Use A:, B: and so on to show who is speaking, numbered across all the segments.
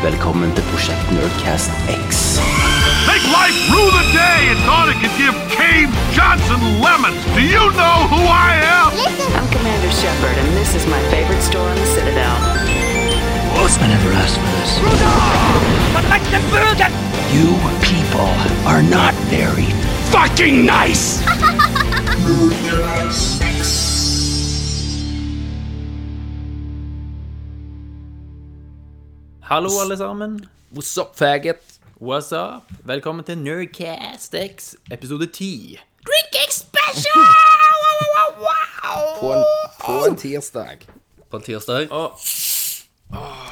A: velkommen til Prosjekt Nerdcast X.
B: Make life rue the day and thought it could give Cave Johnson lemons. Do you know who I am?
C: I'm Commander Shepard, and this is my favorite store on the Citadel.
D: I never asked for this. You people are not very fucking nice!
E: Hallo, alle sammen. What's up, faggot? What's up? Velkommen til Nerdcast X, episode 10.
F: på en, på en tirsdag.
E: På en tirsdag. Og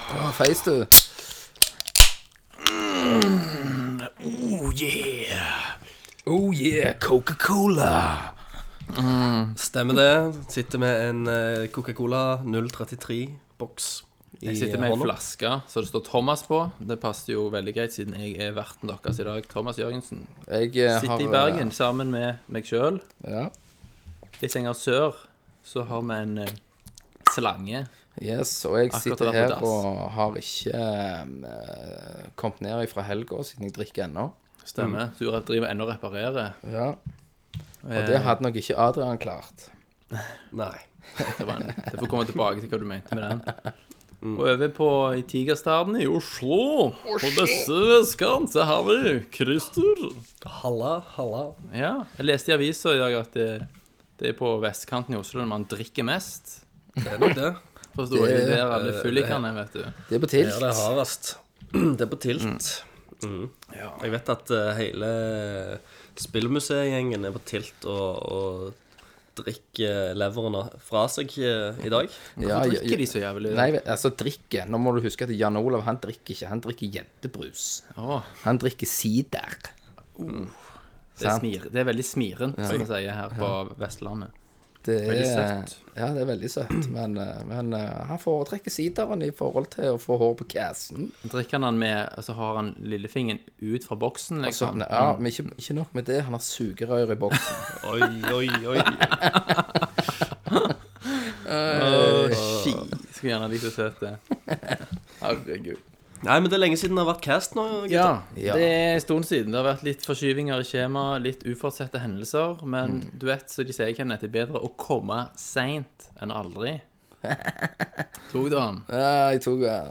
F: Hva feis du? Oh yeah, Coca-Cola.
G: Stemmer det. Sitter med en eh, Coca-Cola 033-boks i
E: jeg sitter med en
G: hånda.
E: flaske så det står Thomas på. Det passer jo veldig greit, siden jeg er verten deres i dag. Thomas Jørgensen.
F: Jeg eh, har
E: Sitter i Bergen sammen med meg sjøl.
F: Ja.
E: Litt lenger sør så har vi en eh, slange.
F: Yes, og jeg
E: Akkurat
F: sitter
E: vært på
F: her
E: dass.
F: og har ikke eh, kommet ned ifra helga siden jeg drikker ennå. Mm.
E: Stemmer. Så du driver ennå og reparerer.
F: Ja.
E: Eh.
F: Og det hadde nok ikke Adrian klart.
G: Nei.
E: Det var en- Jeg får komme tilbake til hva du mente med den.
F: Mm.
E: Og over på i Tigerstaden i Oslo. På disse veskene så har vi Christer.
G: Halla, halla.
E: Ja, jeg leste i avisa i dag at det, det er på vestkanten i Oslo når man drikker mest.
G: Det er nok det.
E: Forstår jeg
F: Det- eh,
E: det er alle fyllikene, vet du.
F: Det er på
G: Det er det
F: tilt.
G: hardest. Det er på tilt. Ja. Jeg vet at eh, hele spillmuseet-gjengen er på tilt og, og drikker eh, leveren fra seg eh, i dag.
F: Ja, ja,
E: Drikker de
F: ja.
E: så jævlig?
F: Nei, altså drikke. Nå må du huske at Jan Olav han drikker ikke. Han drikker jentebrus.
E: Å, Uh.
F: Han drikker sider.
E: det, er smir, det er veldig smirent, som vi sier her på Vestlandet.
F: Det er,
E: Veldig søtt.
F: Ja, det er veldig søtt. Men, eh, men eh, han foretrekker sideren i forhold til å få hår på casen.
E: Drikker han den med Og så har han lillefingeren ut fra boksen,
F: Så han,
E: liksom.
F: Altså, ja, men ikke, ikke nok med det, han har sugerør i boksen.
G: Oi, oi, oi.
E: Ski. Skulle gjerne likt å se det. Herregud.
G: Nei, men det er lenge siden det har vært cast nå. gutter.
E: Ja,
F: Ja.
E: det er en stund siden. Det har vært litt forskyvinger i skjemaet, litt uforutsette hendelser. Men
F: Mm.
E: du vet, så de sier, Kenneth, det er bedre å komme seint enn aldri. Tok du han?
F: Ja, jeg tok eh,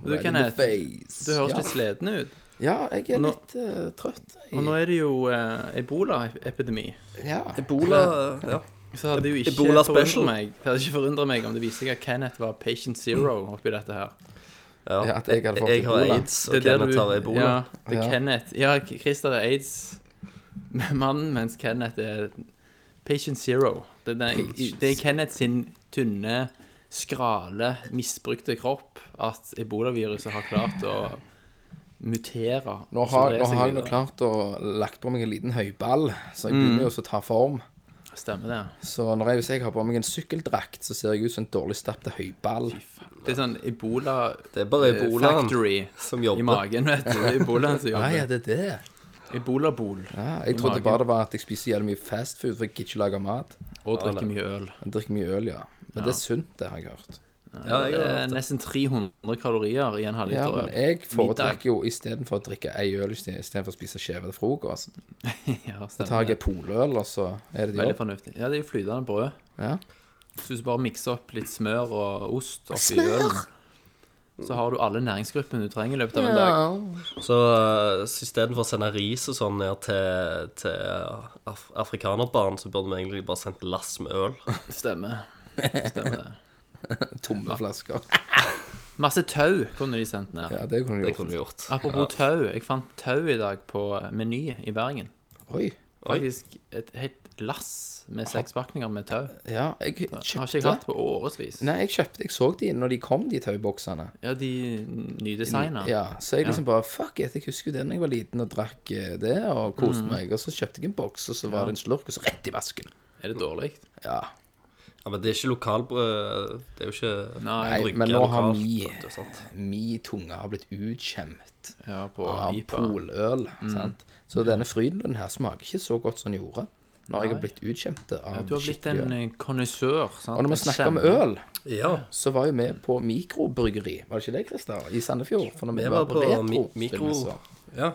E: Du,
F: in the
E: Kenneth,
F: face.
E: du høres
F: ja.
E: litt sliten ut.
F: Ja, jeg er
E: Nå-
F: litt eh, trøtt.
E: Og nå er det jo eh, ebola-epidemi.
F: Ja.
G: Ebola eh, ja.
E: Så hadde jo ikke
G: Ebola
E: forundret
G: special.
E: meg, det hadde ikke forundret meg om det viste seg at Kenneth var patient zero oppi dette her.
F: Ja, at jeg hadde fått
G: jeg har
F: Ebola.
G: aids, og Kenneth har ebola.
E: Ja, det er
F: Ja.
E: Kenneth. Ja, Christer er aids med mannen, mens Kenneth er patient zero. Det er, den, det er Kenneth sin tynne, skrale, misbrukte kropp at ebolaviruset har klart å mutere.
F: Nå har, nå har jeg nå klart å lagt på meg en liten høyball, så jeg
E: Mm.
F: begynner jo også å ta form.
E: Stemmer det.
F: Så når jeg, hvis jeg har på meg en sykkeldrakt, så ser jeg ut som en dårlig stappet høyball.
E: Det er sånn ebola,
G: Det er bare ebolaen
E: factory
G: som
E: Eh, i
G: jobber.
E: magen, vet du. Det er ebolaen som
F: Nei, ja,
E: jobber.
F: det er det.
E: Ebolabol.
F: Ja, jeg
E: I
F: trodde
E: magen.
F: bare det var at jeg spiser jævlig mye fast food, for jeg gidder ikke lage mat.
E: Og drikker mye øl.
F: Jeg drikker mye øl, ja. Men det er sunt, det har jeg hørt.
G: Ja, jeg
E: Det
G: har
E: er
G: hørt det.
E: nesten 300 kalorier i en
F: Ja,
E: halvliter
F: men
E: øl.
F: jeg
E: Middag.
F: foretrekker jo istedenfor å drikke ei øl istedenfor å spise skjeve til frokost.
E: Ja,
F: Da
E: stemmer
F: tar
E: det.
F: jeg poløl, og så er det det
E: Veldig
F: jobb.
E: fornuftig. Ja, det er jo flytende brød.
F: Ja.
E: Så hvis du bare mikser opp litt smør og ost oppi ølen, så har du alle næringsgruppene du trenger i løpet av en dag.
G: Så, eh, så istedenfor å sende ris og sånn ned til, til eh, af afrikanerbarn, så burde vi egentlig bare sendt lass med øl.
E: Stemmer. Stemmer det.
F: Tomme flasker.
E: Masse tau kunne de sendt ned.
F: Ja, det kunne du
G: Det
F: gjort.
G: kunne vi gjort.
E: Apropos tau, jeg fant tau i dag på Meny i Bergen.
F: Oi.
E: Faktisk et helt glass med seks pakninger med tau.
F: Ja, jeg
E: Det har ikke jeg
F: kjøpte
E: hatt på årevis.
F: Nei, jeg kjøpte, jeg så de når de kom, de tauboksene.
E: Ja, de nydesigna.
F: Ja, så jeg liksom bare Fuck it, jeg husker jo det da jeg var liten og drakk eh, det og koste
E: Mm.
F: meg. Og så kjøpte jeg en boks, og så var det en slurk, og så rett i vasken.
E: Er det dårlig?
F: Ja.
G: Ja, men det er ikke lokalbrød Det er jo ikke
E: Nei.
G: brygge
F: men nå har
G: lokalt,
F: vi-
G: vet du, sant?
F: Mi tunge har blitt utkjent
E: Ja, på Mm.
F: av
E: IPA.
F: poløl. Sant? Så denne Frydenlund her smaker ikke så godt som den gjorde når jeg har blitt utkjent av
E: Ja, du har blitt
F: skikkelig
E: en
F: øl.
E: eh, konnissør. sant?
F: Og når vi
E: En
F: snakker om
E: kjenner.
F: øl,
G: Ja.
F: så var jo vi på mikrobryggeri, var det ikke det, Christer? I Sandefjord. For når vi,
G: Vi
F: var, på, retro
G: mi- mikro... Ja,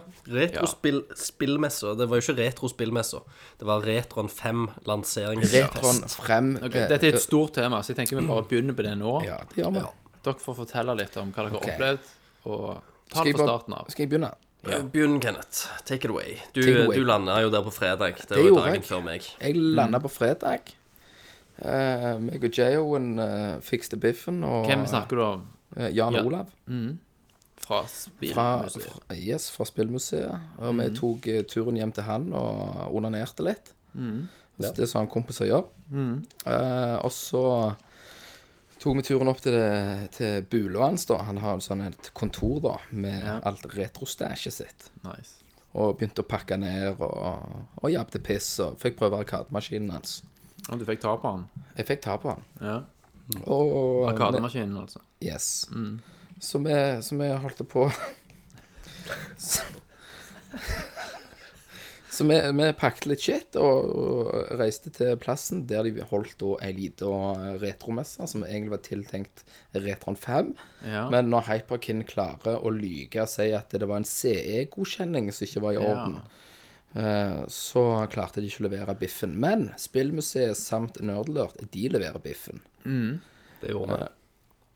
G: retrospillmessa. Det var jo ikke retrospillmessa. Det var Retron 5 lanseringsfest.
F: Retron frem
E: Ok, Dette er et stort tema, så jeg tenker vi bare begynner på det nå.
F: eh, Ja, det gjør vi.
E: Dere får fortelle litt om hva dere har
F: Ok.
E: opplevd, og ta
F: Skal
E: det
F: jeg,
E: fra starten
F: bare,
E: av.
F: skal jeg begynne?
G: Begynn, Kenneth. Take it away. Du,
F: Take it away.
G: du landa jo der på fredag. Det, var
F: gjorde
G: jo dagen
F: jeg.
G: før meg.
F: Jeg
E: Mm.
F: landa på fredag. Uh, meg og J.O.en eh, fikste biffen, og
E: Hvem snakker du om?
F: eh, Jan
E: Ja.
F: Olav
E: Fra spill?
F: fra, fra, yes, fra Spillmuseet. Og vi tok eh, turen hjem til han og onanerte litt. Så Det sa han kompiser gjør. Eh, og så tok vi turen opp til, det- til bula hans. da. Han har en sånn et kontor da, med alt retrostæsjet sitt.
E: Nice.
F: Og begynte å pakke ned og, og jabbte piss og fikk prøve arkademaskinen hans.
E: Og du fikk ta på han?
F: Jeg fikk ta på han.
E: Ja.
F: Og,
E: Arkademaskinen, altså.
F: Yes. Så vi, så vi holdt på Så- Så vi, vi pakket litt shit og, og reiste til plassen der de holdt da ei lita retromesse som egentlig var tiltenkt Retron 5.
E: Ja.
F: Men når Hyperkin klarer å lyge og si at det var en CE-godkjenning som ikke var i orden, eh, så klarte de ikke å levere biffen. Men Spillmuseet samt Nerdlert, de leverer biffen.
G: Det gjorde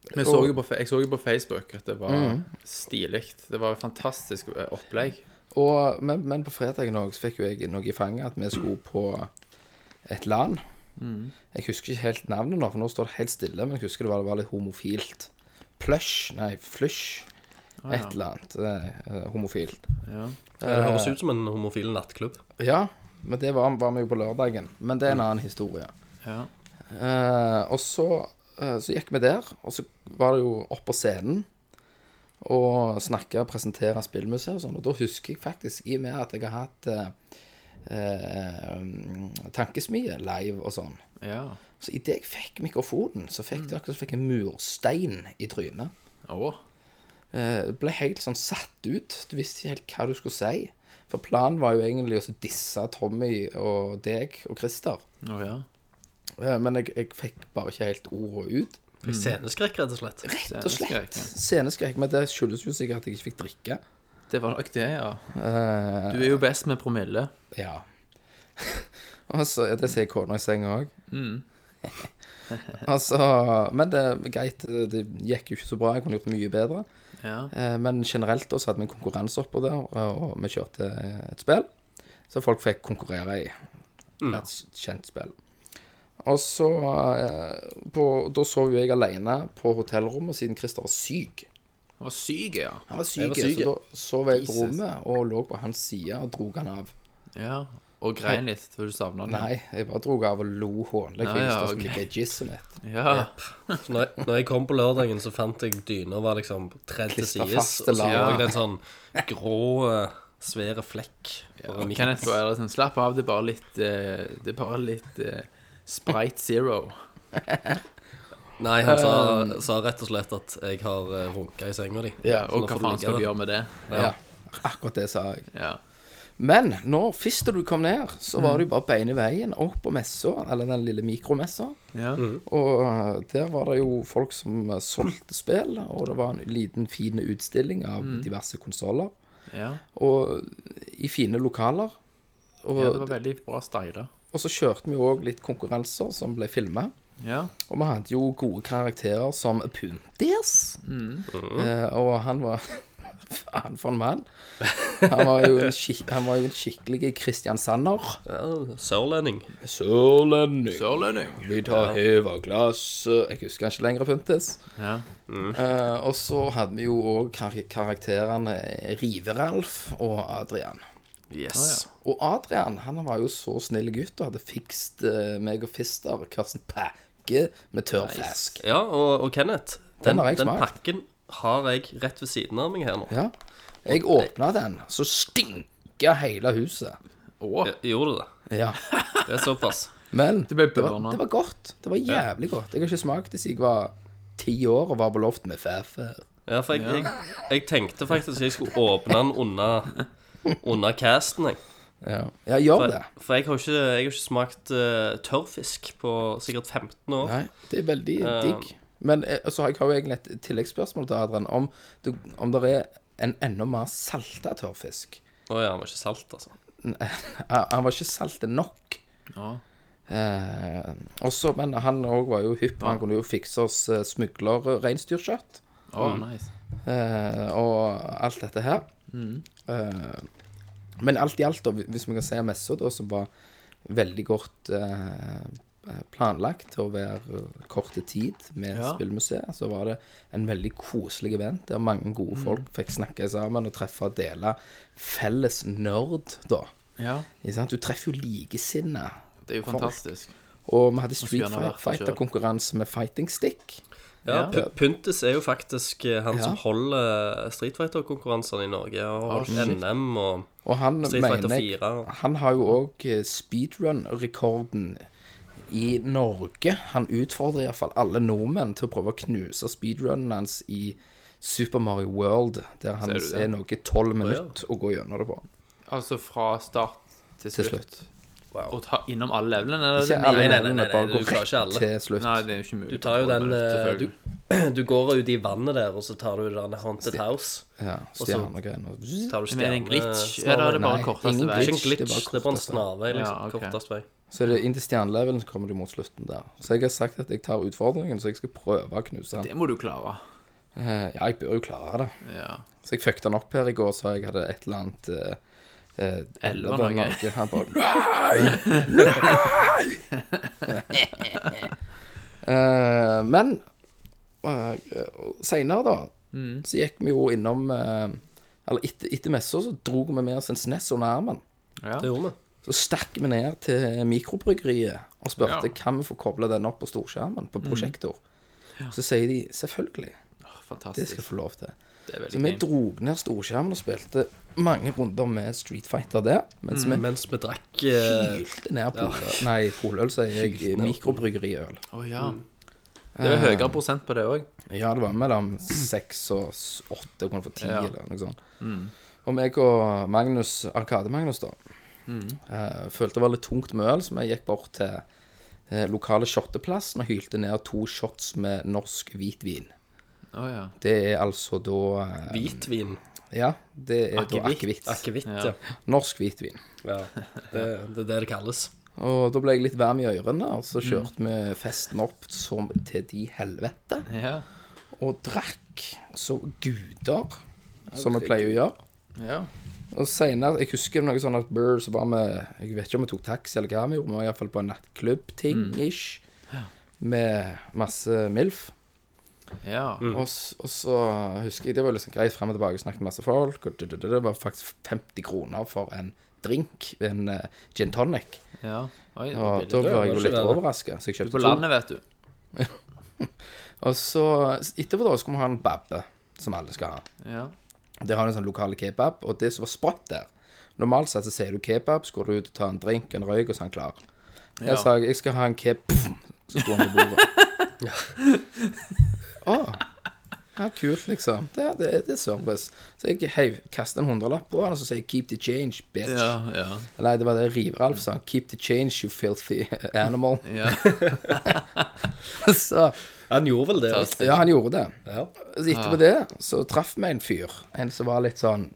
G: vi.
E: Vi så jo på, fe- jeg så jo på Facebook at det var
F: Mm.
E: stilig. Det var et fantastisk eh, opplegg.
F: Og, men, men på fredagen òg fikk jo jeg noe i fanget at vi skulle på et land. Jeg husker ikke helt navnet nå, for nå står det helt stille, men jeg husker det var, det var litt homofilt. Plush, nei, flush. Et eller annet eh, eh, homofilt.
G: Det høres ut som en homofil nattklubb.
F: Ja, men det var, var vi jo på lørdagen. Men det er en annen historie.
E: Ja.
F: Eh, og så, eh, så gikk vi der, og så var det jo opp på scenen og snakke og presentere spillmuseet og sånn. Og da husker jeg faktisk, i og med at jeg har hatt eh, eh, um, Tankesmie live og sånn
E: ja.
F: Så idet jeg fikk mikrofonen, så fikk jeg akkurat som jeg fikk en murstein i trynet.
E: Å,
F: Eh, ble helt sånn satt ut. Du visste ikke helt hva du skulle si. For planen var jo egentlig å så disse Tommy og deg og Christer.
E: å ja.
F: Eh, men jeg, jeg fikk bare ikke helt ordene ut.
G: Fikk Sceneskrekk, rett og slett.
F: Rett og
E: Sceneskrekk,
F: slett.
E: ja.
F: Sceneskrekk. Men det skyldes jo sikkert at jeg ikke fikk drikke.
E: Det var nok det, ja.
F: Eh,
E: Du er jo best med promille.
F: ja. og så, ja, det sier kona i senga òg. altså, men det er greit. Det gikk jo ikke så bra. Jeg kunne gjort mye bedre.
E: Ja.
F: Eh, men generelt da, så hadde vi en konkurranse oppå der, og vi kjørte et spill som folk fikk konkurrere i. Et kjent spill. Og så eh, på, Da sov jo jeg alene på hotellrommet siden Christer var syk.
E: Du var syk, ja.
F: Han var syk, altså.
G: syk,
F: så da sov jeg på rommet og lå på hans side og drog han av.
E: ja. Og grein litt for du savna den.
F: Nei, jeg bare drog av og lo hånlig.
E: Ja,
F: for Jeg
E: ja,
F: syntes det skulle
E: ok.
F: ligge i jisset mitt.
E: Ja.
G: Så når, jeg, når jeg kom på lørdagen, så fant jeg dyna var liksom tredd til
F: Klistret
G: sides. Og
F: fast
G: så
F: til
G: lå
E: laven.
G: det en sånn grå, eh, svære flekk. over mitt.
E: Kenneth og Eriksen, slapp av, det er bare litt eh, Det er bare litt eh, Sprite Zero.
G: Nei, han sa, sa rett og slett at jeg har eh, runka i senga di.
E: Ja,
G: Så nå
E: og hva
G: får du
E: faen
G: ligge
E: skal
G: der.
E: du gjøre med det?
F: Ja. Akkurat det sa jeg.
E: Ja.
F: Men når først da du kom ned, så
E: Mm.
F: var det jo bare bein i veien opp på messa, eller den lille mikromessa.
E: ja.
F: Og eh, der var det jo folk som eh, solgte spill, og det var en liten fin utstilling av
E: Mm.
F: diverse konsoller.
E: ja.
F: Og i fine lokaler. Og,
E: Ja, det var veldig bra styla.
F: og så kjørte vi jo òg litt konkurranser som ble filma.
E: Ja.
F: Og vi hadde jo gode karakterer som Puntis.
E: Mm.
F: Eh, og han var Faen, for en mann. Han var jo en, skik han var jo en skikkelig Kristiansander.
G: Ja, Ah, Sørlending.
F: Eh, Sørlending.
E: Sørlending.
F: Vi tar heva glasset Jeg husker han ikke lenger, Puntis.
E: Ja.
F: Eh, og så hadde vi jo òg kar karakterene Rive-Ralf og Adrian.
G: Yes.
F: Og Adrian han var jo så snill gutt og hadde fikst eh, meg og Fister hver sin pakke med tørrfisk.
G: Ja, og, og Kenneth, den,
F: har jeg
G: den
F: smakt.
G: pakken har jeg rett ved siden av meg her nå.
F: Ja. Jeg åpna den, så stinka hele huset.
E: Å,
G: Jeg- Gjorde du det?
F: Ja.
G: Det er såpass.
F: Men det,
E: ble
F: var,
E: bønner.
F: det var godt. Det var jævlig godt. Jeg har ikke smakt det siden jeg var ti år og var på loft med farfar.
G: Ja, for jeg, jeg, jeg tenkte faktisk jeg skulle åpne den under, under casten, jeg.
F: Ja. ja, gjør
G: For,
F: det.
G: for jeg har ikke, jeg har ikke smakt eh, tørrfisk på sikkert 15 år.
F: Nei, det er veldig digg. Men eh, så har jeg har jo egentlig et tilleggsspørsmål til Adrian. Om det, om det er en enda mer salta tørrfisk.
G: Å ja, den var ikke salt, altså.
F: Han han var ikke salt nok.
E: Ja.
F: Eh, også, men han òg var jo hypp. Han kunne jo fikse oss eh, smuglerreinsdyrkjøtt
E: Å,
G: Mm.
E: nice.
F: eh, og alt dette her.
E: Mm.
F: Eh, men alt i alt, da, hvis vi kan se messa, da, som var veldig godt eh, planlagt til å være korte tid med
E: Ja.
F: spillmuseet, så var det en veldig koselig event der mange gode
E: Mm.
F: folk fikk snakke sammen og treffe og dele felles nerd, da.
E: Ja,
F: Ikke sant? Du treffer jo likesinnede.
E: det er jo
F: Folk.
E: fantastisk.
F: Og vi hadde
E: skulle
F: Street
E: han ha vært for
F: Fighter-konkurranse med fighting stick.
E: Ja.
G: Ja, Py- Pyntes er jo faktisk eh, han
F: Ja.
G: som holder Street Fighter-konkurransene i Norge. Og NM og
F: Og han
G: Street Fighter
F: mener jeg
G: 4.
F: Han har jo òg speedrun-rekorden i Norge. Han utfordrer iallfall alle nordmenn til å prøve å knuse speedrunnen hans i Super Mario World, der han
E: Ser du det?
F: er noe tolv minutter å gå gjennom det på.
E: Altså fra start til
F: Til
E: slutt. Og ta innom alle levelene? eller?
F: Ikke
E: Nei,
F: alle
E: nei,
F: nevnene,
G: nei,
F: bare
G: du
F: gå
G: klarer ikke alle.
F: rett til slutt.
E: Nei, det er jo ikke mulig.
G: Du tar jo den eh,
E: Selvfølgelig.
G: du, du går ut i vannet der, og så tar du den Haunted House.
F: Ja, stjernegreiene og
G: Tar du
E: Men er det en
G: stjerne-
E: glitch, eller er det bare
F: Nei,
E: korteste
F: ingen
E: vei?
G: Det er ikke en
F: glitch, det er
G: glitch,
F: bare
G: det er bare en
F: kortest vei.
G: snarvei. liksom,
E: Ja, ok.
G: Kortest vei.
F: Så er det inn til stjernelevelen, så kommer du mot slutten der. Så jeg har sagt at jeg tar utfordringen, så jeg skal prøve å knuse han.
E: Det må du klare.
F: Eh, Ja, jeg bør jo klare det.
E: Ja.
F: Så jeg fucket han opp her i går, så jeg hadde et eller annet eh, eh,
E: Eller
F: eller
E: noe.
F: noe. Han bare Nei! Nei! Eh, men uh, seinere, da,
E: Mm.
F: så gikk vi jo innom eh, Eller etter, etter messa så dro vi med oss en SNES under armen.
E: Ja.
G: Det gjorde vi.
F: Så stakk vi ned til mikrobryggeriet og spurte
E: Ja. Mm.
F: kan vi få koble den opp på storskjermen, på prosjektor. Så sier de selvfølgelig. Det skal
E: Fantastisk.
F: jeg få lov til.
E: Det er
F: Så
E: veldig
F: vi
E: game.
F: dro ned storskjermen og spilte mange runder med Street Fighter der. Mens vi
G: Mens vi drakk eh,
F: hylte ned pol Nei, poløl, sier jeg. Mikrobryggeriøl.
E: Å ja. Det er høyere prosent på det òg.
F: Ja, det var mellom seks og s- åtte, kunne få ti
E: Ja.
F: eller noe sånt. Og meg og Magnus, Arkade-Magnus, da, eh, følte det var litt tungt med øl, så vi gikk bort til eh, lokale shotteplassen og hylte ned to shots med norsk hvitvin.
E: Å ja.
F: Det er altså da eh,
G: hvitvin.
F: Ja, det er da akevitt.
G: Akevitt, ja.
F: Norsk hvitvin.
G: ja. Det, det er det det kalles.
F: Og da ble jeg litt varm i ørene, og så kjørte vi festen opp som til de helvete.
E: ja.
F: Og drakk så guder, som vi pleier å gjøre.
E: Ja.
F: Og senere, jeg husker noe sånn at Burr, så var vi Jeg vet ikke om vi tok taxi eller hva vi gjorde, vi var iallfall på en nattklubb-ting-ish. Med masse MILF.
E: ja.
F: Og, s- og så husker jeg det var liksom greit frem og tilbake, snakket med masse folk. Og det, det, det var faktisk 50 kroner for en drink, en eh, gin tonic.
E: ja. Oi, det var
F: Og
E: billig.
F: da var jeg
G: var
F: jo
G: ikke
F: litt
G: det, da.
F: overraska, så jeg kjøpte
E: På
F: to.
E: landet, vet du.
F: Og så etterpå da skulle vi ha en babbe, som alle skal ha.
E: Ja.
F: Det har en sånn lokal kebab, og det som var sprøtt der Normalt sett så sier du kebab, så går du ut og tar en drink, en røyk, og så er han klar. Jeg
E: Ja.
F: sa jeg skal ha en kebab, så sto han på bordet. Å, ja, kult, liksom. Det, det, det er service. Så jeg heiv, kastet en hundrelapp på han, og så sier jeg 'keep the change, bitch'.
E: Ja. Ja.
F: Nei, det var det Riveralf sa. 'Keep the change, you filthy animal'.
E: ja.
F: så
G: Han gjorde vel det. altså.
F: Ja, han gjorde det.
G: Ja. Ah.
F: Så etterpå det så traff vi en fyr. En som var litt sånn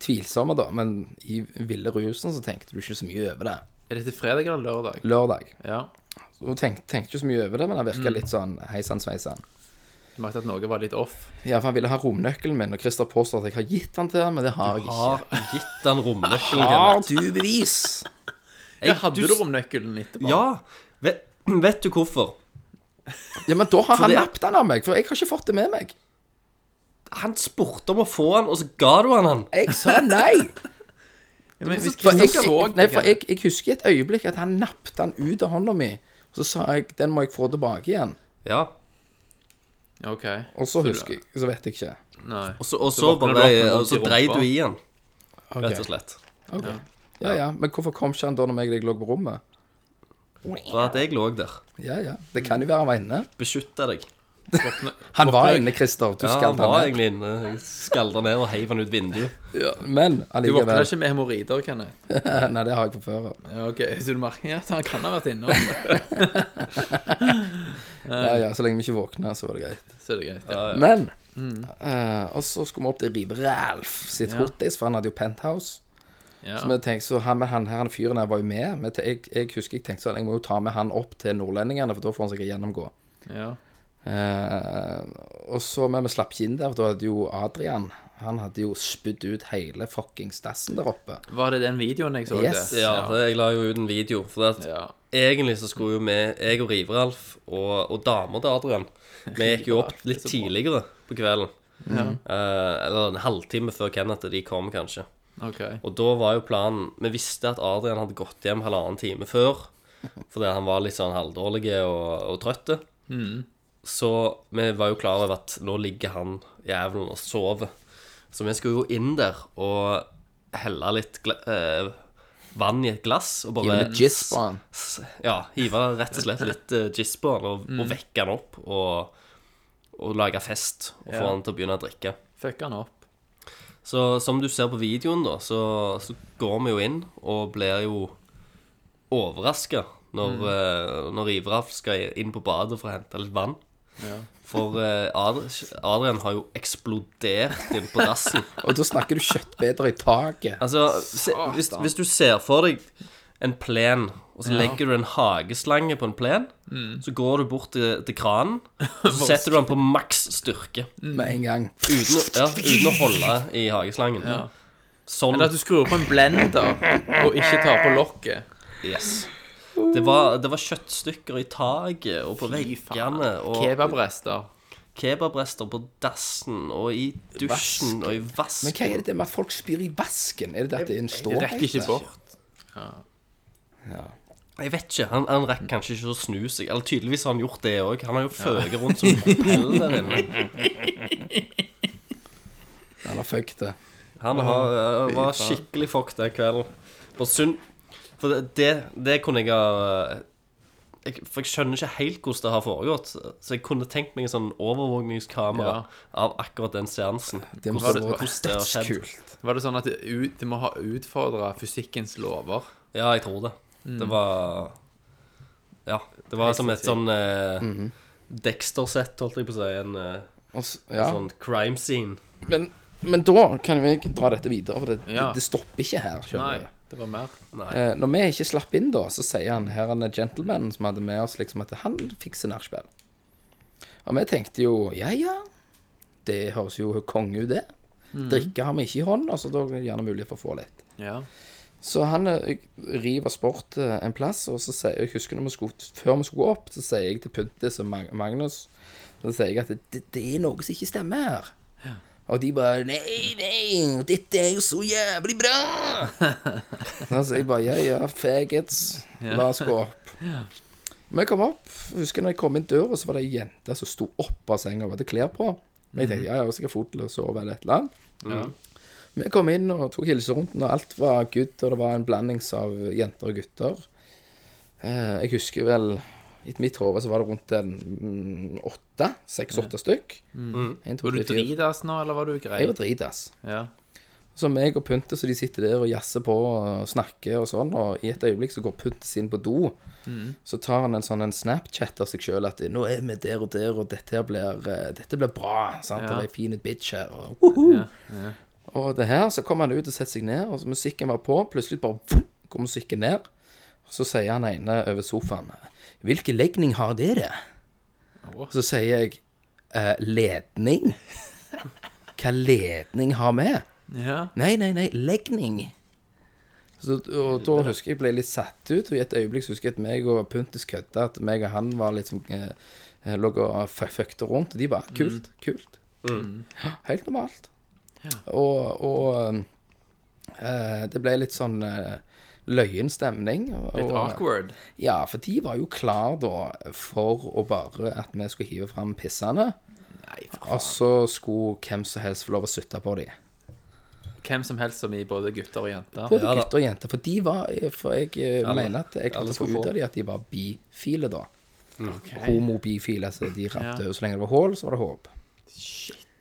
F: tvilsomme, da. Men i ville rusen så tenkte du ikke så mye over det.
E: Er dette fredag eller lørdag?
F: Lørdag.
E: Ja.
F: Du tenkte, tenkte ikke så mye over det, men han
G: Mm.
F: virka litt sånn heisan sveisan.
E: Du merket at noe var litt off.
F: Ja, for han ville ha romnøkkelen min, og Christer påstår at jeg har gitt han til ham, men det har jeg ikke.
G: Har gitt han romnøkkelen.
F: Har
G: Kenneth.
F: du bevis?
E: Ja,
G: Jeg
E: hadde du
G: s-
E: romnøkkelen etterpå?
G: Ja. Vet, vet du hvorfor?
F: Ja, men da har han
G: det-
F: nappet han av meg, for jeg har ikke fått det med meg.
G: Han spurte om å få han, og så ga du han han.
F: Jeg sa nei.
E: Men hvis
F: For jeg,
E: Christer så
F: nei,
E: det,
F: for jeg, jeg husker et øyeblikk at han nappet han ut av hånda mi. Så sa jeg 'den må jeg få tilbake igjen'.
G: Ja.
E: OK.
F: Og så husker jeg, så vet jeg ikke.
E: Nei.
G: Og så, og
E: Så
G: så,
E: våkner
G: bare,
E: du opp med
G: og så
E: vondt i
G: drei
E: rumpa.
G: du i den,
F: Ok.
G: rett og slett.
F: Ok. Ja, ja, Men hvorfor kom ikke han da når jeg lå på rommet?
G: For at jeg lå der.
F: Ja, ja. Det kan jo være han var inne.
G: Beskytta deg.
F: Han var inne, Christer. Du
G: Ja,
F: skal
G: han
F: ta
G: var
F: ned.
G: egentlig inne. Jeg skalda ned og heiv han ut vinduet.
F: Ja, men
E: Du våkner
F: allikevel.
E: ikke med hemoroider, Kenneth?
F: Nei, det har jeg fra før av.
E: Ja, OK, så du merker at han kan ha vært innom?
F: Ja, ja, så lenge vi ikke våkna, så var det greit.
E: Så er det greit. Ja. Mm.
F: Men eh, Og så skulle vi opp til Rive Ralf sitt hotdis, for han hadde jo penthouse.
E: Ja.
F: Så vi tenkte, så han, han her, han fyren her var jo med. Men til- jeg, jeg husker jeg tenkte sånn Jeg må jo ta med han opp til nordlendingene, for da får han sikkert gjennomgå.
E: ja.
F: Eh, og så, men vi slapp ikke inn der, for da hadde jo Adrian Han hadde jo spydd ut hele fuckings dassen der oppe.
E: Var det den videoen jeg så?
F: Yes.
E: Det?
G: Ja, det, jeg la jo ut en video. For at
E: Ja.
G: egentlig så skulle jo vi, jeg og Riveralf og, og damer til Adrian Vi gikk jo opp litt tidligere på kvelden. Eh, eller en halvtime før Kenneth og de kom, kanskje.
E: OK.
G: Og da var jo planen Vi visste at Adrian hadde gått hjem halvannen time før. Fordi han var litt sånn halvdårlig og, og trøtt. Så vi var jo klar over at nå ligger han jævelen og sover. Så vi skulle jo inn der og helle litt gla eh, vann i et glass og
F: Gi
G: bare
E: Eh,
F: litt jizz på han.
G: s- Ja, hive rett og slett litt uh, jizz på han og, og vekke han opp og, og lage fest og få han til å begynne å drikke.
E: Fucka han opp.
G: Så som du ser på videoen, da, så, så går vi jo inn og blir jo overraska når, mm. når Iveralf skal inn på badet for å hente litt vann. For eh, Ad Adrian har jo eksplodert inn på dassen.
F: Og da snakker du kjøttbedre i taket.
G: Altså, se, hvis, hvis du ser for deg en plen, og så legger du en hageslange på en plen, så går du bort til, til kranen, og så setter du den på maks styrke.
E: Mm.
F: Med en gang.
G: Uten, å- ja, uten å holde i hageslangen. Sånn
E: Eller at du skrur på en blender og ikke tar på lokket.
G: Yes. Det var, det var kjøttstykker i taket og på veggene og
E: Kebabrester.
G: kebabrester på dassen og i dusjen og i
F: Men hva
G: vasken.
F: er det det med at folk spyr i vasken? Er det det at det er en
E: De
F: stål?
E: rekker ikke bort.
G: Jeg vet ikke, han, han rekker kanskje ikke å snu seg. Eller tydeligvis har han gjort det òg. Han har jo føget rundt som en propell der inne.
F: Eller fuck det.
G: Han har, øh, var skikkelig fucked den kvelden. Og synd For det, det, det kunne jeg ha eh, jeg, For jeg skjønner ikke helt hvordan det har foregått. Så jeg kunne tenkt meg en sånn overvåkningskamera
E: Ja.
G: av akkurat den seansen.
F: Det må
G: Hvordan-
F: være
G: hvordan det har skjedd.
F: dødskult.
E: Var det sånn at det, ut, det må ha utfordra fysikkens lover?
G: Ja, jeg tror det.
F: Mm.
G: Det var Ja. Det var som et sånn eh,
F: Mhm.
G: Dexter-sett, holdt jeg på å si. En eh,
F: Og s- Ja.
G: sånn crime scene.
F: Men, men da kan vi ikke dra dette videre, for det,
E: Ja.
F: det, det stopper ikke her. skjønner
E: Nei,
F: du.
E: det var mer.
F: Eh, Når vi ikke slapp inn, da, så sier han her han er gentlemanen som hadde med oss, liksom at han fikser nachspiel. Og vi tenkte jo ja, ja, det høres jo konge ut, det. Drikke har vi ikke i hånda, så da er det gjerne mulighet for å få litt.
E: Ja.
F: Så han eh, river sport eh, en plass, og så sier jeg husker når vi skulle, før vi skulle gå opp, så sier jeg til Puntis og Mag- Magnus så sier jeg at det, det er noe som ikke stemmer her. Og de bare Nei, nei, dette er jo så jævlig bra! Da sier jeg bare ja, ja, faggots, la oss gå opp. Men jeg kom opp, husker når jeg kom inn døra, så var det ei jente som sto opp av senga og hadde klær på. Men
E: Mhm.
F: jeg tenkte ja, ja, hun er sikkert fotløs og sove eller et eller annet. Men jeg kom inn og tok hilserunden, og alt var good, og det var en blandings av jenter og gutter. Eh, Jeg husker vel i mitt hode så var det rundt en mm, åtte, seks-åtte stykk. En, to,
E: Mm. Var du
F: tre, fire.
E: dritass nå, eller var du grei?
F: Jeg var dritass.
E: Ja.
F: Så meg og Puntis, og de sitter der og jazzer på og snakker og sånn, og i et øyeblikk så går Puntis inn på do. Så tar han en sånn en Snapchat av seg sjøl at 'nå er vi der og der, og dette her blir, eh, dette blir bra'. sant,
E: Ja.
F: Det er ei fin bitch her. Og, «Woho!» og det her, så kommer han ut og setter seg ned, og så musikken var på. Plutselig bare vroom, går musikken ned. Og så sier han ene over sofaen 'Hvilken legning har dere?' Så sier jeg eh, 'Ledning'. Hva ledning har vi?
E: ja.
F: Nei, nei, nei, legning. Så, og da husker jeg ble litt satt ut, og i et øyeblikk så husker jeg at meg og Puntis kødda, at meg og han var litt som eh, eh, lå og fu- fuckte rundt, og de bare
E: Mm.
F: Kult, kult. Helt normalt. Og, og Eh, det ble litt sånn eh, løyen stemning. og-
E: Litt
F: og-
E: awkward.
F: Ja, for de var jo klar da for å bare at vi skulle hive fram pissene.
E: Nei, for
F: Og så skulle hvem som helst få lov å sutte på dem.
E: Hvem som helst som i både gutter og jenter.
F: Både
G: Ja da.
F: gutter og jenter. For de var For jeg eh, mener at jeg klarte å
G: alle
F: få
G: skulle
F: ut
G: få. Mm,
F: av dem at de var bifile, da.
E: Ok.
F: Homobifile. Altså de rappte jo så lenge det var hull, så var det håp.
E: Shit.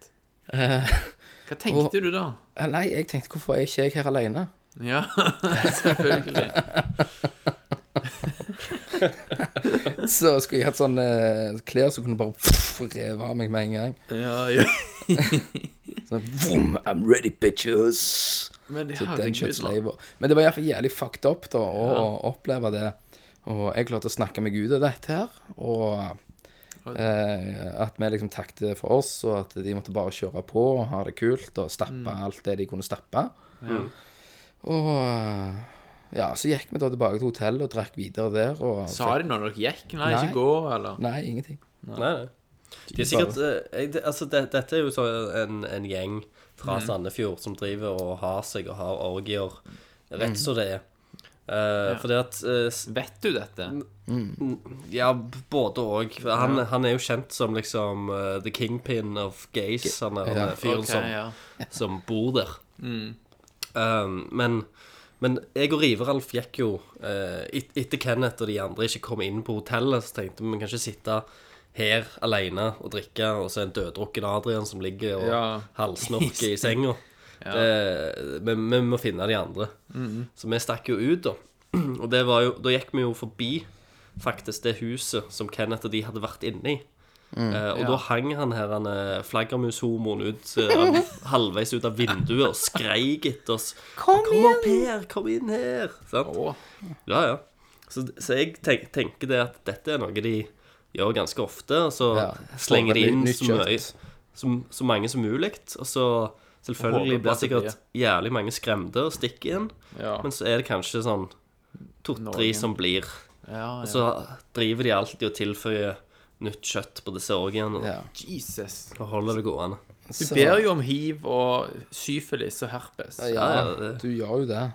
E: Hva tenkte du da?
F: Eh, Nei, jeg tenkte hvorfor er ikke jeg her alene?
E: Ja, selvfølgelig.
F: Så skulle jeg hatt sånne eh, klær som kunne bare pff, revet av meg med en gang.
E: Ja, ja.
F: Sånn, Vroom, I'm ready, bitches!
E: Men
F: Så den
E: herregud, da.
F: kjøttslava. Men det var iallfall jævlig fucked up da, å å oppleve det. Og jeg klarte å snakke meg ut av dette her. Og eh, at vi liksom takte for oss, og at de måtte bare kjøre på og ha det kult og stappe
E: Mm.
F: alt det de kunne stappe.
G: Mm.
F: Og eh, ja, så gikk vi da tilbake til hotellet og drakk videre der. Og
E: Sa de når dere gikk? Nei,
F: Nei.
E: ikke gå, eller?
F: Nei, ingenting.
G: Nei, nei. De er sikkert, eh, jeg, det- altså, det, dette er jo så en, en gjeng fra
E: Mhm.
G: Sandefjord som driver og har seg og har orgier rett
E: Mhm.
G: som det er. Eh, Fordi at eh, s-
E: Vet du dette?
G: Ja, b- både og Han, han er jo kjent som liksom eh, the kingpin of gays. Han er han er fyren
E: Ok,
G: som,
E: ja.
G: som bor der. Um, men, men jeg og Riveralf gikk jo eh, et, Etter Kenneth og de andre ikke kom inn på hotellet, så tenkte vi vi kan ikke sitte her alene og drikke, og så en døddrukken Adrian som ligger og
E: Ja.
G: halvsnorker i senga. Eh, men vi må finne de andre. Så vi stakk jo ut, da. Og det var jo, da gikk vi jo forbi faktisk det huset som Kenneth og de hadde vært inne i. Eh, og da hang han her han, eh, flaggermushomoen ut eh, han, halvveis ut av vinduet og skreik etter oss. 'Kom, opp her! Kom inn her!' Sant? Ja, ja. Så, så jeg tenk, tenker det at dette er noe de gjør ganske ofte, og så
F: Ja,
G: slenger de
F: veldig
G: inn
F: nytt
G: så, mye,
F: kjøtt.
G: så, så mange som mulig. Og så
E: Og håper
G: selvfølgelig
E: på at
G: blir
E: det
G: sikkert jævlig mange skremte og stikker igjen.
E: Ja.
G: Men så er det kanskje sånn to-tre
E: Noen.
G: som blir.
E: Ja, ja.
G: Og så driver de alltid og tilføyer nytt kjøtt på disse orgiene.
F: Ja.
E: Jesus.
G: Og holder det gående.
E: Du ber jo om hiv og syfilis og herpes.
F: sånn. Ja,
G: Ja, ja, det-
F: du gjør jo det.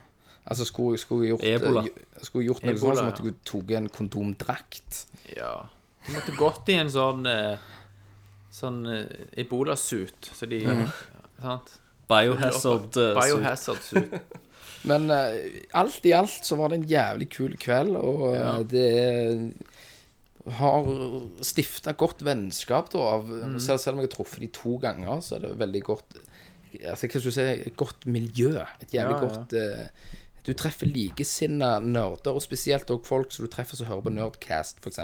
F: Altså, skulle, skulle jeg gjort,
G: Ebola.
F: skulle jeg gjort noe
E: Ebola,
F: sånt, så
E: ja.
F: måtte jeg tatt en kondomdrakt.
E: Ja. Du måtte gått i en sånn eh, Sånn eh, Ebola-suit, så de
F: Mhm.
E: Sant?
G: Biohazard. eh,
E: Biohazard-suit.
F: Men eh, alt i alt så var det en jævlig kul kveld, og eh, det har stifta godt vennskap da, av selv, selv om jeg har truffet de to ganger, så er det veldig godt altså, Hva skal du si et godt miljø. Et jævlig
E: Ja, ja.
F: godt eh, Du treffer likesinna nerder, og spesielt også folk som du treffer som hører på Nerdcast, f.eks.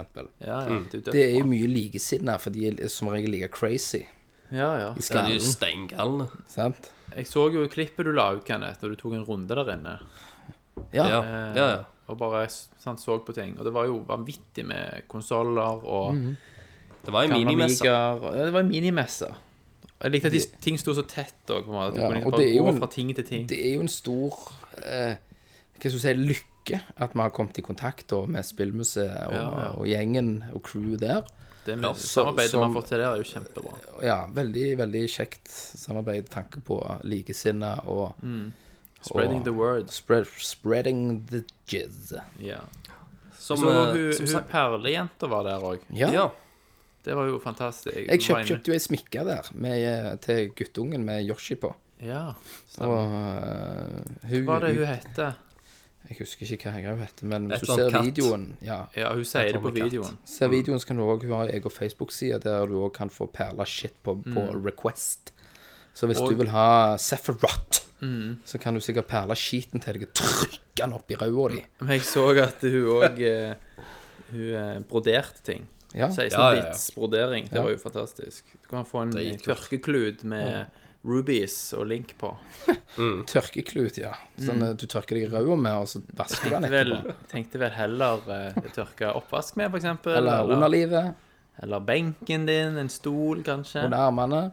E: Ja, ja. Du, død.
F: Det er jo mye likesinna, for de er som regel like crazy
E: ja, ja.
F: i
G: Ja, de er
F: skallen.
G: jo steingalne.
F: Sant?
E: Jeg så jo klippet du la ut, Kenneth, når du tok en runde der inne.
F: Ja.
G: Ja,
E: eh,
G: ja, ja.
E: Og bare sant, så på ting. Og det var jo vanvittig med konsoller og
F: Mhm.
G: Det var en minimesse.
E: Amigaer. og- Ja, det var en minimesse. Og Jeg likte at de, ting sto så tett òg, på en måte. At du
F: Ja,
E: kunne
F: og
E: bare
F: det er jo
E: gå
F: en-
E: fra ting til ting.
F: det er jo en stor eh, hva skal du si, lykke at vi har kommet i kontakt da, med Spillmuseet og,
E: Ja, ja.
F: og gjengen og crew der.
E: Det med,
F: så-
E: samarbeidet man
F: altså, som-
E: får til der, er jo kjempebra.
F: Og ja, veldig, veldig kjekt samarbeid med tanke på likesinne og
E: Mm. Spreading
F: og-
E: the word.
F: Spread, spreading the jizz.
E: Ja.
G: Som,
E: Så
G: eh,
E: hun,
G: som
E: hun
G: sagt-
E: perlejenta var der òg.
F: Ja.
G: Ja.
E: Det var jo fantastisk.
F: Jeg
E: var
F: kjøpt,
E: inne-
F: kjøpte jo ei smikke der med, eh, til guttungen med Yoshi på.
E: Ja.
F: Og
E: Stemmer.
F: eh,
E: Hva
F: hun,
E: var det hun
F: hun
E: heter?
F: Jeg husker ikke hva hun heter, men
G: Et
F: hvis du
G: eller
F: ser
G: annet katt.
F: videoen ja,
E: Ja, hun sier det på
G: Tommy Cat.
E: videoen.
F: Ser videoen, så kan du også ha egen Facebook-side der du også kan få perla shit på, på
E: Mm.
F: request. Så hvis du vil ha Sephiroth,
E: Mm.
F: så kan du sikkert perle skiten til deg og trykke den opp i ræva di.
E: Men jeg så at hun òg Hun eh, broderte ting.
F: Ja.
E: 16
G: Ja, ja, ja.
E: bits brodering. Det
F: Ja.
E: var jo fantastisk. Du kan få en eh,
G: er gitt
E: tørkeklud med rubies og link på.
F: Tørkeklut, ja. Sånn at du tørker deg i ræva med, og så vasker du den
E: Mm. Vel,
F: etterpå.
E: tenkte vel heller eh, tørke oppvask med, f.eks.
F: Eller underlivet,
E: eller benken din, en stol, kanskje.
F: under armene,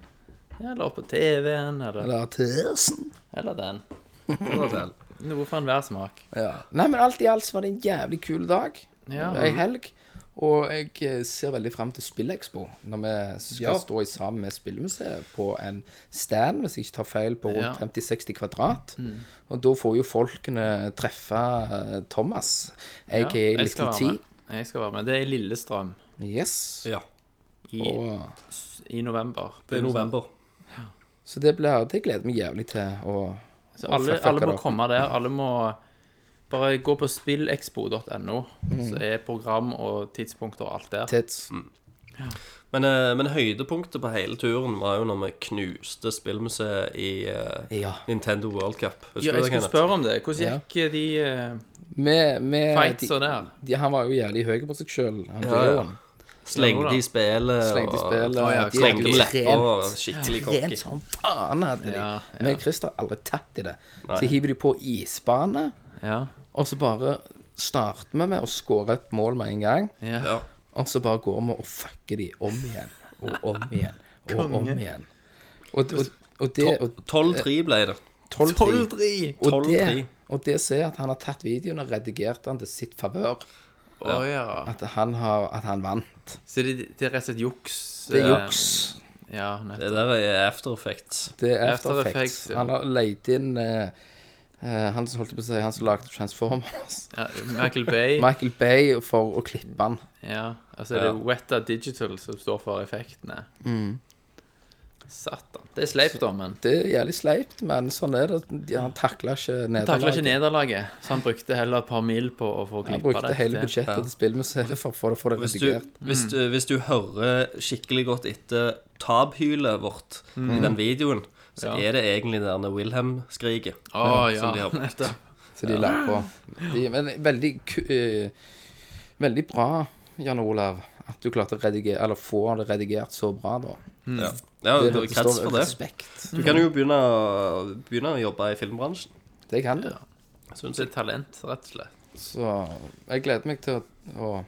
E: Eller oppå TV-en, eller,
F: eller tesen.
E: eller den.
G: Hotel.
E: Noe for enhver smak.
F: Ja. Nei, men alt i alt så var det en jævlig kul dag.
E: Ja.
F: Ei helg. Og jeg eh, ser veldig frem til Spillekspo, når vi skal
H: Ja.
F: stå i sammen med Spillmuseet på en stand, hvis jeg ikke tar feil, på rundt
E: Ja. Mm.
F: 50-60 kvadrat. Og da får jo folkene treffe eh, Thomas, aka
E: Ja,
F: ja,
E: jeg skal
F: Little
E: være
F: T.
E: med. Jeg skal være med. Det er i Lillestrøm
F: Yes.
G: Ja.
E: i,
F: Og,
E: i november.
G: Det er november.
F: så det blir Det gleder jeg meg jævlig til. Og
E: Så alle,
F: Fuck, fuck
E: alle må
F: it up.
E: komme der. Alle må bare gå på spillexpo.no, så er program og tidspunkter og alt der.
F: tids.
G: Mm. Men, eh, men høydepunktet på hele turen var jo når vi knuste spillmuseet i eh,
F: Ja.
G: Nintendo World Cup. Husker
E: Ja, jeg
G: du det,
E: skulle
G: Kenneth?
E: spørre om det. Hvordan gikk de eh,
F: Med, med
E: fightsa der?
F: de, Han var jo jævlig høy på seg sjøl.
G: Ja, ja. Slengte i spillet
F: Slengte i spillet,
G: og
F: ja,
G: og slengte
F: de hadde jo
G: lepper og skikkelig
F: Rent sånn.
G: cocky.
F: som faen hadde de.
E: Ja,
F: Men Christer har aldri tatt i det. Så hiver de på isbane,
E: Ja.
F: og så bare starter vi med å skåre et mål med en gang.
E: ja.
G: Ja.
F: Og så bare går vi og fucker de om igjen og om igjen og om igjen. Og, og, og det og
G: 12-3 ble det.
F: 12-3. Og,
G: 12-3.
F: det- og det ser jeg at han har tatt videoen og redigert den til sitt favør.
E: Å ja.
F: At han, har, at han vant.
E: Så det, det er rett og slett juks?
F: Det er
E: eh,
F: juks.
E: Ja, nettopp.
G: Det der er after effects.
F: Det er
E: After
F: After
E: Effects,
F: Effects.
E: ja.
F: Han har leid inn eh, eh, han som holdt jeg på å si, han som lagde Transformers.
E: Ja, Michael Bay.
F: Michael Bay for å klippe han.
E: Ja, altså det er Weta Digital som står for effektene. Satan. Det er sleipt, da, men
F: Det er jævlig sleipt, men sånn er det. De- Han takla ikke
E: takla ikke
F: nederlaget.
E: nederlaget, så han brukte heller et par mil på å få
F: Han
E: glipa
F: brukte hele budsjettet til spillmuseet for, for å få det
G: Hvis du,
F: redigert.
E: Mm.
G: hvis, du, hvis du hører skikkelig godt etter tabhylet vårt i den videoen, så
E: Mm. Ja.
G: er det egentlig det der Wilhelm-skriket.
E: Å ja,
G: som de har brukt.
E: nettopp.
F: Så de la på. De, men veldig ku- eh, Veldig bra, Jan Olav, at du klarte å redigere, eller få det redigert så bra, da.
E: Mm.
G: Ja, ja det er krets for det.
F: respekt.
G: Du kan jo begynne, å- begynne å jobbe i filmbransjen.
F: Det kan du.
G: Synes
E: Det
G: jeg.
E: er talent, rett og slett.
F: Så jeg gleder meg til å, å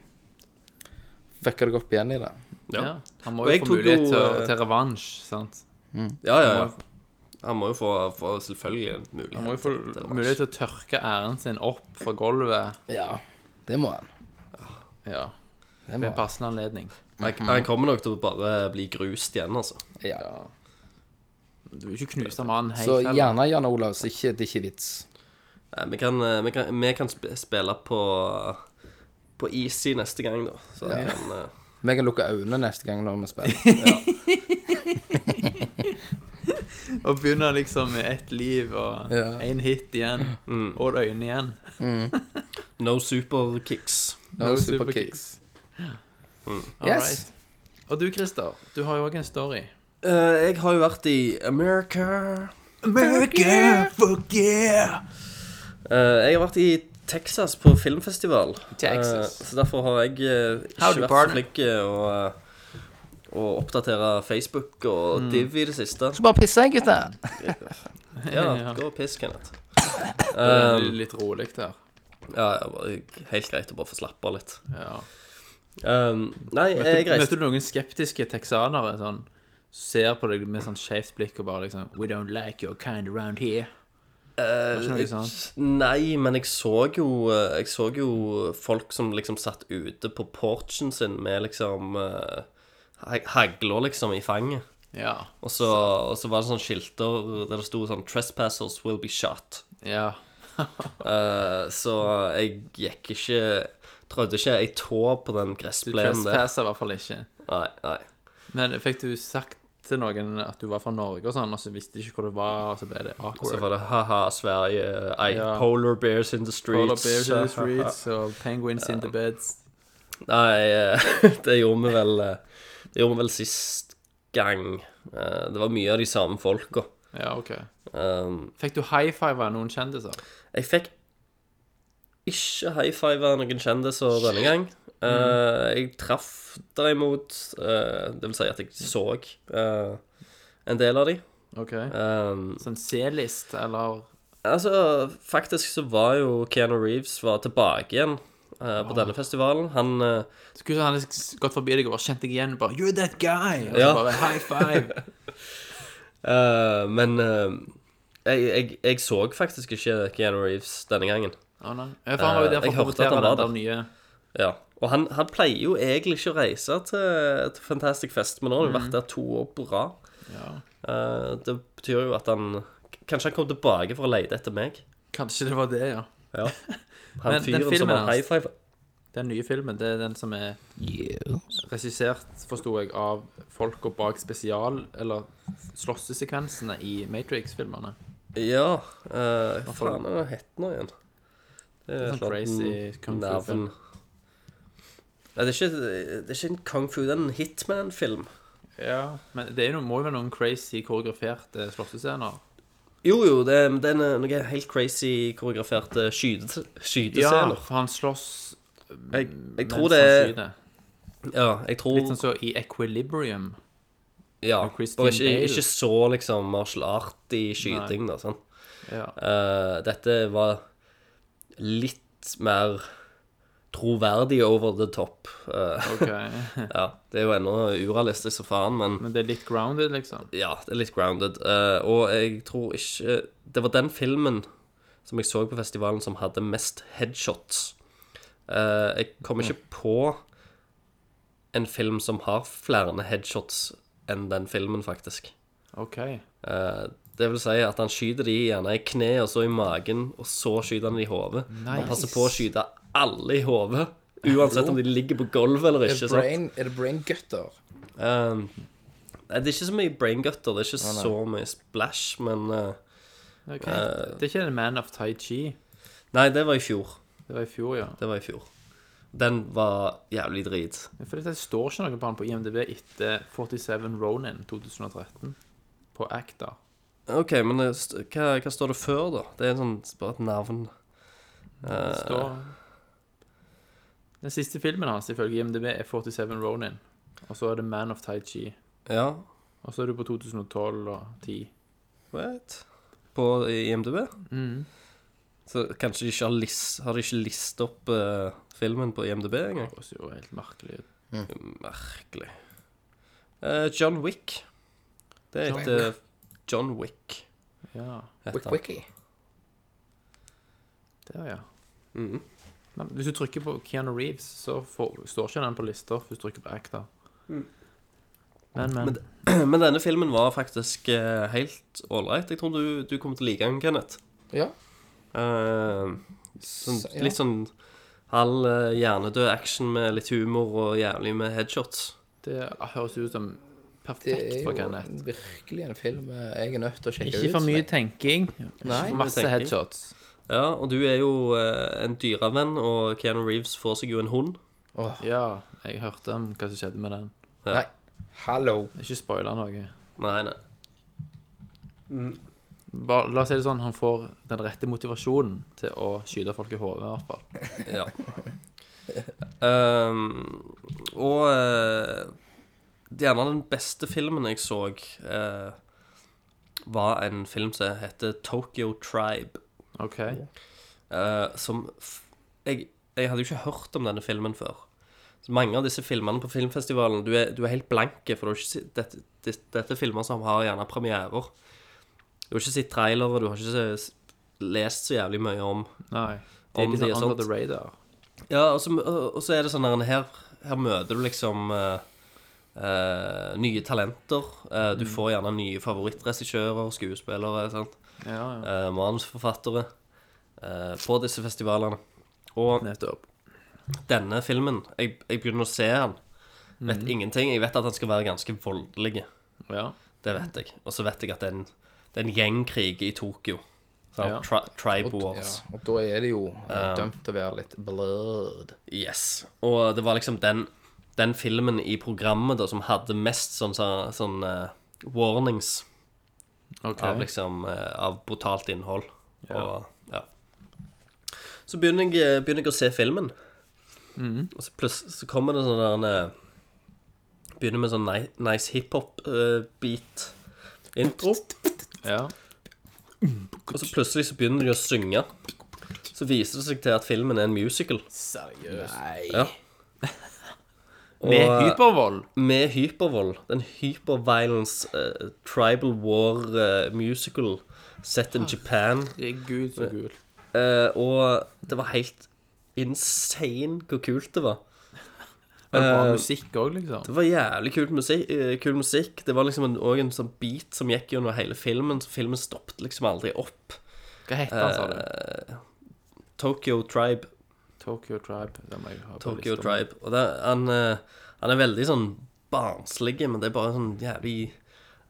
F: vekke deg opp igjen i det.
E: Ja.
G: Ja.
E: Han må
G: Og
E: jo
G: jeg
E: få
G: tok
E: mulighet
G: jo,
E: til, å-
G: eh,
E: til revansj, sant?
G: ja, ja, ja. Han må jo få, få selvfølgelig en mulighet.
E: Han må jo få
G: til-
E: mulighet til å tørke æren sin opp fra gulvet
F: Ja, det må han.
E: ja,
F: Det
E: ved
F: må
E: en
F: han.
E: passende anledning.
G: Han, han kommer nok til å bare bli grust igjen, altså.
F: Ja.
E: Du vil ikke knuse mannen helt
F: Så
E: heller.
F: gjerne Jan Olav, så ikke, det er ikke vits.
G: Nei, vi kan, eh, vi kan, vi kan sp- spille på På Easy neste gang, da. Så jeg kan eh,
F: Vi kan lukke øynene neste gang når vi spiller.
E: Og begynner liksom med ett liv og
F: Ja.
E: én hit igjen. Og et øyne igjen.
G: No superkicks.
F: No superkicks. Yes.
E: Alright. Og du, Christer, du har jo òg en story.
G: Eh, jeg har jo vært i America. America, fuck yeah! Eh, jeg har vært i Texas på filmfestival.
E: Texas.
G: Eh, så derfor har jeg eh, ikke
E: Howdy,
G: vært så
E: partner.
G: flink eh, å, eh, å oppdatere Facebook og Div i det siste.
F: Bare pisse, gutter.
G: Ja, gå og piss, Kenneth. Um,
E: Det er
F: Um,
E: litt rolig der.
G: Ja, ja, bare- helt greit å bare få slappe av litt.
E: Ja.
G: Um, nei, jeg
E: Møter
G: reiste
E: du noen skeptiske texanere sånn, ser på deg med sånn skjevt blikk og bare liksom We don't like your kind around here. Var ikke noe sånt?
G: Nei, men jeg så jo eh, Jeg så jo folk som liksom satt ute på porchen sin med liksom eh, hag- hagler liksom i fanget.
E: Ja.
G: Og så, og så var det sånn skilter der det sto sånn 'Trespassers will be shot'.
E: ja.
G: Eh, så jeg gikk ikke Trødde ikke ei tå på
E: Du
G: den gressplenen der.
E: trespasser i hvert fall ikke.
G: Nei, nei.
E: Men fikk du sagt til noen at du var fra Norge og sånn, og så visste de ikke hvor du var, og så ble det
G: Og så
E: awkward?
G: var det 'ha-ha, Sverige'. Ei,
E: Ja.
G: polar bears in the
E: Polar
G: streets.
E: bears in the
G: ha, ha, ha.
E: streets og penguins in the beds.
G: Nei, eh, det gjorde vi vel eh, Det gjorde vi vel sist gang. Eh, Det var mye av de samme folka.
E: Ja, OK.
G: Um,
E: Fikk du high five av noen kjendiser?
G: Jeg fikk ikke high five av noen kjendiser denne gang. Eh, jeg traff derimot eh, Det vil si at jeg så eh, en del av de.
E: OK.
G: Um,
E: Sånn C-list, eller
G: Altså, faktisk så var jo Keanu Reeves var tilbake igjen eh, på denne festivalen. Han eh,
E: Skulle ikke han liksom gått forbi deg og bare kjent deg igjen? Bare 'You're that guy!' Og så
G: Ja.
E: bare high five.
G: eh, Men eh, jeg, jeg, jeg så faktisk ikke Keanu Reeves denne gangen.
E: Å nei. Ja, for han var jo
G: Eh,
E: der for
G: jeg
E: å
G: hørte at
E: promotere
G: han
E: den
G: var
E: der nye
G: Ja, Og han, han pleier jo egentlig ikke å reise til, til Fantastic Fest, men nå har han jo
E: Mm.
G: vært der to år på rad. Eh, det betyr jo at han Kanskje han kom tilbake for å lete etter meg.
E: Kanskje det var det, ja.
G: Ja. Han
E: Men den
G: fyren som
E: filmen
G: har
E: hans-
G: high five
E: Den nye filmen, det er den som er regissert, forsto jeg, av folka bak spesial- eller slåssesekvensene i Matrix-filmene.
G: Ja. eh, Hva faen er det hett nå igjen? Det
E: er
G: er
E: sånn
G: et eller
E: crazy
G: annet
E: kung fu
G: nerven.
E: film.
G: Nei, det er, ikke, det er ikke en kung fu, det er en hitman-film.
E: Ja. Men det er jo noen, må jo være noen crazy koreograferte slåssescener.
G: Jo, jo, det er, det er noe helt crazy koreograferte skyte,
E: Ja,
G: skytescener.
E: for han slåss mm,
G: jeg, jeg
E: mens
G: tror det
E: han
G: er
E: skyter.
G: Ja, jeg tror
E: Litt sånn så i Equilibrium.
G: Ja,
E: Og
G: bare
E: Christian
G: ikke,
E: Bale.
G: ikke så liksom martial art i skyting, da. sånn.
E: Ja.
G: Eh, dette var litt mer troverdig over the top. Eh,
E: OK.
G: ja, det er jo ennå urealistisk som faen, men
E: Men det er litt grounded, liksom.
G: ja, det er litt grounded. Eh, og jeg tror ikke Det var den filmen som jeg så på festivalen som hadde mest headshots. Eh, jeg kommer ikke på en film som har flere headshots enn den filmen, faktisk.
E: OK.
G: Eh, det vil si at han skyter de gjerne i kne, og så i magen, og så skyter han de i hodet. Han passer på å skyte alle i hodet, uansett om de ligger på gulvet eller
F: Er det
G: ikke. sant?
F: brain, er det brain gutter?
G: Um, nei, det er ikke så mye brain gutter, det er ikke så mye splash, men eh,
E: Ok. Eh, Det er ikke en Man of Tai Chi.
G: Nei, det var i fjor.
E: Det var i fjor, ja.
G: Det var i fjor. Den var jævlig drit.
E: For det står ikke noe på han på IMDb etter 47 Ronin 2013. På Acta.
G: OK, men det st- hva, hva står det før, da? Det er en sånn, bare et navn.
E: Det står Den siste filmen hans ifølge IMDb er 47 Ronin. Og så er det Man of Tai Chi.
G: Ja.
E: Og så er du på 2012 og 10.
G: What? På IMDb? Så kanskje de ikke har, list, har de ikke list opp eh, filmen på IMDb engang?
E: Det ser jo helt merkelig ut.
G: Merkelig. Eh, John Wick. Det
F: John
G: heter John Wick.
E: Ja.
G: Heter
F: Wick
G: han.
F: Wicky.
E: Der, ja.
G: Mhm.
E: Men hvis du trykker på Keanu Reeves, så får, står ikke den på lista hvis du trykker på Acta. Men, men.
G: Men denne filmen var faktisk eh, helt ålreit. Jeg tror du, du kommer til å like den, Kenneth.
F: Ja.
G: Eh, sånn,
F: Så- ja.
G: Litt sånn halv eh, hjernedød action med litt humor og jævlig med headshots.
E: Det høres ut som
F: Det
E: perfekt
F: er
E: for
F: jo
E: Kenneth.
F: virkelig en film eh, jeg er nødt til å sjekke ut.
E: Ikke for
F: så
E: mye
F: jeg-
E: tenking.
F: Nei.
E: Ikke for masse
G: tenking.
E: headshots.
G: Ja, og du er jo eh, en dyrevenn, og Keanu Reeves får seg jo en hund.
E: Ja, jeg hørte om hva som skjedde med den.
F: Nei. Hallo.
E: Ikke spoile noe.
G: Nei, nei.
E: Bare, la oss si det sånn, han får den rette motivasjonen til å skyte folk i hodet, i hvert fall.
G: Ja. Ehm, og eh, gjerne den beste filmen jeg så, eh, var en film som heter Tokyo Tribe.
E: OK.
G: eh, som f jeg, jeg hadde jo ikke hørt om denne filmen før. Så mange av disse filmene på filmfestivalen Du er, du er helt blanke, for du har ikke sett dette, dette, dette er filmer som har gjerne premierer. Du har ikke sett trailere, du har ikke s- lest så jævlig mye om
E: Nei. Det er
G: Om
E: litt sånn
G: de er
E: under
G: sant.
E: the radar.
G: Ja, og så, og så er det sånn her, her Her møter du liksom eh, eh, nye talenter. Eh,
E: Mm.
G: du får gjerne nye favorittregissører, skuespillere, sant?
E: Ja, ja.
G: Eh, manusforfattere eh, på disse festivalene. Og
E: Nettopp.
G: denne filmen Jeg, jeg begynner å se den. Vet
E: Mm.
G: ingenting. Jeg vet at den skal være ganske voldelig.
E: Ja.
G: Det
E: Mm.
G: vet jeg. Og så vet jeg at det er en, det er en gjengkrig i Tokyo. sant?
E: Ja.
G: Tri tribe
F: Ja,
G: Wars.
F: og da er det jo
G: Um,
F: eh, dømt til å være litt blurred.
G: Yes. Og det var liksom den, den filmen i programmet da, som hadde mest sånn, så- sånn eh, warnings
E: OK.
G: av liksom eh, Av brutalt innhold. Og, ja. Så begynner jeg, eh, begynner jeg å se filmen.
E: Mhm.
G: Og så plutselig så kommer det sånn der en, eh, Begynner med sånn ni nice eh, hiphop-beat-intro.
E: Ja.
G: og så plutselig så begynner de å synge. Så viser det seg til at filmen er en musical.
E: Seriøst.
G: Ja.
E: Med
G: Og- eh,
E: hypervold.
G: med hypervold, den hyperviolence eh, tribal war eh, musical set
E: Ah.
G: in Japan.
E: Herregud, så kult.
G: Eh, og det var helt insane hvor kult det var.
E: Men bra
G: Eh,
E: musikk òg, liksom.
G: Det var jævlig kul musikk. eh, Kul musikk. Det var liksom en, også en sånn beat som gikk gjennom hele filmen, så filmen stoppet liksom aldri opp.
E: Hva heter han, sa
G: eh,
E: du?
G: Tokyo Tribe.
E: Tokyo Tribe. Den må jeg ha på
G: Tokyo
E: lista.
G: Tribe. Og det, han, eh, han er veldig sånn barnslig, men det er bare sånn jævlig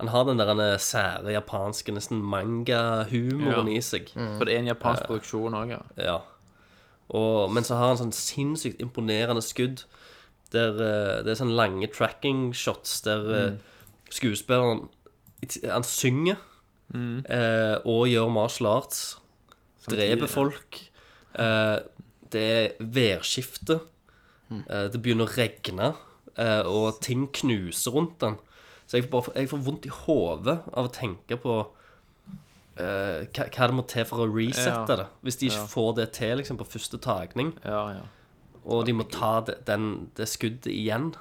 G: Han har den der han er sære japanske, nesten manga-humoren
E: Ja. Mm.
G: i seg.
E: For det er en
G: Eh,
E: japansk produksjon òg, ja.
G: Ja. Og, men så har han sånn sinnssykt imponerende skudd. Der, eh, det er sånn lange tracking shots der
E: Mm.
G: eh, skuespilleren Han synger
E: Mm.
G: eh, og gjør martial arts.
E: ja.
G: dreper folk. eh, det er værskifte.
E: Mm.
G: eh, det begynner å regne, eh, og ting knuser rundt den. Så jeg får, bare, jeg får vondt i hodet av å tenke på eh, hva, hva det må til for å resette
E: Ja.
G: det. Hvis de ikke
E: Ja.
G: får det til liksom, på første tagning,
E: ja, ja.
G: og de må ta det, den, det skuddet igjen.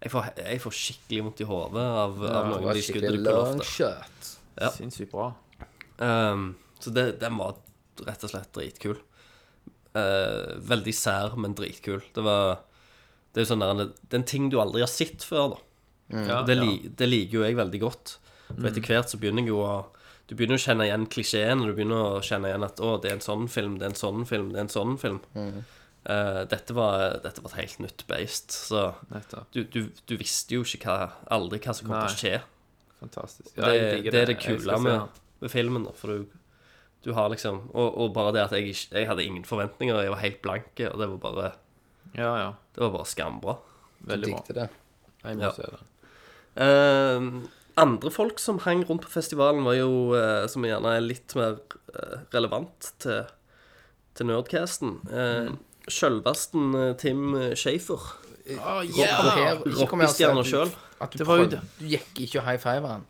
G: Jeg får, jeg får skikkelig vondt i hodet av, av
F: Det
G: noen av
F: var
G: de skuddene
F: skikkelig
G: de prøver.
F: long shot.
G: Ja.
E: Sinnssykt bra.
G: Ehm, så det, den var rett og slett dritkul. Eh, veldig sær, men dritkul. Det var Det er jo sånn der, det er en ting du aldri har sett før, da.
E: Ja, Mm.
G: Og det, li, det liker jo jeg veldig godt. For etter hvert så begynner jeg jo å Du begynner å kjenne igjen klisjeen, og du begynner å kjenne igjen at å, det er en sånn film, det er en sånn film, det er en sånn film. Eh, dette, var, dette var et helt nytt beist, så
E: Nettopp.
G: du, du, du visste jo ikke hva, aldri hva som kom til å skje.
E: Fantastisk.
G: Det,
E: jeg digger
G: det er det
E: Jeg skal
G: kule
E: se
G: med,
E: den.
G: med filmen, da. For du, du har liksom og, og bare det at jeg, ikke- jeg hadde ingen forventninger, jeg var helt blanke, og det var bare,
E: Ja, ja.
G: det var bare skambra.
E: Veldig bra.
F: Digte det.
E: Jeg må
G: Ja.
E: se den.
G: Ehm, andre folk som hang rundt på festivalen, var jo eh, som gjerne er litt mer eh, relevant til, til Nerdcasten. Uh,
E: Mm.
G: Sjølvesten eh, Tim Shafer.
F: Kom her- ikke kom her og si at
G: Rockestjerna
F: du-
G: sjøl.
F: At du,
E: Det var jo
F: prøvde, du gikk ikke og high five han.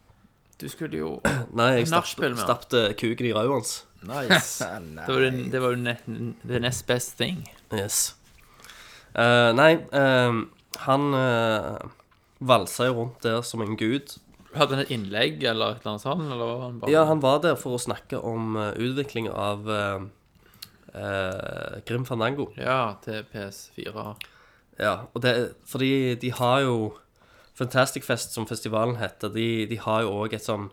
E: Du skulle jo
G: Nei, jeg stapp-
E: Nachspiel med han.
G: stappte kuken i ræva hans.
E: Nice.
F: nei.
E: Det var, jo- det var jo nett, the next best thing.
G: Yes. Eh, nei, eh, han uh, valsa jo rundt der som en gud.
E: Hadde han et innlegg eller et eller annet sånt? Eller var han bare
G: Ja, han var der for å snakke om eh, utvikling av eh, eh, Grim Fandango.
E: Ja, til PS4.
G: Ja, og det, fordi de har jo Fantastic Fest, som festivalen heter, de, de har jo òg et sånn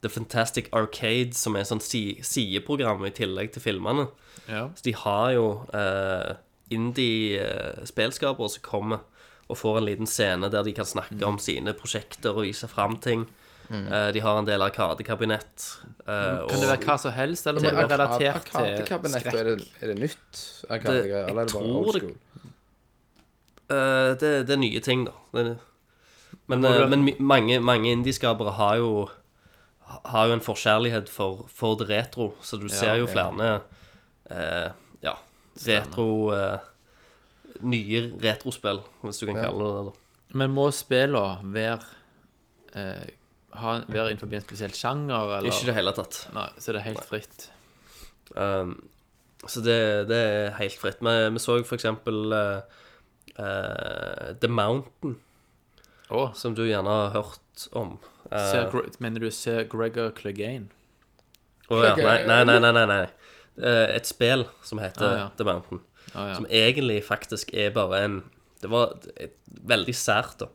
G: The Fantastic Arcade, som er et sånn si, sideprogram i tillegg til filmene.
E: Ja.
G: Så de har jo eh, indie-spelskapere som kommer og får en liten scene der de kan snakke
E: Mm.
G: om sine prosjekter og vise fram ting. Eh, de har en del arkadekabinett.
E: Kan
G: Eh,
E: det
G: og-
E: være hva som helst, eller må det
F: Men
E: være
F: arkade-
E: relatert til
F: arkadekabinett,
E: skrekk?
F: Er det, er det nytt?
G: Det-
F: Arkadegreier,
G: jeg
F: eller er det bare
G: tror
F: old
G: det-
F: school?
G: Eh, det, det er nye ting, da. Det, er- men
E: Må
G: eh,
E: du-
G: men mi- mange, mange indieskapere har jo Har jo en forkjærlighet for, for det retro, så du ser jo flere eh, Ja, retro eh, Nye retrospill, hvis du kan kalle det det. da
E: Men må spillene være eh, ha, Være innenfor en spesiell sjanger, eller
G: Ikke i det hele tatt.
E: Nei, så det er helt fritt.
G: Um, så det, det er helt fritt. Vi, vi så for eksempel eh, eh, The Mountain,
E: Å,
G: som du gjerne har hørt om. Eh,
E: Sir Gre- mener du Sir Gregor Clegane?
G: å ja, nei, nei, nei, nei, nei, nei. Eh, et spill som heter
E: Ah, ja.
G: The Mountain.
E: Ah, ja.
G: Som egentlig faktisk er bare en Det var et, veldig sært, da.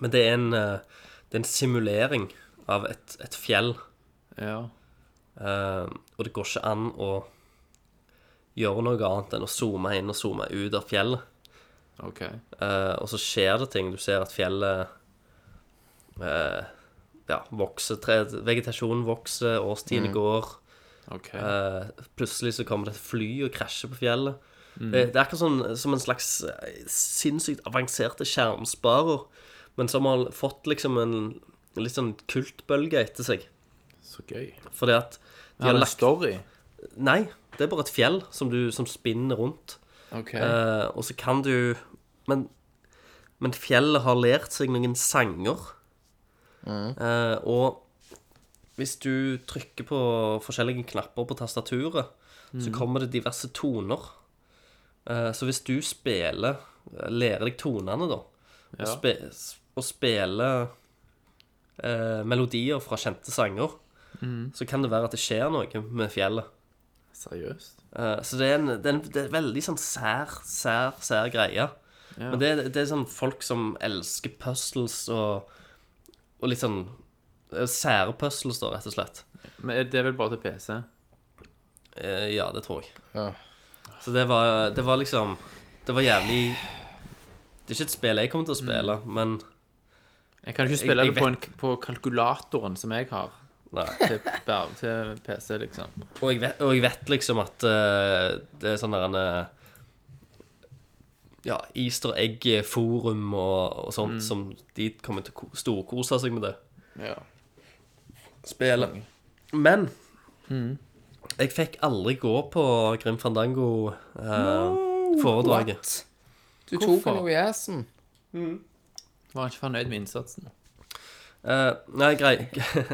G: Men det er en, eh, det er en simulering av et, et fjell.
E: ja.
G: Eh, og det går ikke an å gjøre noe annet enn å zoome inn og zoome ut av fjellet.
E: OK.
G: Eh, og så skjer det ting. Du ser at fjellet eh, ja, vokser, tre, vegetasjonen vokser,
E: Mm.
G: årstidene går.
E: ok
G: Eh, plutselig så kommer det et fly og krasjer på fjellet. Det, det er akkurat sånn, som en slags eh, sinnssykt avanserte skjermsparer, men som har fått liksom en litt sånn kultbølge etter seg.
E: Så gøy.
G: Fordi at de
E: Har
G: har
E: det en
G: lagt
E: story?
G: Nei, det er bare et fjell som, du, som spinner rundt.
E: OK.
G: Eh, og så kan du men, men fjellet har lært seg noen sanger. Eh, og hvis du trykker på forskjellige knapper på tastaturet, så kommer det diverse toner. Eh, så hvis du spiller eh, Lærer deg tonene, da, og,
E: Ja.
G: spe, og spiller eh, melodier fra kjente sanger, så kan det være at det skjer noe med fjellet.
E: Seriøst?
G: Eh, Så det er en, det er en det er en veldig sånn sær, sær, sær greie. Men det, er- det er sånn folk som elsker puzzles og, og litt sånn eh, Sære puzzles, da, rett og slett.
E: Men er det er vel bare til PC?
G: Eh, ja, det tror jeg.
F: Ja.
G: Så det var, det var liksom Det var jævlig Det er ikke et spill jeg kommer til å spille, men
E: Jeg kan ikke spille
G: jeg
E: det på, en, på kalkulatoren som jeg har
G: Nei.
E: til, bare til PC, liksom.
G: Og jeg vet, og jeg vet liksom at eh, det er sånn der en eh, Ja, easter egg-forum og, og sånt som de kommer til å ko- storkose seg med det.
E: Ja.
G: Spillet. Men jeg fikk aldri gå på Grim eh, Fandango-foredraget.
F: Du tok
E: Hvorfor?
F: noe i assen.
E: Var ikke fornøyd med innsatsen.
G: Eh, nei, grei,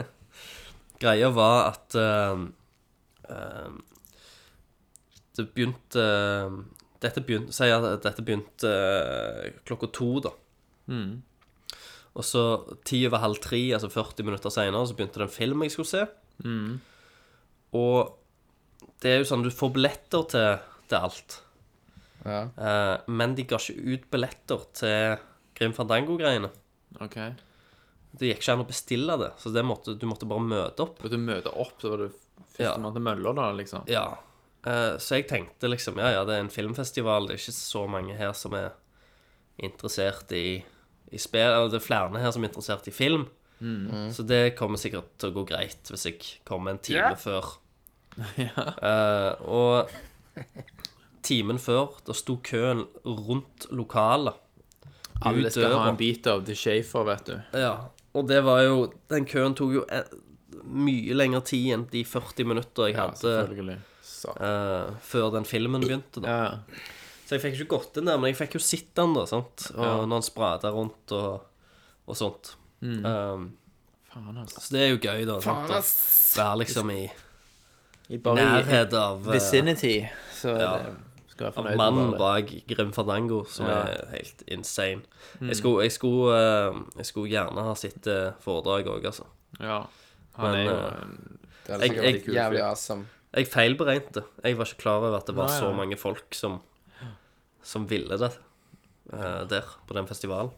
G: greia var at eh, eh, Det begynte Dette begynte Sier jeg at dette begynte eh, klokka to, da. Og så ti over halv tre, altså 40 minutter seinere, så begynte det en film jeg skulle se. Og det er jo sånn, du får billetter til, til alt.
F: Ja.
G: Eh, men de ga ikke ut billetter til Grim Fandango-greiene.
E: OK.
G: Det gikk ikke an å bestille det, så det måtte, du måtte bare møte opp.
E: Og du møter opp, så var du
G: Ja.
E: førstemann til mølla, da, liksom.
G: Ja. Eh, så jeg tenkte liksom ja, ja, det er en filmfestival, det er ikke så mange her som er interessert i, i spill Eller det er flere her som er interessert i film,
E: Mm.
G: så det kommer sikkert til å gå greit hvis jeg kommer en time før. Eh, og timen før, da sto køen rundt lokalet.
E: Alle
G: Ut
E: skal
G: døra.
E: ha en bit av The Shafer, vet du.
G: Ja, og det var jo Den køen tok jo eh, mye lengre tid enn de 40 minutter jeg
E: Ja,
G: hadde
E: selvfølgelig. Så.
G: eh, før den filmen begynte. Da.
E: Ja.
G: Så jeg fikk ikke gått inn der, men jeg fikk jo sett den, da, sant? Og
E: Ja.
G: når han sprada rundt og, og sånt.
E: Mm.
G: Eh,
E: Faen, altså.
G: så det er jo gøy, da. Sant? Å være liksom i nærhet av, eh,
E: vicinity, så
G: ja.
E: det skal jeg være
G: av
E: fornøyd med.
G: mannen
E: bare.
G: bak Grim Fandango, som
E: Ja. Mm.
G: er helt insane. Jeg, skulle, jeg, skulle, eh, jeg skulle gjerne ha sett eh, foredraget òg, altså.
E: Ja. Han
G: Men,
E: er jo
G: eh,
E: en
F: Det er sikkert
G: jeg-
F: veldig kult. jævlig awesome.
G: Jeg feilberegnet det. Jeg var ikke klar over at det var
E: Nei,
G: så
E: nei.
G: mange folk som, som ville det eh, der, på den festivalen.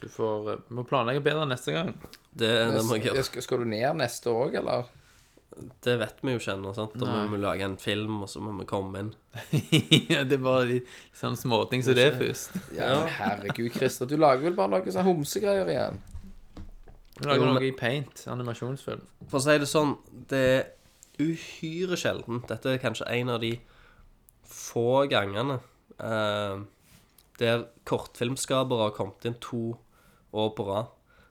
E: Du får eh, må planlegge bedre neste gang.
G: Det, det må jeg
F: Jeg
G: gjøre.
F: skal, skal du ned neste òg, eller?
G: Det vet vi jo ikke ennå, sant. Da må vi lage en film, og så må vi komme inn.
E: ja, det er bare litt sånn småting som det er først.
F: Ja, men herregud, Christer. Du lager vel bare noe sånn homsegreier igjen?
E: Du lager
G: Jo, men-
E: noe i paint, animasjonsfilm.
G: For å si det sånn, det er uhyre sjelden. Dette er kanskje en av de få gangene eh, der kortfilmskapere har kommet inn to år på rad.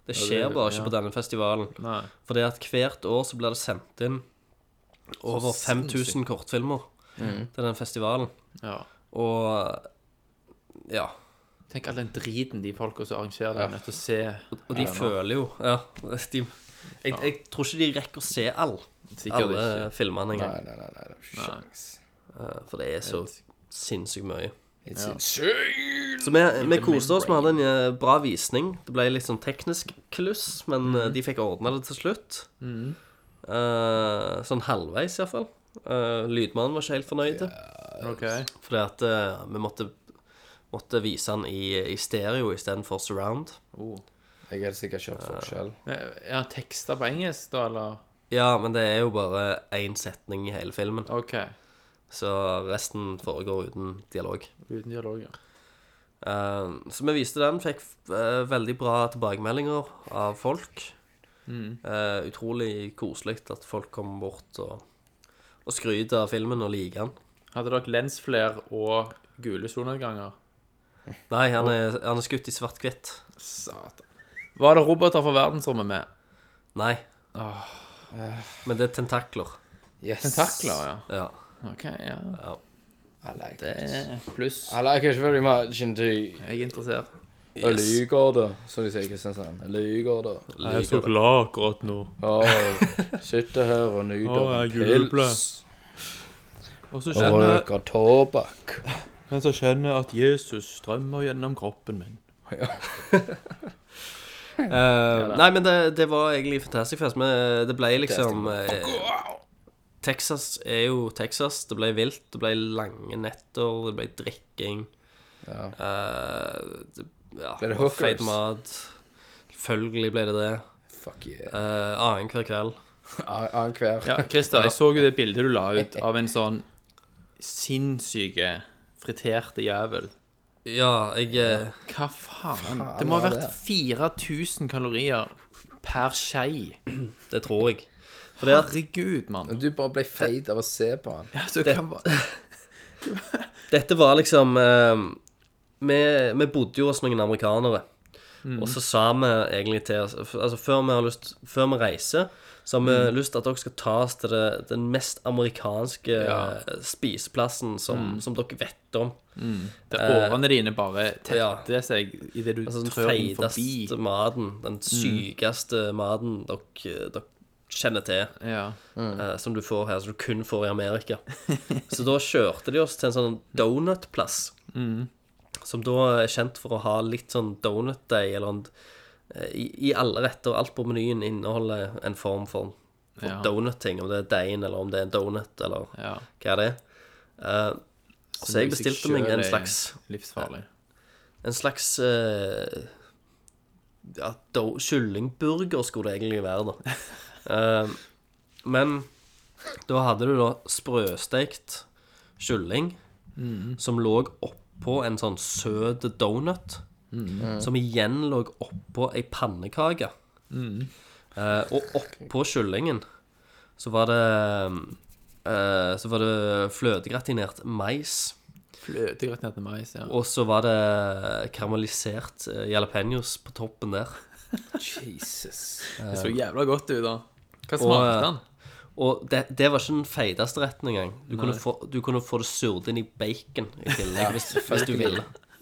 G: Det skjer bare ikke på denne festivalen.
E: Nei.
G: Fordi at hvert år så blir det sendt inn over 5000 kortfilmer
E: Mm.
G: til den festivalen.
E: Ja.
G: Og ja.
E: Tenk all den driten de folka som arrangerer det, er nødt til å se.
G: Og de føler jo Ja. De, jeg, jeg tror ikke de rekker å se alle,
E: Sikkert
G: alle
E: ikke.
G: filmene engang.
F: Nei, nei, nei. nei, det er ikke sjans.
G: Eh, For det er så sinnssykt mye.
F: It's insane!
G: Så vi, vi koste oss. Vi hadde en eh, bra visning. Det ble litt sånn teknisk kluss, men
E: Mm.
G: eh, de fikk ordna det til slutt. Eh, sånn halvveis, iallfall. Uh, lydmannen var ikke helt fornøyd,
E: Ok.
G: fordi at eh, vi måtte, måtte vise den i, i stereo istedenfor surround.
E: Oh.
F: Jeg hadde sikkert kjørt forskjell.
E: Er han teksta på engelsk, da, eller?
G: Ja, men det er jo bare én setning i hele filmen,
E: OK.
G: så resten foregår uten dialog.
E: Uten dialog, ja.
G: Eh, så vi viste den, fikk eh, veldig bra tilbakemeldinger av folk. Eh, utrolig koselig at folk kom bort og, og skryter av filmen og liker den.
E: Hadde dere lensflær og gule solnedganger?
G: Nei, han er, han er skutt i svart-hvitt.
E: Satan. Var det roboter fra verdensrommet med?
G: Nei. Men det er tentakler.
F: Yes.
E: Tentakler, ja.
G: Ja.
E: Ok, ja.
F: I like
E: Det
F: it.
E: er pluss.
F: I like it very much indeed.
E: Jeg er interessert.
F: Jeg lyver det, som de sier i Kristiansand. Jeg lyver det.
E: Jeg er så glad akkurat nå.
F: Åh, sitter her og nyter
E: Åh, jeg er
F: en pils
E: Og så
F: og
E: kjenner,
F: røker tobakk.
E: men så kjenner jeg at Jesus strømmer gjennom kroppen min.
G: Eh, nei, men det, det var egentlig Fantastic Fest. Men det ble liksom eh, Texas er jo Texas. Det ble vilt. Det ble lange netter. Det ble drikking. Eh, det, ja,
F: Ble det
G: og feit
F: hookers?
G: mat. Selvfølgelig ble det det.
F: Fuck yeah.
G: Uh, Annenhver kveld.
F: An- Annenhver.
E: Ja, Christer, jeg så jo det bildet du la ut av en sånn sinnssyke friterte jævel.
G: Ja, jeg eh,
E: Hva faen? Det må ha
F: var det?
E: vært 4000 kalorier per skei.
G: Det tror jeg. For det at
E: Herregud, mann.
F: Du bare ble feit av å se på han.
E: Altså, hva,
G: Dette var liksom eh, vi, vi bodde jo hos noen amerikanere. Og så sa vi egentlig til oss f- Altså før vi, har lyst, før vi reiser, så har vi lyst til at dere skal ta oss til det, den mest amerikanske eh, spiseplassen som, som dere vet om.
E: det, årene dine bare
G: ja.
E: tetter seg idet du
G: Altså, den
E: trør den forbi.
G: feiteste maten. Den sykeste maten dere, dere kjenner til.
E: Ja.
G: eh, som du får her, som du kun får i Amerika. Så da kjørte de oss til en sånn donutplass,
E: Mm.
G: som da er kjent for å ha litt sånn donutdeig, eller en, eh, i, i alle retter, alt på menyen inneholder en form for, for
E: Ja.
G: donut-ting, om det er deigen, eller om det er en donut, eller
E: ja.
G: hva det er. Eh, så jeg
E: hvis jeg
G: bestilte meg
E: kjører
G: en
E: det-
G: slags,
E: Livsfarlig.
G: en slags eh, ja, do- kyllingburger skulle det egentlig være, da. Eh, men da hadde du da sprøstekt kylling som lå oppå en sånn søt donut, som igjen lå oppå ei pannekake. Eh, og oppå kyllingen så var det eh, Så var det fløtegratinert mais.
E: Fløtegratinerte mais, ja.
G: Og så var det karamellisert eh, jalapeños på toppen der.
F: Jesus.
E: Det så jævla godt ut, da. Hva
G: Og,
E: smakte den?
G: Og det, det var ikke den feiteste retten engang. Du, kunne få, du kunne få det surd inn i bacon i tillegg, hvis, hvis du ville.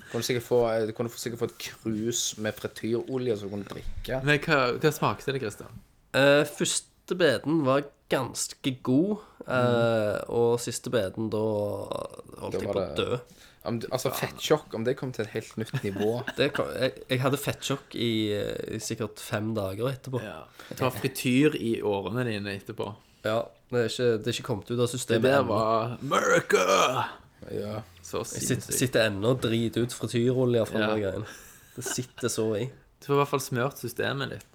F: Kunne sikkert få, eh, du kunne sikkert få et krus med frityrolje som du kunne drikke.
E: Men hva, hva smakte det, Christer?
G: Eh, første beden var ganske god, eh, og siste beden da holdt
F: Da var
G: jeg på å
F: det-
G: dø.
F: Om, du- altså, fettsjokk, om det kom til et helt nytt nivå
G: Det, kom- jeg, jeg hadde fettsjokk i, eh, i sikkert fem dager etterpå. Ja,
E: Ta frityr i årene dine etterpå.
G: det, er ikke, det er ikke kommet ut av
E: Det
G: systemet.
E: der
G: ennå.
E: var America!
F: ja.
E: Så
G: Jeg sitter,
E: sinnssykt.
G: sitter ennå og driter ut frityrolje fra
E: Ja.
G: den greien. Det sitter så i.
E: Du får i hvert fall smørt systemet ditt.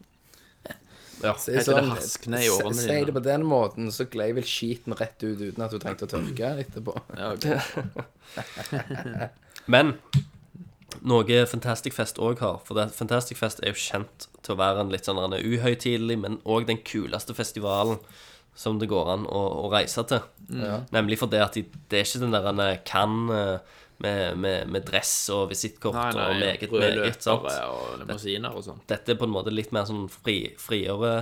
G: Ja.
F: Det er sånn,
E: Helt til det haskner i årene
F: Si
E: dine.
F: det på den måten, så glei vel skiten rett ut uten at du trengte å tørke den etterpå.
E: Ja, ok.
G: Men noe Fantastic Fest òg har, for det, Fantastic Fest er jo kjent til å være en litt sånn en uhøytidelig, men òg den kuleste festivalen som det går an å, å reise til. Nemlig fordi at de, det er ikke den der en kan med, med, med dress og visittkort
E: Nei, nei,
G: og meget,
E: røde
G: meget. sant?
E: løpere og limousiner og sånn.
G: Dette er på en måte litt mer sånn fri, friere,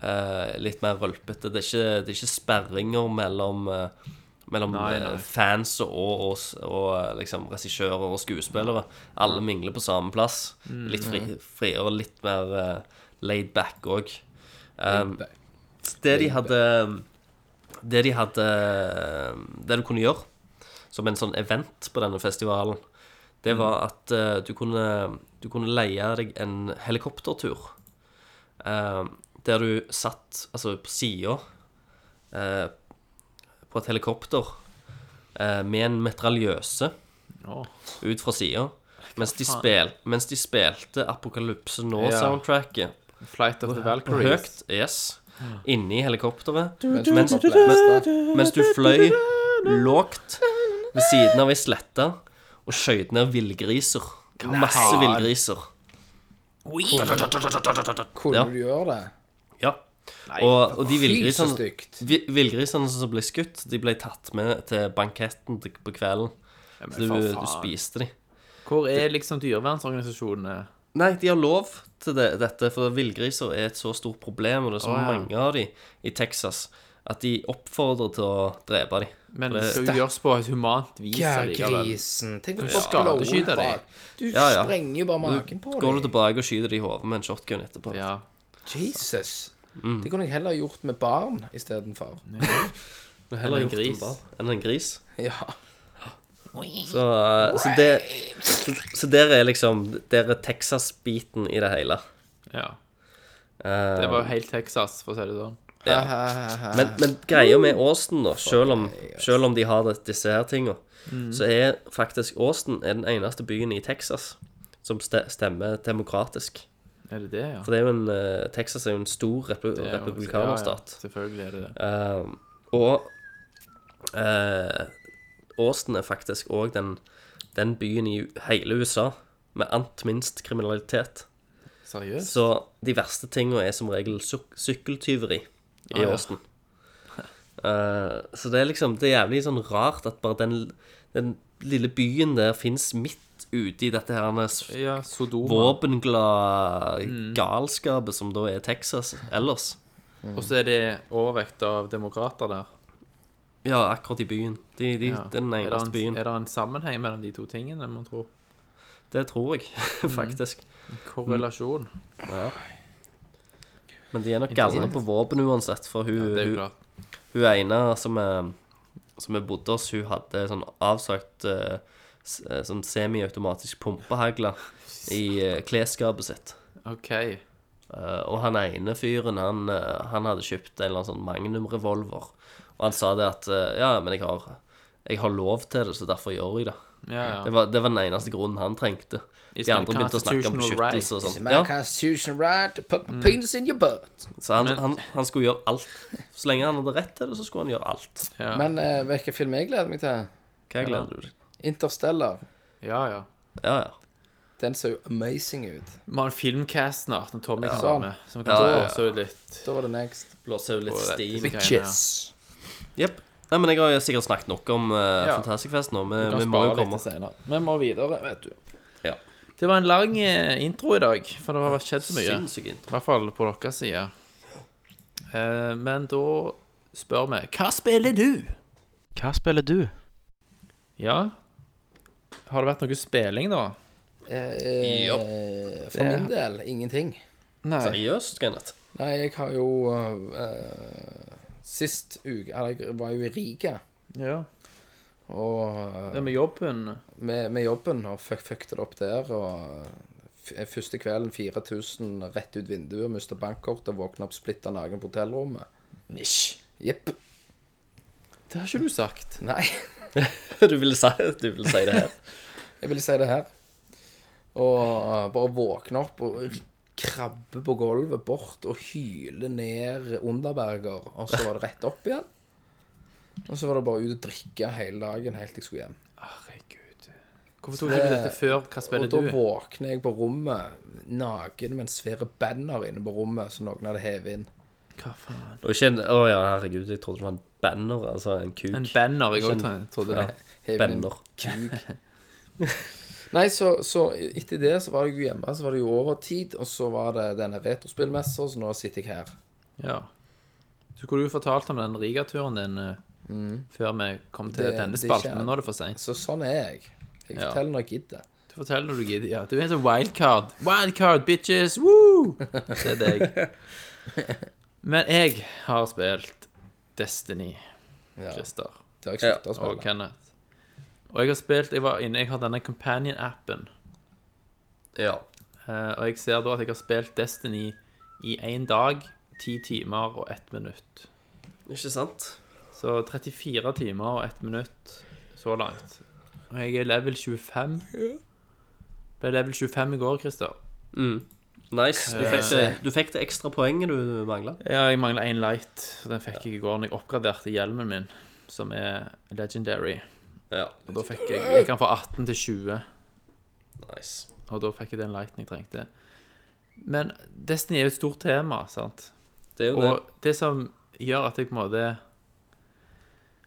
G: eh, litt mer rølpete. Det er ikke, det er ikke sperringer mellom, eh, mellom
E: Nei, nei.
G: eh, fans og, og, og, s- og eh, liksom, regissører og skuespillere. Alle mingler på samme plass.
E: Mm,
G: Litt fri, friere, litt mer eh, laid back òg. det de hadde Det de hadde eh, Det du kunne gjøre som en sånn event på denne festivalen, det var at eh, du, kunne, du kunne leie deg en helikoptertur. eh, der du satt altså på sida på et helikopter eh, med en metraljøse
E: Å.
G: ut fra sida. Mens, de spil- mens de spilte Apokalypse Nå-soundtracket
E: Flight of the Valkyries.
G: høyt, yes, inni helikopteret,
F: Mens du
G: mens,
F: bare blasta.
G: mens du fløy lågt ved siden av ei slette og skjøt ned villgriser. Masse villgriser.
F: Kunne
G: Ja.
F: du gjøre det?
G: Ja. Og, og de
F: Fy,
E: sånn
F: så
G: villgrisene
F: stygt.
G: vi- Villgrisene som ble skutt, de ble tatt med til banketten til- på kvelden. Så du,
E: for
G: du
E: faen.
G: spiste de.
E: Hvor er liksom dyrevernsorganisasjonene?
G: Nei, de har lov til det, dette, for villgriser er et så stort problem, og det er så
E: Å, ja.
G: mange av de i Texas, at de oppfordrer til å drepe de.
E: Men
G: For
E: det
G: det-
E: skal jo gjøres på et humant vis
F: Ja,
E: allikevel.
F: grisen. Tenk på
E: Du skadeskyter deg.
F: Du
G: Ja, ja.
F: sprenger jo bare magen på
G: Går du
F: deg.
G: tilbake og skyter de i hodet med en shotgun etterpå?
E: Ja.
F: Jesus.
E: Mm.
F: Det kunne jeg heller gjort med barn istedenfor.
E: Eller en gris.
G: Enn en gris?
F: Ja.
G: Så, eh, så, det, så, så der er liksom Der er Texas-biten i det hele.
E: Ja.
G: Eh,
E: Det var jo helt Texas, for å si det sånn.
G: Men, men greia med Austin, da, selv om, selv om de har det, disse her tinga,
E: Mm.
G: så er faktisk Austin er den eneste byen i Texas som ste- stemmer demokratisk.
E: Er det det, ja?
G: For det er jo en, eh, Texas er jo en stor repu
E: Det er jo-
G: republikanerstat.
E: Ja, ja, selvfølgelig er det det.
G: Um, og eh, Austin er faktisk òg den, den byen i hele USA med ant minst kriminalitet.
E: Seriøst?
G: Så de verste tinga er som regel syk sykkeltyveri i
E: Ah, ja.
G: Austin. Eh, så det er liksom Det er jævlig sånn rart at bare den, den lille byen der fins midt ute i dette her med s-
E: Ja, Sodoma.
G: våpenglade
E: Mm.
G: galskapet som da er Texas ellers.
E: Og så er det overvekt av demokrater der.
G: Ja, akkurat i byen. De, de,
E: Ja.
G: Den
E: Er det
G: eneste
E: en-
G: byen.
E: Er det en sammenheng mellom de to tingene, man tror?
G: Det tror jeg,
E: Mhm.
G: faktisk.
E: Korrelasjon.
G: Mm. Men de er nok galne på våpen uansett, for hun,
E: Det er jo
G: hun,
E: klart.
G: hun ene som er, som er bodde hos, hun hadde sånn avsagt eh, s- eh, sånn semiautomatisk pumpehagle i eh, klesskapet sitt.
E: OK.
G: Eh, og han ene fyren, han, eh, han hadde kjøpt en eller annen sånn Magnum-revolver. Og han sa det at eh, Ja, men jeg har, jeg har lov til det, så derfor gjør jeg det.
E: Ja, ja.
G: Det var, det var den eneste grunnen han trengte.
E: It's
G: De andre
E: my
G: begynte å snakke om
E: constitutional right.
G: beskyttelse og sånn.
F: My
G: Ja,
F: constitutional right to put my penis in your butt.
G: så han,
E: Men-
G: han, han skulle gjøre alt. Så lenge han hadde rett til det, så skulle han gjøre alt.
E: Ja.
F: Men eh, vet du hvilken film jeg gleder meg til?
G: Hva gleder du deg?
F: Interstellar.
E: ja, ja.
G: Ja, ja.
F: Den ser jo amazing ut.
E: Vi har en filmcast snart når Tommy kan være
F: Sånn.
E: med. Så vi kan
G: Ja, ja,
E: ja,
G: ja.
E: så litt
F: Da var det next.
G: Blåser jo litt
E: på dette
G: steam.
E: greiene her.
F: Bitches.
G: Jepp. Nei, men jeg har jo sikkert snakket nok om uh,
E: Ja.
G: Fantastic Fest nå. Vi,
E: kan
G: vi må
E: spare
G: jo
E: litt
G: komme.
E: til senere. Vi må videre, vet du.
G: Ja.
E: Det var en lang eh, intro i dag, for det har skjedd så mye.
G: Sinnssykt
E: I hvert fall på deres side. Eh, men da spør vi Hva spiller du?
A: Hva spiller du?
E: Ja. Har det vært noe spilling, da?
F: Eh,
G: Ja.
F: eh, for min del ingenting.
E: Nei.
G: Seriøst, Kenneth?
F: Nei, jeg har jo eh, Sist uke Eller jeg var jo i Riga.
E: Ja.
F: Og eh,
E: Det med jobben
F: med, med jobben og fuck, fucket det opp der. Og f første kvelden 4000 rett ut vinduet, mista bankkortet, våkna opp splitta naken på hotellrommet.
E: Nisj.
F: Jepp.
E: Det har ikke du sagt.
F: Nei,
G: Du ville si, du ville si det her.
F: jeg ville si det her. Og eh, bare våkne opp og krabbe på gulvet bort og hyle ned Underberger. Og så var det rett opp igjen. Og så var det bare ut og drikke hele dagen helt til jeg skulle hjem.
E: Herregud. Hvorfor tok du ikke dette før? Hva spiller
F: Og da
E: du?
F: våkner jeg på rommet naken med en svære banner inne på rommet som noen hadde hevet inn.
E: Hva faen?
G: Og ikke en Å ja, herregud, jeg trodde det var en banner, altså en kuk.
E: En banner jeg òg
G: Skjønner.
E: trodde det.
G: Ja. Banner.
F: Nei, så, så etter det så var jeg jo hjemme, så var det jo over tid, og så var det denne retrospillmessa, så nå sitter jeg her.
E: Ja. Så kunne du fortalt om den Riga-turen din eh, før vi kom til
F: Det-
E: denne
F: det er
E: spalten,
F: ikke-
E: men nå er det for seint.
F: Så sånn er jeg. Jeg
E: Ja.
F: forteller når jeg gidder.
E: Du forteller når du gidder. Ja. Du er en sånn wildcard. Wildcard, bitches! Woo! Det er deg. Men jeg har spilt Destiny,
F: Ja, det
E: Christer
F: har jeg sluttet å
E: og
F: spille.
E: Kenneth. Og jeg har spilt Jeg var inne, jeg har denne companion-appen,
G: Ja.
E: eh, og jeg ser da at jeg har spilt Destiny i én dag, ti timer og ett minutt.
G: Ikke sant?
E: Så 34 timer og 1 minutt så langt. Og jeg er level 25. Ble level 25 i går, Christer.
G: Mm. Nice. Du fikk det, du fikk det ekstra poenget du mangla.
E: Ja, jeg mangler én light. så Den fikk jeg i går når jeg oppgraderte hjelmen min, som er legendary.
G: Ja.
E: Og da fikk jeg Jeg kan fra 18 til 20,
G: Nice.
E: og da fikk jeg den lighten jeg trengte. Men Destiny er jo et stort tema, sant?
G: Det er jo det.
E: Og det som gjør at jeg på en måte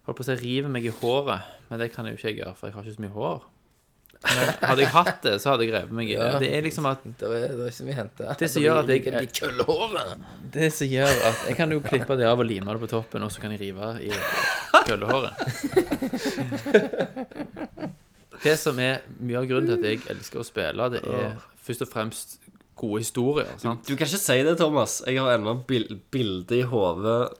E: Holdt på å si river meg i håret, men det kan jeg jo ikke jeg gjøre, for jeg har ikke så mye hår. Men hadde jeg hatt det, så hadde jeg revet meg i det. Det er liksom at
F: Det er, det er ikke så mye å hente. Altså,
E: Det som gjør at jeg-
F: blir køllehåret.
E: Det som gjør at Jeg kan jo klippe det av og lime det på toppen, og så kan jeg rive i køllehåret. Det som er mye av grunnen til at jeg elsker å spille, det er først og fremst gode historier. sant?
G: Du kan ikke si det, Thomas. Jeg har ennå bil bilde i hodet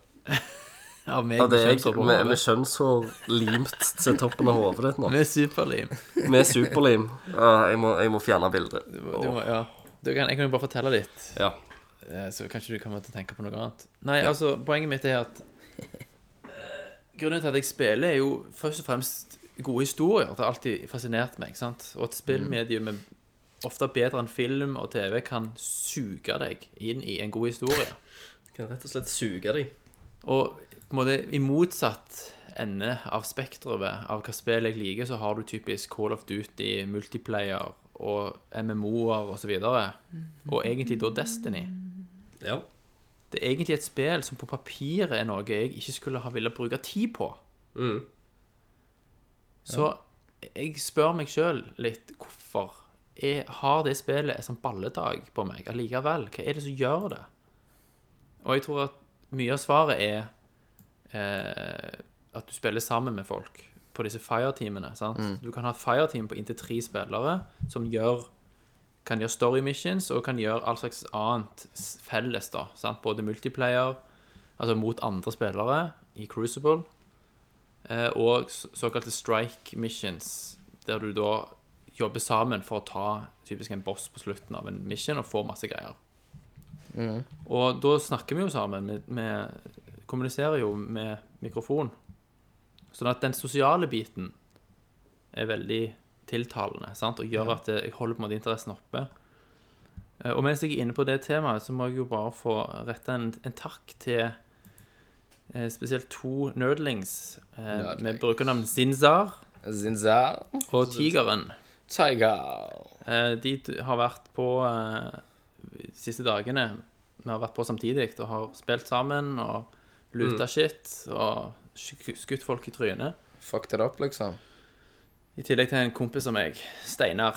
E: Av meg
G: av
E: med
G: det jeg
E: kjønnshår på
G: med, med
E: hodet.
G: kjønnshår limt til toppen av hodet ditt nå.
E: Med superlim.
G: Med superlim. Ja, jeg, må, jeg må fjerne bildet.
E: Du må, ja. du kan, jeg kan jo bare fortelle litt.
G: Ja.
E: Eh, Så kanskje du kommer til å tenke på noe annet. Nei, altså, poenget mitt er at eh, Grunnen til at jeg spiller, er jo først og fremst gode historier. Det har alltid fascinert meg. ikke sant? Og et spillmedium er ofte bedre enn film og TV kan suge deg inn i en god historie.
G: Kan rett og slett suge deg.
E: Og på en måte, i motsatt ende av spekteret av hva spill jeg liker, så har du typisk Call of Duty, multiplayer og MMO-er osv. Og egentlig da Destiny.
G: Ja.
E: Det er egentlig et spill som på papiret er noe jeg ikke skulle ha villet bruke tid på.
G: Mm.
E: Så jeg spør meg sjøl litt hvorfor er, har det spillet en sånn balledag på meg allikevel? Hva er det som gjør det? Og jeg tror at mye av svaret er eh, at du spiller sammen med folk på disse fireteamene. sant? Du kan ha et fireteam på inntil tre spillere som gjør kan gjøre story missions og kan gjøre all slags annet s- felles. da, sant? Både multiplayer, altså mot andre spillere i Crucible, eh, og s- såkalte strike missions, der du da jobber sammen for å ta typisk en boss på slutten av en mission og får masse greier. Og da snakker vi jo sammen. Vi, vi kommuniserer jo med mikrofon. Sånn at den sosiale biten er veldig tiltalende sant? og gjør at jeg holder på en måte interessen oppe. Eh, Og mens jeg er inne på det temaet, så må jeg jo bare få rette en, en takk til eh, spesielt to nerdlings eh, med
F: Nerdlings.
E: brukernavn Zinzar
F: Zinzar.
E: og Tigeren.
F: Tiger.
E: Eh, De t- har vært på eh, de siste dagene. Vi har vært på samtidig og har spilt sammen og luta shit og sk- skutt folk i trynet.
F: Fucked it up, liksom.
E: I tillegg til en kompis av meg, Steinar.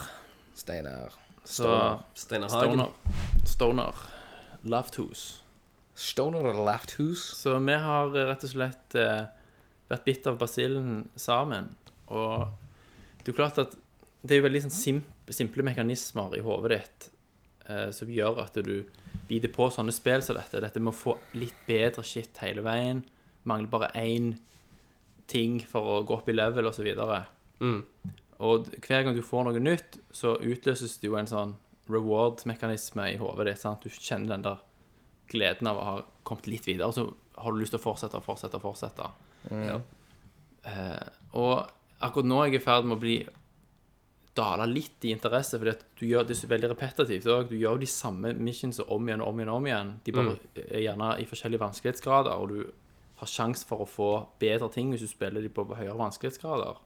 F: Steinar.
E: Så
G: Steinar Hagen.
E: Stoner. Stoner. Love Toes.
F: Stoner or Left Hoose?
E: Så vi har eh, rett og slett eh, vært bitt av basillen sammen. Og det er jo klart at det er jo veldig sånn simp simple mekanismer i hodet ditt eh, som gjør at du biter på sånne spill som dette. Dette med å få litt bedre shit hele veien. Mangler bare én ting for å gå opp i level osv.
G: Mm.
E: Og d- hver gang du får noe nytt, så utløses det jo en sånn reward-mekanisme i hodet ditt. sant? Du kjenner den der gleden av å ha kommet litt videre, og så har du lyst til å fortsette og fortsette og fortsette. Ja. Eh, og akkurat nå er jeg i ferd med å bli dala litt i interesse, fordi at du gjør det så veldig repetitivt også. Du gjør de samme missions om igjen og om igjen og om igjen. De bare er gjerne i forskjellige vanskelighetsgrader, og du har sjanse for å få bedre ting hvis du spiller de på høyere vanskelighetsgrader.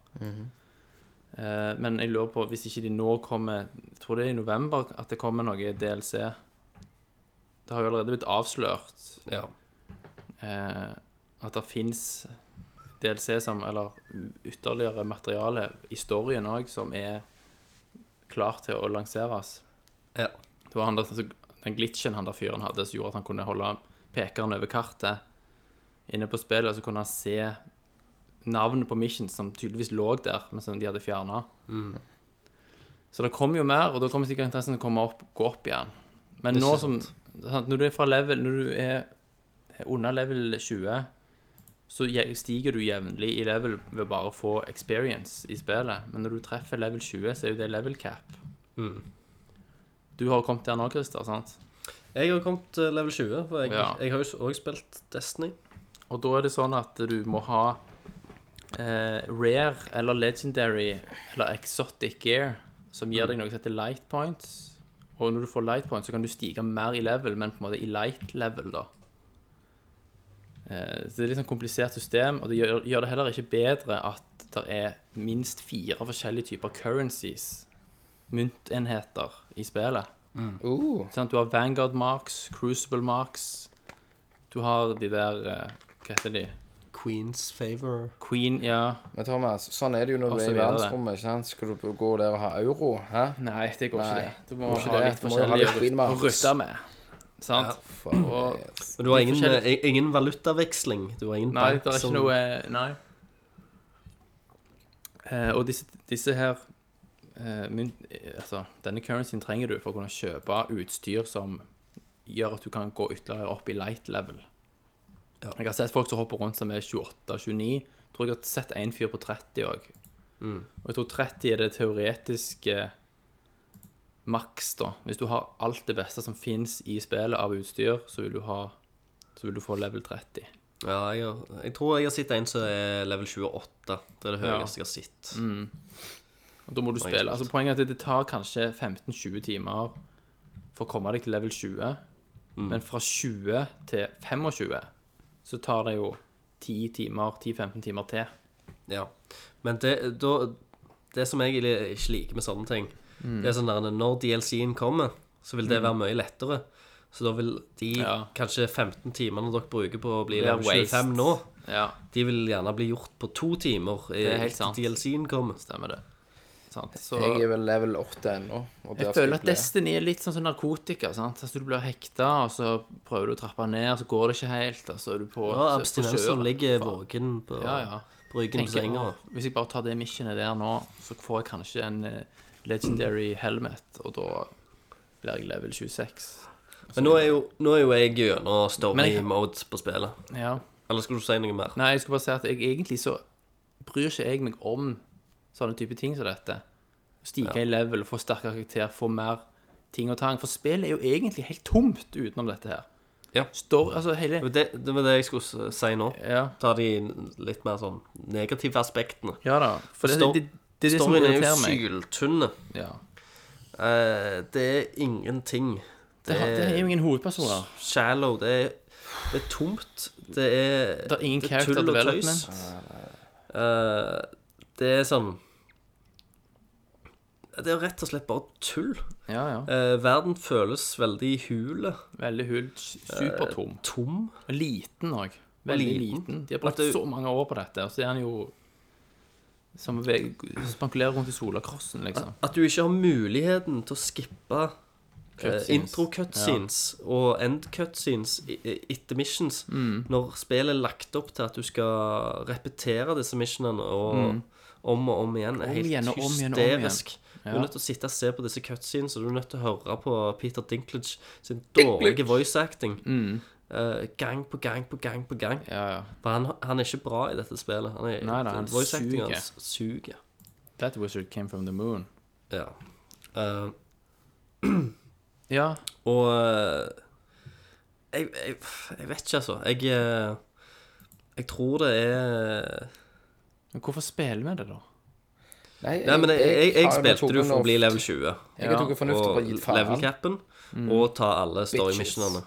E: Eh, men jeg lurer på, hvis ikke de nå kommer Jeg tror det er i november at det kommer noe DLC. Det har jo allerede blitt avslørt
G: Ja.
E: eh, at det fins DLC som Eller ytterligere materiale i storyen òg som er klart til å lanseres.
G: Ja.
E: Det var han der, den glitchen han der fyren hadde som gjorde at han kunne holde pekeren over kartet inne på spillet, og så kunne han se navnet på missions som tydeligvis lå der, men som de hadde fjerna. Så det kommer jo mer, og da kommer sikkert interessen til å komme opp, gå opp igjen. Men nå som sant, Når du er fra level Når du er under level 20, så je- stiger du jevnlig i level ved bare å få experience i spillet. Men når du treffer level 20, så er jo det level cap. Du har kommet der nå, Christer, sant?
G: Jeg har kommet til level 20, for jeg,
E: Ja.
G: jeg har jo òg spilt Destiny.
E: Og da er det sånn at du må ha eh, rare eller legendary eller exotic gear som gir deg noe som heter light points. Og når du får light points, så kan du stige mer i level, men på en måte i light level, da. Eh, så det er litt sånn komplisert system, og det gjør, gjør det heller ikke bedre at det er minst fire forskjellige typer currencies, myntenheter, i spillet.
F: Uh,
E: Sant? Du har Vanguard Marks, Crucible Marks. Du har de der eh, Hva heter de?
G: Queens favor.
E: Queen, ja.
F: men Thomas, sånn er det jo når
E: Og
F: du
E: så
F: er i
E: videre.
F: verdensrommet. ikke sant? Skal du gå der og ha euro? Hæ?
E: Nei, det går
F: Nei,
E: ikke, det. Du må
F: ikke
E: ha
F: det.
E: litt
F: Du må jo ha
E: forskjellig
F: litt Queen
E: å
F: Marks.
E: rutte med. Sant?
F: Faen,
E: Og-
F: yes.
G: Men du har ingen,
E: forskjellig.
G: eh, ingen valutaveksling. Du har ingen
E: Nei,
G: bank
E: det er ikke
G: som
E: noe Nei. Eh, og disse, disse her eh, mynt, eh, altså, Denne currencyen trenger du for å kunne kjøpe utstyr som gjør at du kan gå ytterligere opp i light level. Jeg har sett folk som hopper rundt som er 28-29. Tror jeg har sett en fyr på 30 òg. Og jeg tror 30 er det teoretiske maks, da. Hvis du har alt det beste som fins i spillet av utstyr, så vil du ha Så vil du få level 30.
G: Ja, jeg, har, jeg tror jeg har sett en som er level 28. Det er det
E: Ja.
G: høyeste jeg har sett.
E: Og da må du
G: Oi,
E: spille.
G: sant.
E: Altså Poenget er at det tar kanskje 15-20 timer for å komme deg til level 20. Men fra 20 til 25 så tar det jo 10 timer, 10-15 timer til.
G: Ja. Men det, da, det som jeg li- ikke liker med sånne ting,
E: Mm.
G: det er sånn der når DLC-en kommer, så vil det være mye lettere. Så da vil de
E: Ja.
G: kanskje 15 timene dere bruker på å bli
E: Det er
G: level 25
E: waste.
G: nå,
E: Ja,
G: de vil gjerne bli gjort på to timer
E: er
G: eh,
E: helt
G: etter
E: sant.
G: DLC-en kommer.
E: stemmer det. Sant? Så
F: Jeg er vel level 8 ennå. og der
E: jeg
F: skal
E: føler at
F: bli-
E: Destiny er litt sånn som narkotika. sant? Altså Du blir hekta, og så prøver du å trappe ned, og så går det ikke helt. Og så er du på
G: Ja,
E: så- på
G: abstinensen
E: kjøret.
G: ligger
E: Faen.
G: våken på,
E: Ja, ja.
G: på ryggen på
E: tenker
G: senga.
E: «Å, Hvis jeg bare tar det missionet der nå, så får jeg kanskje en eh, legendary helmet, og da blir jeg level 26.
G: Men nå er jo, nå er jo jeg gjennom
E: Men jeg-
G: story-mode på spillet.
E: Ja.
G: Eller skulle du si noe mer?
E: Nei, jeg skulle bare si at jeg egentlig så bryr ikke jeg meg om sånne type ting som dette. Stige i level, få sterkere karakter, få mer ting og tang. For spillet er jo egentlig helt tomt utenom dette her.
G: Ja.
E: Står, altså hele
G: Det, det var det jeg skulle s- si nå.
E: Ja,
G: Ta de litt mer sånn negative aspektene.
E: ja da. For det,
G: Stor-
E: det, det, det er det som
G: Storyen er jo
E: irriterer meg.
G: syltynne.
E: Ja.
G: Eh, det er ingenting.
E: Det, har- det er jo ingen hovedpersoner.
G: shallow. Det er, det er tomt. Det er
E: Det er ingen
G: det er
E: character
G: tull og tøys.
E: development.
G: Eh, det er sånn Det er rett og slett bare tull.
E: Ja, ja.
G: Eh, verden føles veldig hule,
E: Veldig hult. Supertom.
G: tom.
E: Og Liten òg. Veldig liten.
G: liten.
E: De har brukt
G: At du-
E: så mange år på dette, og så er han jo som ve- spankulerer rundt i solakrossen, liksom.
G: At du ikke har muligheten til å skippe Ah, eh,
E: Cutscenes.
G: intro-cutscenes og end-cutscenes i- i- etter missions
E: Mm.
G: når spillet er lagt opp til at du skal repetere disse missionene og om og om igjen. er helt
E: igjen og Mm. om igjen og om igjen.
G: hysterisk. Du
E: Ja.
G: er nødt til å sitte og se på disse cutscenes, og du er nødt til å høre på Peter Dinklage sin dårlige voice acting.
E: Mm.
G: eh, gang på gang på gang på gang.
E: Ja, ja.
G: For han, han er ikke bra i dette spillet. Han er,
E: Nei, nei, han
G: voice
E: suger.
G: actinga hans suger.
E: That wizard came from the moon.
G: Ja. Eh,
E: Ja,
G: Og eh, jeg, jeg, jeg vet ikke, altså. Jeg, eh, jeg tror det er
E: men hvorfor spiller vi det, da?
F: Nei, jeg,
G: Nei, men jeg, jeg, jeg
F: har jo
G: spilte det jo for å bli
F: fornuft-
G: level 20.
F: Jeg har tatt fornuft og bare gitt faen. Mm.
G: level capen. Og ta alle story
F: Bitches.
G: missionene.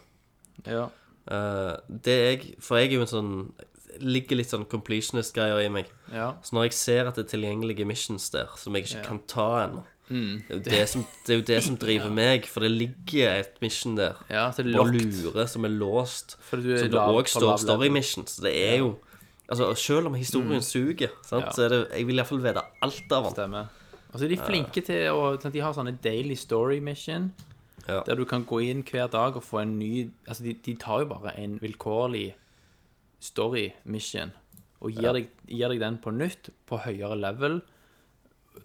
E: Ja.
G: Eh, det jeg For jeg er jo en sånn jeg Ligger litt sånn completionist-greier i meg.
E: ja.
G: Så når jeg ser at det er tilgjengelige missions der som jeg ikke kan ta ennå
F: Mm.
G: det, er jo det, som- det er jo det som driver meg, for det ligger et mission der.
E: Ja, så det er
G: og
E: locked.
G: lure som er låst.
E: Fordi du er
G: som det
E: lav-
G: òg
E: for
G: står
E: lav
G: story
E: level. Mm.
G: missions. Det er jo Altså, Selv om historien suger, sant,
E: Ja.
G: så er det, jeg vil iallfall vite alt av den.
E: Stemmer. Og så er Altså, de flinke til å sånn, De har sånne daily story mission.
G: Ja.
E: Der du kan gå inn hver dag og få en ny Altså, de, de tar jo bare en vilkårlig story mission og gir, deg, gir deg den på nytt, på høyere level,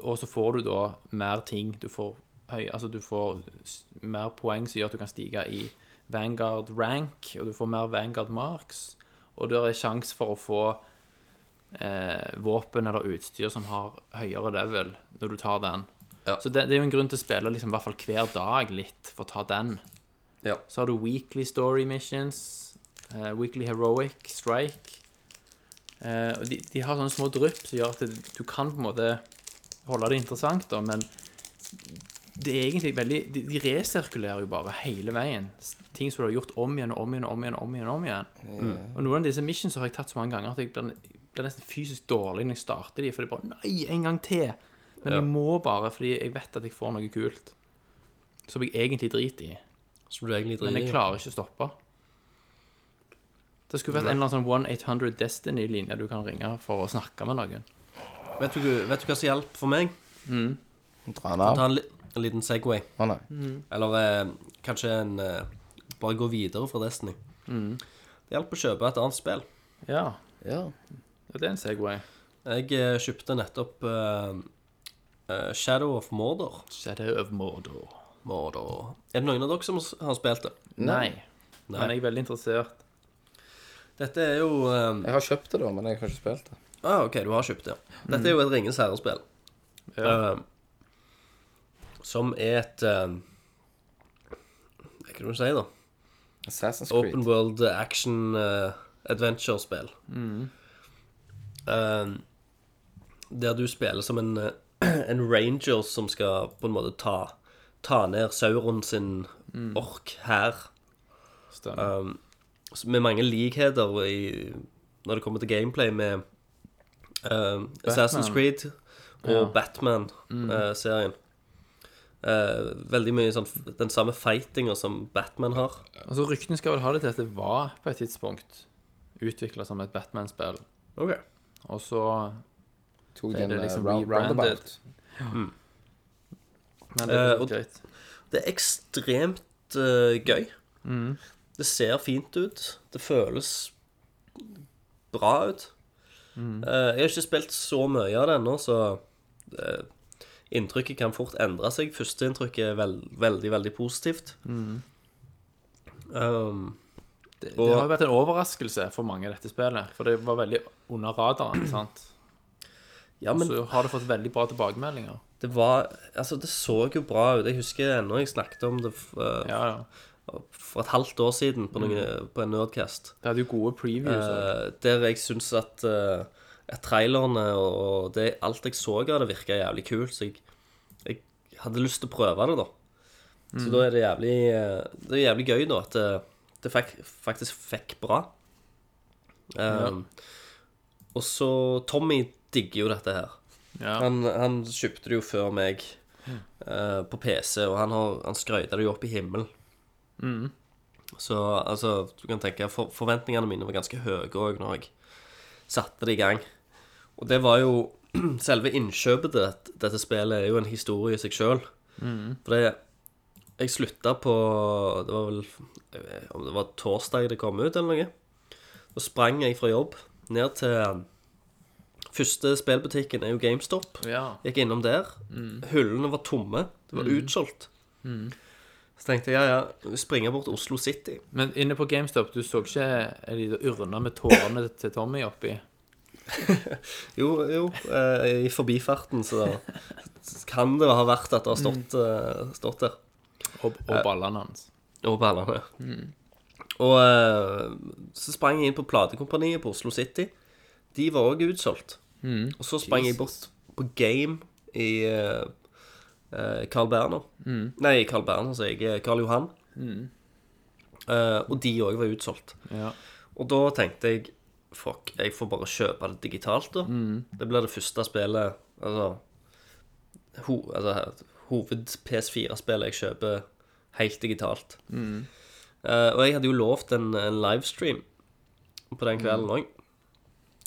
E: og så får du da mer ting. Du får, høy, altså du får s- mer poeng som gjør at du kan stige i Vanguard rank, og du får mer Vanguard marks, og der er sjanse for å få eh, våpen eller utstyr som har høyere level, når du tar den.
G: Ja.
E: Så det, det er jo en grunn til å spille liksom, i hvert fall hver dag litt, for å ta den.
G: Ja.
E: Så har du weekly story missions, eh, weekly heroic, strike. Eh, og de, de har sånne små drypp som gjør at det, du kan på en måte holde det interessant, da, men det er egentlig veldig De, de resirkulerer jo bare hele veien. S- Ting som du har gjort om igjen og om igjen og om igjen. Og om igjen, og om igjen. Eh, Og noen av disse missions har jeg tatt så mange ganger at jeg blir, blir nesten fysisk dårlig når jeg starter de, for det er bare Nei, en gang til! Men
G: Ja.
E: jeg må bare, fordi jeg vet at jeg får noe kult. Som jeg egentlig driter i.
G: Som du egentlig
E: Men
G: driter
E: jeg
G: i.
E: klarer ikke å stoppe. Det skulle vært en eller annen sånn 1-800 Destiny-linje du kan ringe for å snakke med noen.
G: Vet, du- vet du hva som hjalp for meg?
F: Dra den av.
G: Ta en, li, en liten Segway.
F: Å, nei.
G: Eller eh, kanskje en eh, Bare gå videre fra Destiny.
E: Mm.
G: Det hjalp å kjøpe et annet spill.
E: Ja,
F: Ja.
E: det er en Segway.
G: Jeg eh, kjøpte nettopp eh, eh, Shadow of Mordor.
E: Shadow of Mordor.
G: Mordor. Er det noen av dere som har spilt det?
E: Nei.
G: Nei.
E: Men jeg er veldig interessert.
G: Dette er jo eh,
F: Jeg har kjøpt det, da, men jeg har ikke spilt det.
G: Ah, ok, du har kjøpt det. ja. Dette er jo et Ringenes herre-spill.
E: Ja.
G: Eh, Som er et eh, Hva kan du si, da?
F: Assassin's Creed.
G: Open world eh, action eh, adventure-spill. Eh, der du spiller som en, eh, en ranger som skal på en måte ta, ta ned Sauron sin ork her.
E: Stemmer.
G: Med mange likheter i, når det kommer til gameplay med eh, Assassin's Creed og Batman-serien. veldig mye sånn f- den samme fightinga som Batman har.
E: Altså, ryktene skal vel ha det til at det var på et tidspunkt utvikla som et Batman-spill,
G: Okay.
E: og så
F: Tok
E: det er
F: en
E: det
F: eh,
E: liksom
F: round,
E: rebranded.
F: roundabout.
E: Men det er
G: Eh, og-
E: greit.
G: Det er ekstremt eh, gøy.
E: Mm.
G: Det ser fint ut. Det føles bra ut.
E: Mm.
G: Eh, jeg har ikke spilt så mye av det ennå, så eh, inntrykket kan fort endre seg. Førsteinntrykket er vel, veldig, veldig positivt. Um,
E: Mm. Det,
G: og-
E: det har jo vært en overraskelse for mange, dette spillet. For det var veldig under radaren. sant?
G: ja, men
E: så har det fått veldig bra tilbakemeldinger.
G: det var Altså, det så jo bra ut. Jeg husker ennå jeg snakket om det f- eh,
E: Ja, ja.
G: for et halvt år siden på, noen, eh, på en Nerdcast.
E: Det hadde jo gode previews. også.
G: Eh, der jeg syns at, eh, at trailerne og og det, alt jeg så av det, virka jævlig kult. Så jeg, jeg hadde lyst til å prøve det, da. Så da er det jævlig, eh, det er jævlig gøy, da, at det, det fikk, faktisk fikk bra. Um, Og så Tommy digger jo dette her.
E: ja.
G: Han, han kjøpte det jo før meg eh, på PC, og han, har- han skrøyta det jo opp i himmelen. Så altså, du kan tenke for, Forventningene mine var ganske høye òg når jeg satte det i gang. Og det var jo Selve innkjøpet til dette, dette spillet er jo en historie i seg sjøl. For det Jeg slutta på Det var vel jeg vet, om det var torsdag det kom ut, eller noe. Da sprang jeg fra jobb ned til um, Første spillbutikken er jo GameStop.
E: ja.
G: Gikk innom der. Hullene var tomme. Det var utsolgt. Så tenkte jeg ja, ja, springe bort til Oslo City.
E: Men inne på GameStop, du så ikke en liten urne med tårene til Tommy oppi?
G: Jo, jo, eh, i forbifarten så kan det ha vært at det har stått, eh, stått der.
E: Og, og
G: Eh.
E: ballene hans.
G: Og ballene. Og eh, så sprang jeg inn på platekompaniet på Oslo City. De var òg utsolgt. Og så sprang jeg bort på Game i eh, eh, Carl Berner. Nei, Carl Berner, så jeg er Carl Johan. Eh, og de òg var utsolgt.
E: Ja.
G: Og da tenkte jeg Fuck, jeg får bare kjøpe det digitalt, da. Det blir det første spillet Altså, ho, altså hoved-PS4-spillet jeg kjøper helt digitalt. Eh, og jeg hadde jo lovt en, en livestream på den kvelden òg.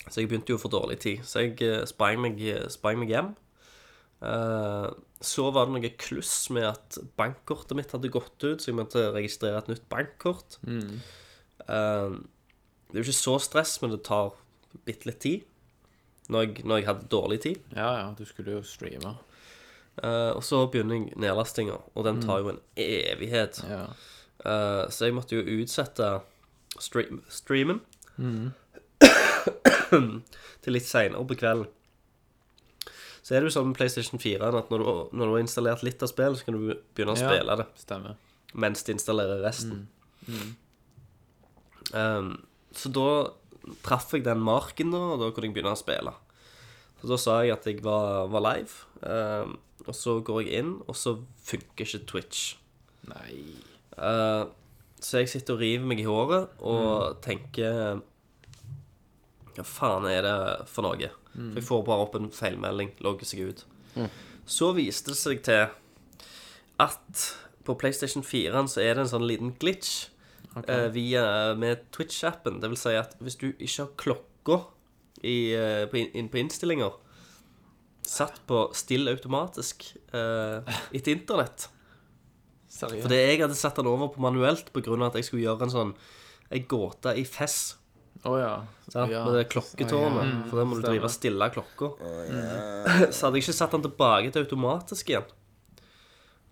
G: Så jeg begynte jo å få dårlig tid. Så jeg eh, sprang meg, sprang meg hjem. Eh, så var det noe kluss med at bankkortet mitt hadde gått ut, så jeg måtte registrere et nytt bankkort. Eh, det er jo ikke så stress, men det tar bitte litt tid. Når jeg, når jeg hadde dårlig tid.
E: ja, ja, du skulle jo streame.
G: Eh, og så begynner jeg nedlastinga, og den tar jo en evighet.
E: Ja.
G: Eh, så jeg måtte jo utsette stream, streamen til litt seinere på kvelden. Så er det jo sånn med PlayStation 4 at når du, når du har installert litt av spillet, så kan du begynne å
E: Ja.
G: spille det
E: Stemmer.
G: mens de installerer resten. Um, så da traff jeg den marken, da, og da kunne jeg begynne å spille. Så da sa jeg at jeg var, var live, um, og så går jeg inn, og så funker ikke Twitch.
E: Nei.
G: Eh, så jeg sitter og river meg i håret og tenker Hva faen er det for noe? For jeg får bare opp en feilmelding. Logger seg ut. Så viste det seg til at på PlayStation 4 så er det en sånn liten glitch eh, via, med Twitch-appen. Det vil si at hvis du ikke har klokka i, eh, på, in- inn på innstillinger satt på still automatisk eh, etter internett
E: Seriøst?
G: fordi jeg hadde satt den over på manuelt på grunn av at jeg skulle gjøre en sånn En gåte i fess
E: Å ja.
G: sant?
E: ja.
G: Med Sånn, det klokketårnet For da må du
E: Stemmer.
G: drive stille klokka Så hadde jeg ikke satt den tilbake til automatisk igjen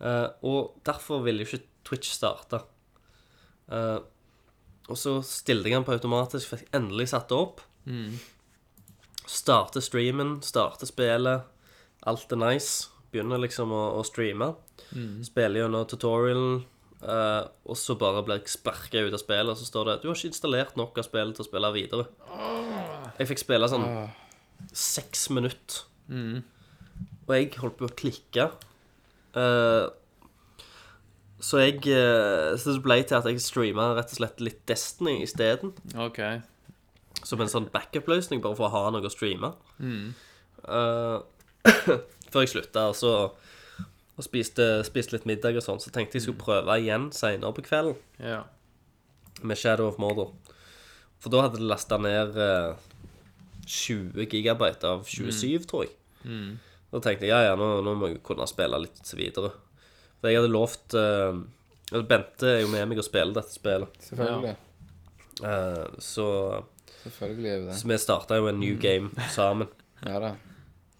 G: Eh, Og derfor ville jo ikke Twitch starte Eh, Og så stilte jeg den på automatisk Fikk endelig satt det opp
E: Mm.
G: Starte streamen, starte spillet Alt er nice begynner liksom å, å streame.
E: Mm.
G: Spiller gjennom tutorialen, eh, og så bare blir jeg sparka ut av spillet, og så står det 'Du har ikke installert nok av spillet til å spille videre'. Jeg fikk spille sånn seks minutter, og jeg holdt på å klikke. Eh, så jeg eh, Så det ble til at jeg streama rett og slett litt Destiny isteden.
E: OK.
G: Som en sånn backup-løsning, bare for å ha noe å streame. Eh, før jeg slutta, og så og spiste, spiste litt middag og sånn, så tenkte jeg skulle prøve igjen seinere på kvelden
E: Ja.
G: med Shadow of Mordor. For da hadde det lasta ned eh, 20 gigabyte av 27, tror jeg. Da tenkte jeg ja, ja, nå, nå må jeg kunne spille litt videre. For jeg hadde lovt eh, Bente er jo med meg og spiller dette spillet,
F: Selvfølgelig.
G: Eh, så,
F: Selvfølgelig er vi det.
G: så vi starta jo en new game sammen.
F: Ja da.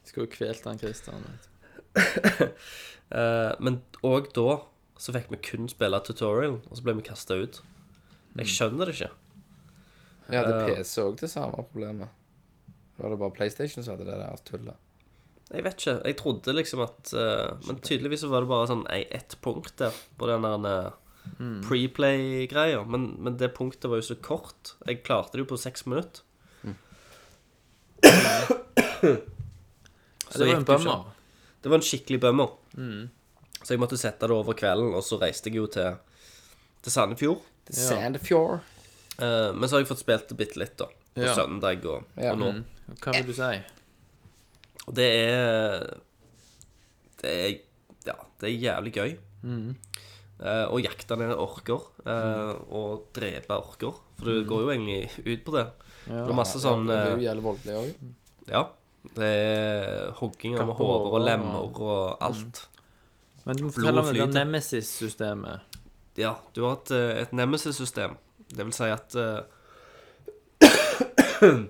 E: Skulle jo kvelt han Christian. vet du.
G: Eh, men òg da så fikk vi kun spille tutorial, og så ble vi kasta ut. Jeg skjønner det ikke.
F: Vi hadde PC òg til samme problemet. Da var det bare PlayStation som hadde det der tullet.
G: Jeg vet ikke. Jeg trodde liksom at eh, Men tydeligvis så var det bare sånn ei- ett punkt der på den der eh, preplay-greia. Men, men det punktet var jo så kort. Jeg klarte det jo på seks minutter.
E: Ja, Det var en
G: gikk det ikke.
E: bummer.
G: Det var en skikkelig bummer. Så jeg måtte sette det over kvelden, og så reiste jeg jo til, til Sandefjord.
F: Sandfjord.
G: Eh, men så har jeg fått spilt det bitte litt, da. På
E: Ja. Mm.
G: søndag og,
F: Ja.
G: og nå.
E: Hva vil du si?
G: Og det er Det er Ja, det er jævlig gøy. Eh, å jakte ned orker eh, og drepe orker. For
F: Mm.
G: det går jo egentlig ut på det. Det er masse sånn
F: Det er jo
G: eh,
F: jævlig voldelig òg.
G: Ja. Det er hogging med
E: Kappe
G: hoder
E: hoder og-
G: og lemmer og alt.
E: Men du må
G: Blodet
E: fortelle om det der
G: flyter.
E: Nemesis-systemet.
G: Ja, du har et, eh, et nemesis-system. Det vil si at eh,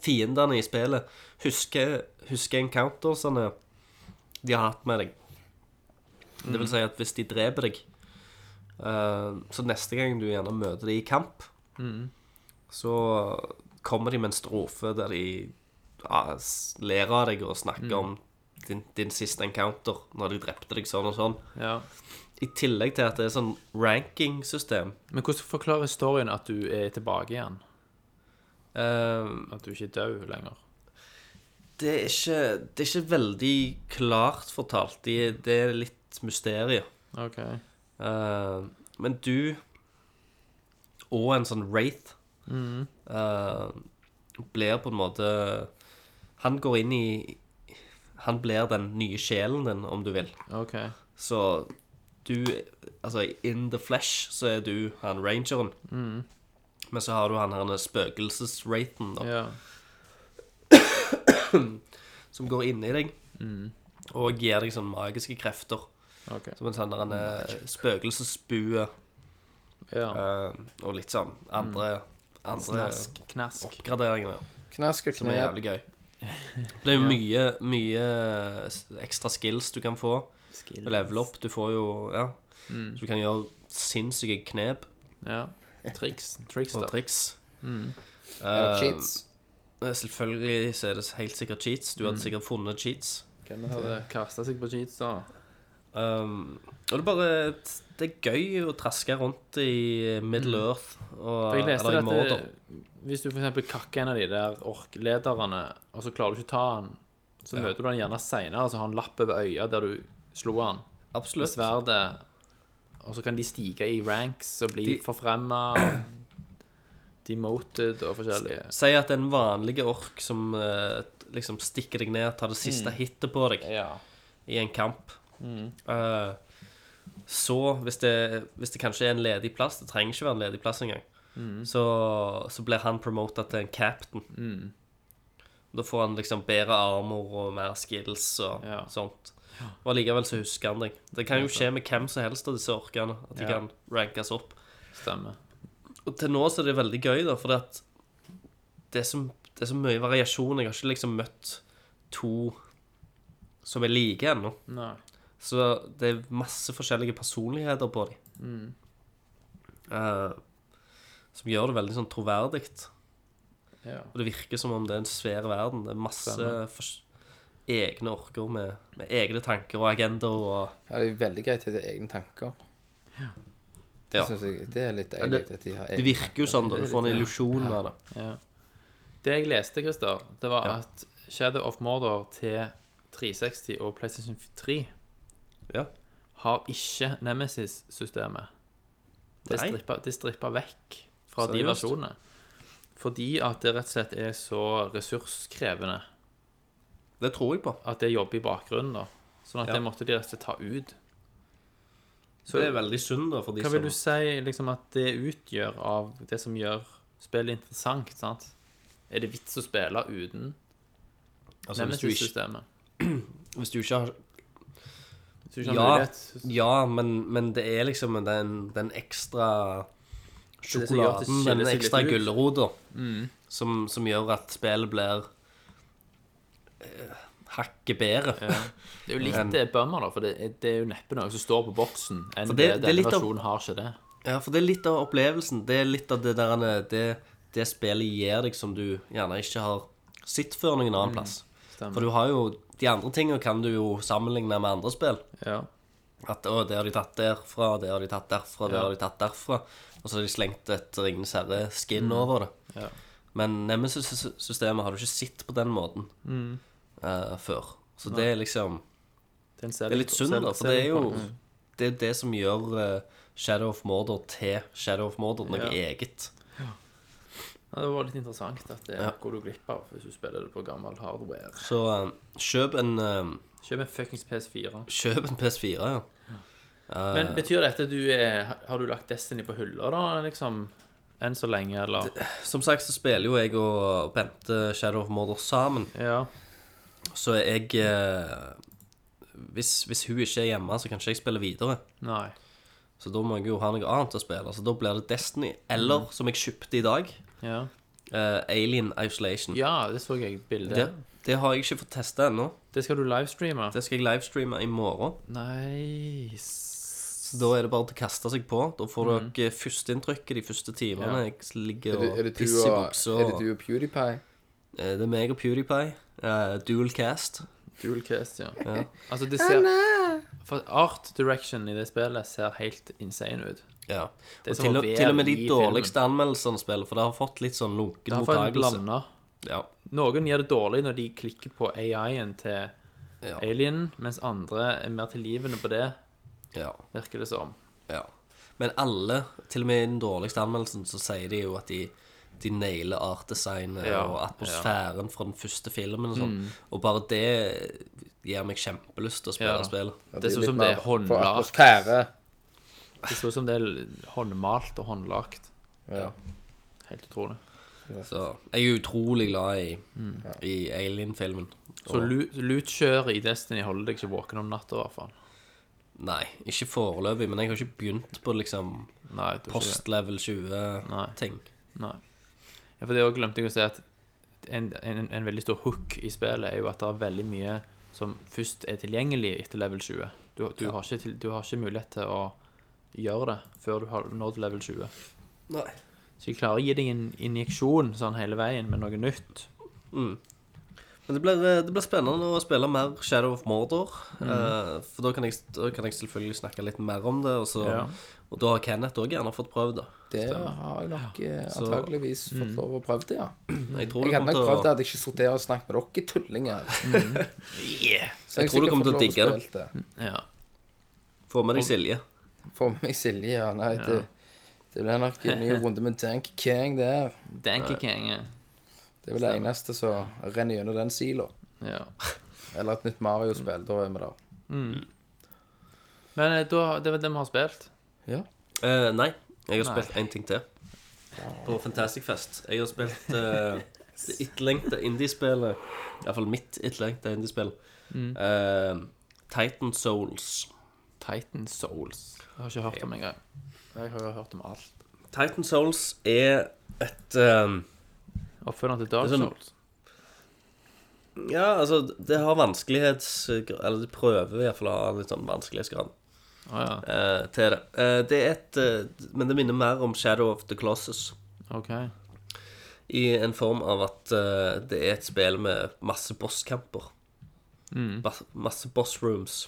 G: fiendene i spillet husker, husker encountersene de har hatt med deg. Det vil si at hvis de dreper deg, eh, så neste gang du gjerne møter de i kamp, så kommer de med en strofe der de ja, s- ler av deg og snakker om din, din siste encounter, når de drepte deg sånn og sånn.
E: Ja.
G: I tillegg til at det er sånn ranking-system.
E: Men hvordan forklarer storyen at du er tilbake igjen?
G: Eh,
E: At du ikke er død lenger?
G: det, er ikke, det er ikke veldig klart fortalt. Det, det er litt mysterier.
E: OK.
G: Eh, men du og en sånn Wraith eh, blir på en måte Han går inn i Han blir den nye sjelen din, om du vil.
E: ok.
G: Så du Altså, in the flesh så er du han rangeren. Men så har du han her spøkelses-raten, da.
E: Ja.
G: som går inni deg og gir deg sånne magiske krefter.
E: ok.
G: Som en sånn der en, eh, spøkelsesbue
E: Ja.
G: eh, og litt sånn andre, andre
E: Knask. eh, Knask.
G: oppgraderinger. ja,
F: Knask og
G: Som er
F: knep.
G: jævlig gøy. Det er jo mye, mye s- ekstra skills du kan få. Level up. Du får jo Ja. Så du kan gjøre sinnssyke knep
E: Ja. Triks. Triks,
G: og
E: da.
G: triks.
F: Ja, Cheats.
G: Eh, Selvfølgelig så er det helt sikkert cheats. Du hadde sikkert funnet cheats.
E: Kenneth hadde kasta seg på cheats, da.
G: Um, og det er bare Det er gøy å traske rundt i Middle Earth. Og,
E: For Mm. jeg leste
G: eller
E: at
G: i
E: eh,
G: Mordor.
E: det, hvis du for eksempel kakker en av de der orklederne, og så klarer du ikke å ta han, så møter du han gjerne seinere, og så har han lapp over øya der du slo han. Med
G: Absolutt.
E: sverdet. Og så altså, kan de stige i ranks og bli
G: De-
E: forfremma. Demoted og forskjellige.
G: Si at det er en vanlig ork som eh, liksom stikker deg ned, tar det
E: Mm.
G: siste hitet på deg
E: Ja.
G: i en kamp.
E: Mm.
G: Eh, så, hvis det, hvis det kanskje er en ledig plass Det trenger ikke være en ledig plass engang.
E: Mm.
G: Så, så blir han promota til en captain.
E: Mm.
G: Da får han liksom bedre armor og mer skills og
E: Ja.
G: sånt. Og allikevel så husker han deg. Det kan jo skje med hvem som helst av disse orkene. At de
E: Ja.
G: kan rankes opp.
E: Stemmer.
G: Og til nå så er det veldig gøy, da, fordi at det er, så, det er så mye variasjon. Jeg har ikke liksom møtt to som er like ennå.
E: Nei.
G: Så det er masse forskjellige personligheter på dem. som gjør det veldig sånn troverdig.
E: Ja.
G: Og det virker som om det er en svær verden. Det er masse
E: Stemmer.
G: fors- egne orker med, med egne tanker og agendaer og
F: Ja, det er veldig greit at det er egne tanker.
G: Ja.
F: Synes jeg, det er litt deilig
G: det-
F: at de har
G: Det
F: egne
G: virker jo sånn, da. Du får en illusjon av det.
E: Det jeg leste, Christer, det var at Shadow of Mordor til 360 og PlayStation 3
G: Ja.
E: har ikke Nemesis-systemet. Det er
G: Nei.
E: strippet- det er strippa vekk fra de
G: Seriøst?
E: versjonene. Fordi at det rett og slett er så ressurskrevende
G: Det tror jeg på.
E: at det jobber i bakgrunnen. da. Sånn at
G: Ja.
E: det måtte de rett og slett ta ut.
G: Så det er veldig sånn- synd, da, for de
E: Hva vil du
G: som
E: si liksom, at det utgjør av det som gjør spillet interessant? sant? Er det vits å spille uten
G: altså, hvis, du ikke,
E: Nemesis-systemet?
G: hvis du ikke har
E: Hvis du ikke har
G: Ja.
E: mulighet,
G: Ja, men, men det er liksom den, den ekstra
E: er det som gjør at det skiller
G: sjokoladen, den
E: seg litt
G: ekstra
E: ut. Mm.
G: gulrota, som, som gjør at spillet blir eh, hakket bedre.
E: Det er jo litt det bummer, da, for det er, det er jo neppe noe som står på boksen. Enn
G: For
E: det,
G: det- det er
E: denne
G: litt av-
E: versjonen har ikke det.
G: Ja, for det er litt av opplevelsen. Det er litt av det der det, det spillet gir deg som du gjerne ikke har sett før noen annen
E: Mm,
G: plass.
E: stemmer.
G: For du har jo De andre tingene kan du jo sammenligne med andre spill.
E: Ja.
G: At å, det har de tatt derfra, det har de tatt derfra, det har de tatt derfra. Og så har de slengt et Ringenes herre-skin over det.
E: Mm. Ja.
G: Men Nemesis-systemet har du ikke sett på den måten
E: Mm.
G: eh, før. Så det er liksom
E: Den ser
G: Det er litt synd,
E: ser-
G: da, for
E: ser
G: det er jo
E: litt Mm. bra ut.
G: det, er det som gjør eh, Shadow of Mordor til Shadow of Mordor noe
E: Ja.
G: eget.
E: ja, Det var litt interessant at det
G: Ja.
E: går du glipp av hvis du spiller det på gammel hardware.
G: Så eh, kjøp en eh,
E: Kjøp en fuckings PS4.
G: Kjøp en PS4, ja. Eh.
E: Men betyr dette at du er Har du lagt Destiny på hylla, da, liksom? Enn så lenge, eller?
G: Som sagt så spiller jo jeg og Bente Shadow of Mordor sammen.
E: Ja.
G: Så jeg eh, hvis, hvis hun ikke er hjemme, så kan ikke jeg spille videre.
E: Nei.
G: Så da må jeg jo ha noe annet å spille. Så da blir det Destiny. Eller, som jeg kjøpte i dag,
E: Ja.
G: eh, Alien Isolation.
E: ja, det så jeg bildet.
G: Det, det har jeg ikke fått testa ennå.
E: Det skal du livestreame.
G: Det skal jeg livestreame i morgen.
E: Nice.
G: Så da er det bare til å kaste seg på. Da får dere førsteinntrykket de første timene.
E: Ja.
G: Jeg ligger
F: Er det,
G: og
F: er, det du
G: pisser i
F: og,
G: buksa.
F: er det du og PewDiePie?
G: Eh, Det er meg og PewDiePie. eh, dual cast.
E: Dual cast, ja. Altså, det ser For art direction i det spillet ser helt insane ut.
G: Ja.
E: Det
G: Og
E: som
G: til,
E: var
G: og- til og med
E: vel
G: de
E: i
G: dårligste anmeldelsene spiller, for det har fått litt sånn lunken
E: Derfor er det
G: mottakelse.
E: blanda.
G: Ja.
E: Noen gjør det dårlig når de klikker på AI-en til
G: Ja.
E: alienen, mens andre er mer tilgivende på det,
G: ja,
E: virker det som.
G: ja. Men alle, til og med i den dårligste anmeldelsen, så sier de jo at de, de nailer artdesignet
E: Ja, Mm.
G: og atmosfæren fra den første filmen og sånn. Og bare det gir meg kjempelyst til å spille
E: Ja.
G: spillet.
E: Det ser ut som det er
F: For
E: håndlagt.
F: atmosfære.
E: Det ser ut som det er håndmalt og håndlagt.
F: Ja.
E: Helt utrolig.
G: Så jeg er utrolig glad i, i Alien-filmen.
E: Mm. Så lu- lutkjøret i Destiny holder deg ikke våken om natta, i hvert fall.
G: Nei, ikke foreløpig, men jeg har ikke begynt på liksom
E: Nei, jeg tror ikke det.
G: post level
E: Nei.
G: 20-ting.
E: Nei. Ja, for det også glemte jeg å si at en, en, en veldig stor hook i spillet er jo at det er veldig mye som først er tilgjengelig etter level 20. Du, du, har, ikke til, du har ikke mulighet til å gjøre det før du har nådd level 20.
G: Nei.
E: Så jeg klarer å gi deg en injeksjon sånn hele veien med noe nytt.
G: Men det blir, det blir spennende å spille mer Shadow of Mordor. eh, for da kan, jeg, da kan jeg selvfølgelig snakke litt mer om det. Og, så,
E: Ja.
G: og da har Kenneth òg gjerne fått prøvd det.
F: Det har jeg nok eh, antageligvis fått lov å prøve det, ja.
G: Jeg Mm. tror
F: Jeg
G: du
F: hadde
G: kommer
F: nok prøvd
G: til
F: det
G: å, Mm.
F: hadde jeg ikke sittet her og snakket med dere tullinger. Så
G: jeg tror du
F: sikkert
G: kommer
F: fått
G: til å
F: lov
G: digge det.
F: spille det.
E: Ja.
G: Få med deg Silje.
F: Få med meg Silje, ja. Nei, det, det blir nok en ny runde med Dank Kang der.
E: Danky Kang. ja.
F: Det er vel det eneste som renner gjennom den sila.
E: Ja.
F: Eller et nytt Mario-spill. Da er vi der.
E: Men eh, da, det var det vi har spilt.
F: Ja.
G: Eh, nei, jeg har spilt én ting til. På Fantastic Fest. Jeg har spilt eh, det etterlengte indiespillet. Iallfall mitt etterlengte indiespill. Eh, Titan Souls.
E: Titan Souls. Jeg har ikke hørt om det engang. Jeg har hørt om alt.
G: Titan Souls er et eh,
E: Oppfølgeren til Dark
G: Det er sånn-
E: Souls.
G: Ja, altså, det har vanskelighets... Eller det prøver i hvert fall å ha litt sånn vanskelighetsgrad
E: Å ja.
G: eh, til det. Eh, det er et eh, Men det minner mer om Shadow of the Colossus.
E: OK.
G: I en form av at eh, det er et spill med masse bosskamper.
F: Mm.
G: Bas- Masse boss rooms.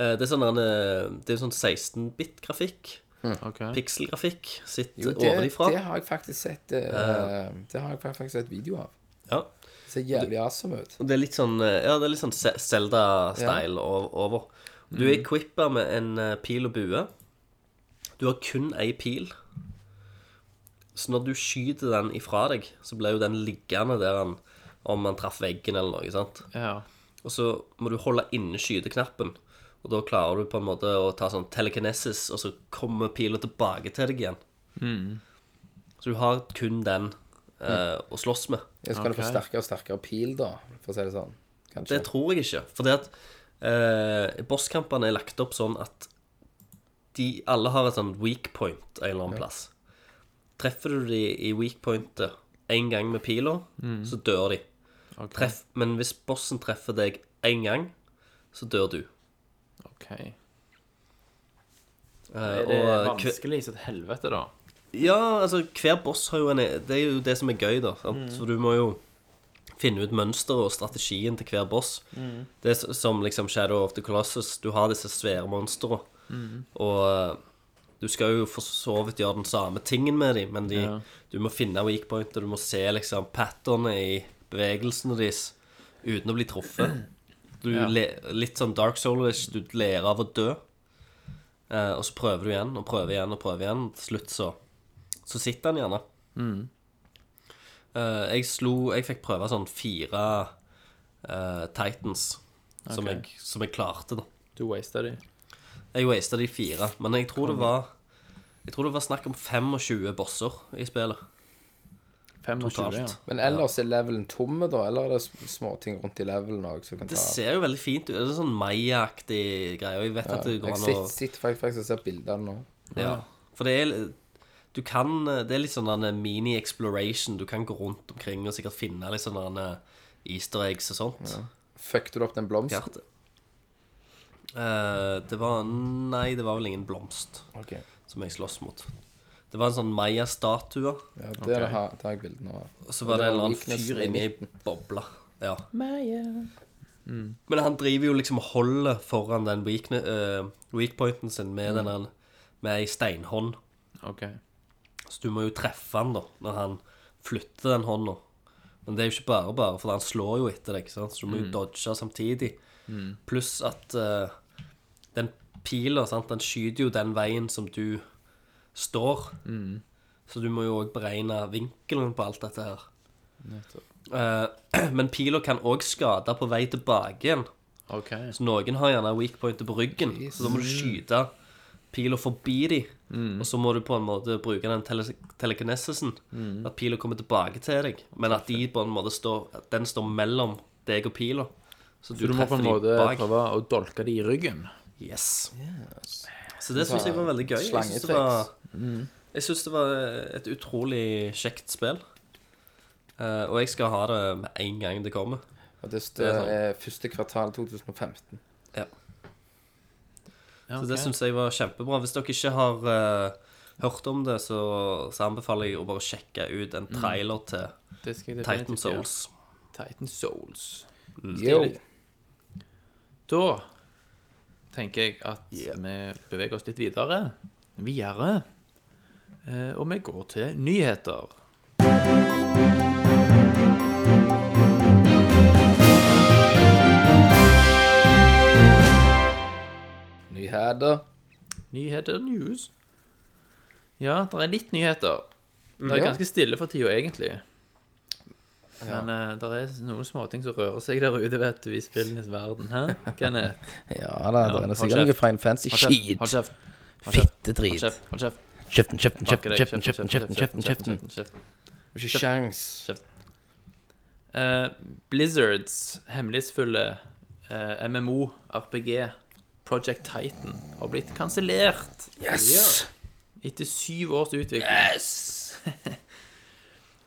G: Eh, Det er sånn, der, eh, det er sånn 16-bit-grafikk.
E: OK.
G: Pixelgrafikk. Sitter
F: Jo, det,
G: ovenifra.
F: det har jeg faktisk sett eh, Det har jeg faktisk sett video av.
G: Ja.
F: Det ser jævlig awesome ut.
G: Og Det er litt sånn, eh, ja, det er litt sånn Se- Zelda-style ov- over. Du er equippa med en eh, pil og bue. Du har kun ei pil. Så når du skyter den ifra deg, så blir jo den liggende der den, om den traff veggen eller noe. sant?
E: Ja.
G: Og så må du holde inne skyteknappen. Og da klarer du på en måte å ta sånn telekinesis, og så kommer pila tilbake til deg igjen. Så du har kun den eh, å slåss med.
F: Jeg skal okay. få
E: Ok.
F: sterkere og sterkere pil, da, for å si det sånn. Kanskje.
G: Det tror jeg ikke. Fordi at eh, bosskampene er lagt opp sånn at de alle har et sånn weak point en eller annen plass. Treffer du de i weak pointet én gang med pila, så dør de. Treff, men hvis bossen treffer deg én gang, så dør du.
E: ok.
G: Eh,
E: Er det
G: og hver-
E: vanskelig som et helvete, da?
G: Ja, altså hver boss har jo en e-, Det er jo det som er gøy, da. Sant?
E: Mm.
G: Så du må jo finne ut mønsteret og strategien til hver boss.
E: Mm.
G: Det er s- som liksom Shadow of the Colossus. Du har disse svære monstrene.
E: Mm.
G: Og eh, du skal jo for så vidt gjøre den samme tingen med dem, men de,
E: Ja.
G: du må finne weak pointer. Du må se liksom patternet i bevegelsene deres uten å bli truffet. Du
E: Ja.
G: le, litt sånn Dark Soulish. Du ler av å dø. Eh, og så prøver du igjen og prøver igjen og prøver igjen. Til slutt så så sitter han gjerne. Eh, jeg slo Jeg fikk prøve sånn fire eh, Titans som,
E: Ok.
G: jeg, som jeg klarte, da.
E: Du wasta de.
G: Jeg wasta de fire, men jeg tror det var Jeg tror det var snakk om 25 bosser i spillet.
E: 25, ja.
G: Totalt.
F: Men ellers er levelen tomme, da? Eller er det sm- småting rundt i levelen òg som kan ta
G: Det ser jo veldig fint ut. Det er sånn Maya-aktig greie. Og jeg vet at det går
F: Jeg
G: an
F: sitter,
G: å
F: sitter faktisk og ser bilder nå.
G: Ja, for det er Du kan Det er litt sånn en mini-exploration. Du kan gå rundt omkring og sikkert finne litt sånn en easter eggs og sånt.
F: Fucket du opp den blomsten?
G: hjerte. Eh, det var Nei, det var vel ingen blomst
F: Ok.
G: som jeg sloss mot. Det var en sånn maya-statue,
F: Ja, det er det her- det har jeg bilde nå.
G: og så var det, en eller annen
F: weakness
G: fyr
F: i
G: inni ei boble. Ja. Men han driver jo liksom og holder foran den weakne, eh, weak pointen sin med, den han- med ei steinhånd.
E: OK.
G: Så du må jo treffe han da, når han flytter den hånda. Men det er jo ikke bare bare, for han slår jo etter deg, sant? så du må jo dodge samtidig. Pluss at eh, den pila, sant? den skyter jo den veien som du står. Så du må jo òg beregne vinkelen på alt dette her. Eh, men pila kan òg skade på vei tilbake igjen.
E: OK.
G: Så noen har gjerne weak pointer på ryggen, så da må du skyte pila forbi de,
E: Mm.
G: og så må du på en måte bruke den tele telekinesisen,
E: Mm.
G: at pila kommer tilbake til deg, men at de på en måte står, at den står mellom deg og pila. Så du,
E: Så du må på
G: treffer
E: en
G: de
E: måte
G: bak.
E: prøve å dolke de i ryggen?
G: Yes. Så det syns jeg var veldig gøy. Jeg syns det,
F: Slangetriks.
G: var-
E: Mm.
G: jeg synes det var et utrolig kjekt spill. Eh, og jeg skal ha det med en gang det kommer.
F: Og det
G: Det er
F: står
G: sant.
F: eh, første kvartal 2015.
G: Ja.
E: Ja,
G: Så det syns jeg var kjempebra. Hvis dere ikke har eh, hørt om det, så, så anbefaler jeg å bare sjekke ut en trailer til
E: Mm. det skal jeg
G: Titan
E: definitivt gjøre.
G: Souls.
E: Titan Souls. Mm.
F: Yo.
E: Da tenker jeg at vi beveger oss litt videre. Videre. Eh, og vi går til nyheter.
F: Nyheter.
E: Nyheter news. Ja, det er litt nyheter. Det er
F: Ja.
E: ganske stille for tida, egentlig. Men det er noen småting som rører seg der ute, vet du, i spillenes verden. Hæ? Kenneth?
F: Ja da, det
E: hold
F: er sikkert noe
E: kjeft.
F: Final Fantasy
E: Hold kjeft, hold
F: shit.
E: kjeft, hold
F: Fittedrit.
E: kjeft, hold kjeft.
D: Kjeften, kjeften,
E: Fuck
D: kjeften,
E: deg,
D: kjeften, kjeften, kjeften, kjeften, kjeften.
E: kjeften.
F: Ikke kjangs.
E: Eh, Blizzards hemmelighetsfulle eh, MMO, RPG, Project Titan, har blitt kansellert. Yes! Etter syv års utvikling. Yes!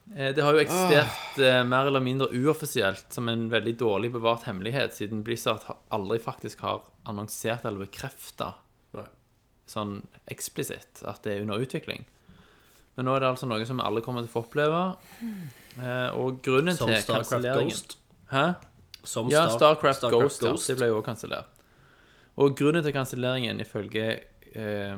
E: det har jo eksistert eh, mer eller mindre uoffisielt som en veldig dårlig bevart hemmelighet, siden Blizzard har- aldri faktisk har annonsert eller bekrefta sånn eksplisitt at det er under utvikling. Men nå er det altså noe som alle kommer til å få oppleve. Eh, og grunnen
G: Hmm. Som
E: til
G: Starcraft
E: kanselleringen
G: Ghost.
E: Hæ?
G: Som
E: Ja,
G: Star-
E: Starcraft, Ghost, ja.
G: Ghost.
E: Det ble jo også kansellert. Og grunnen til kanselleringen, ifølge eh,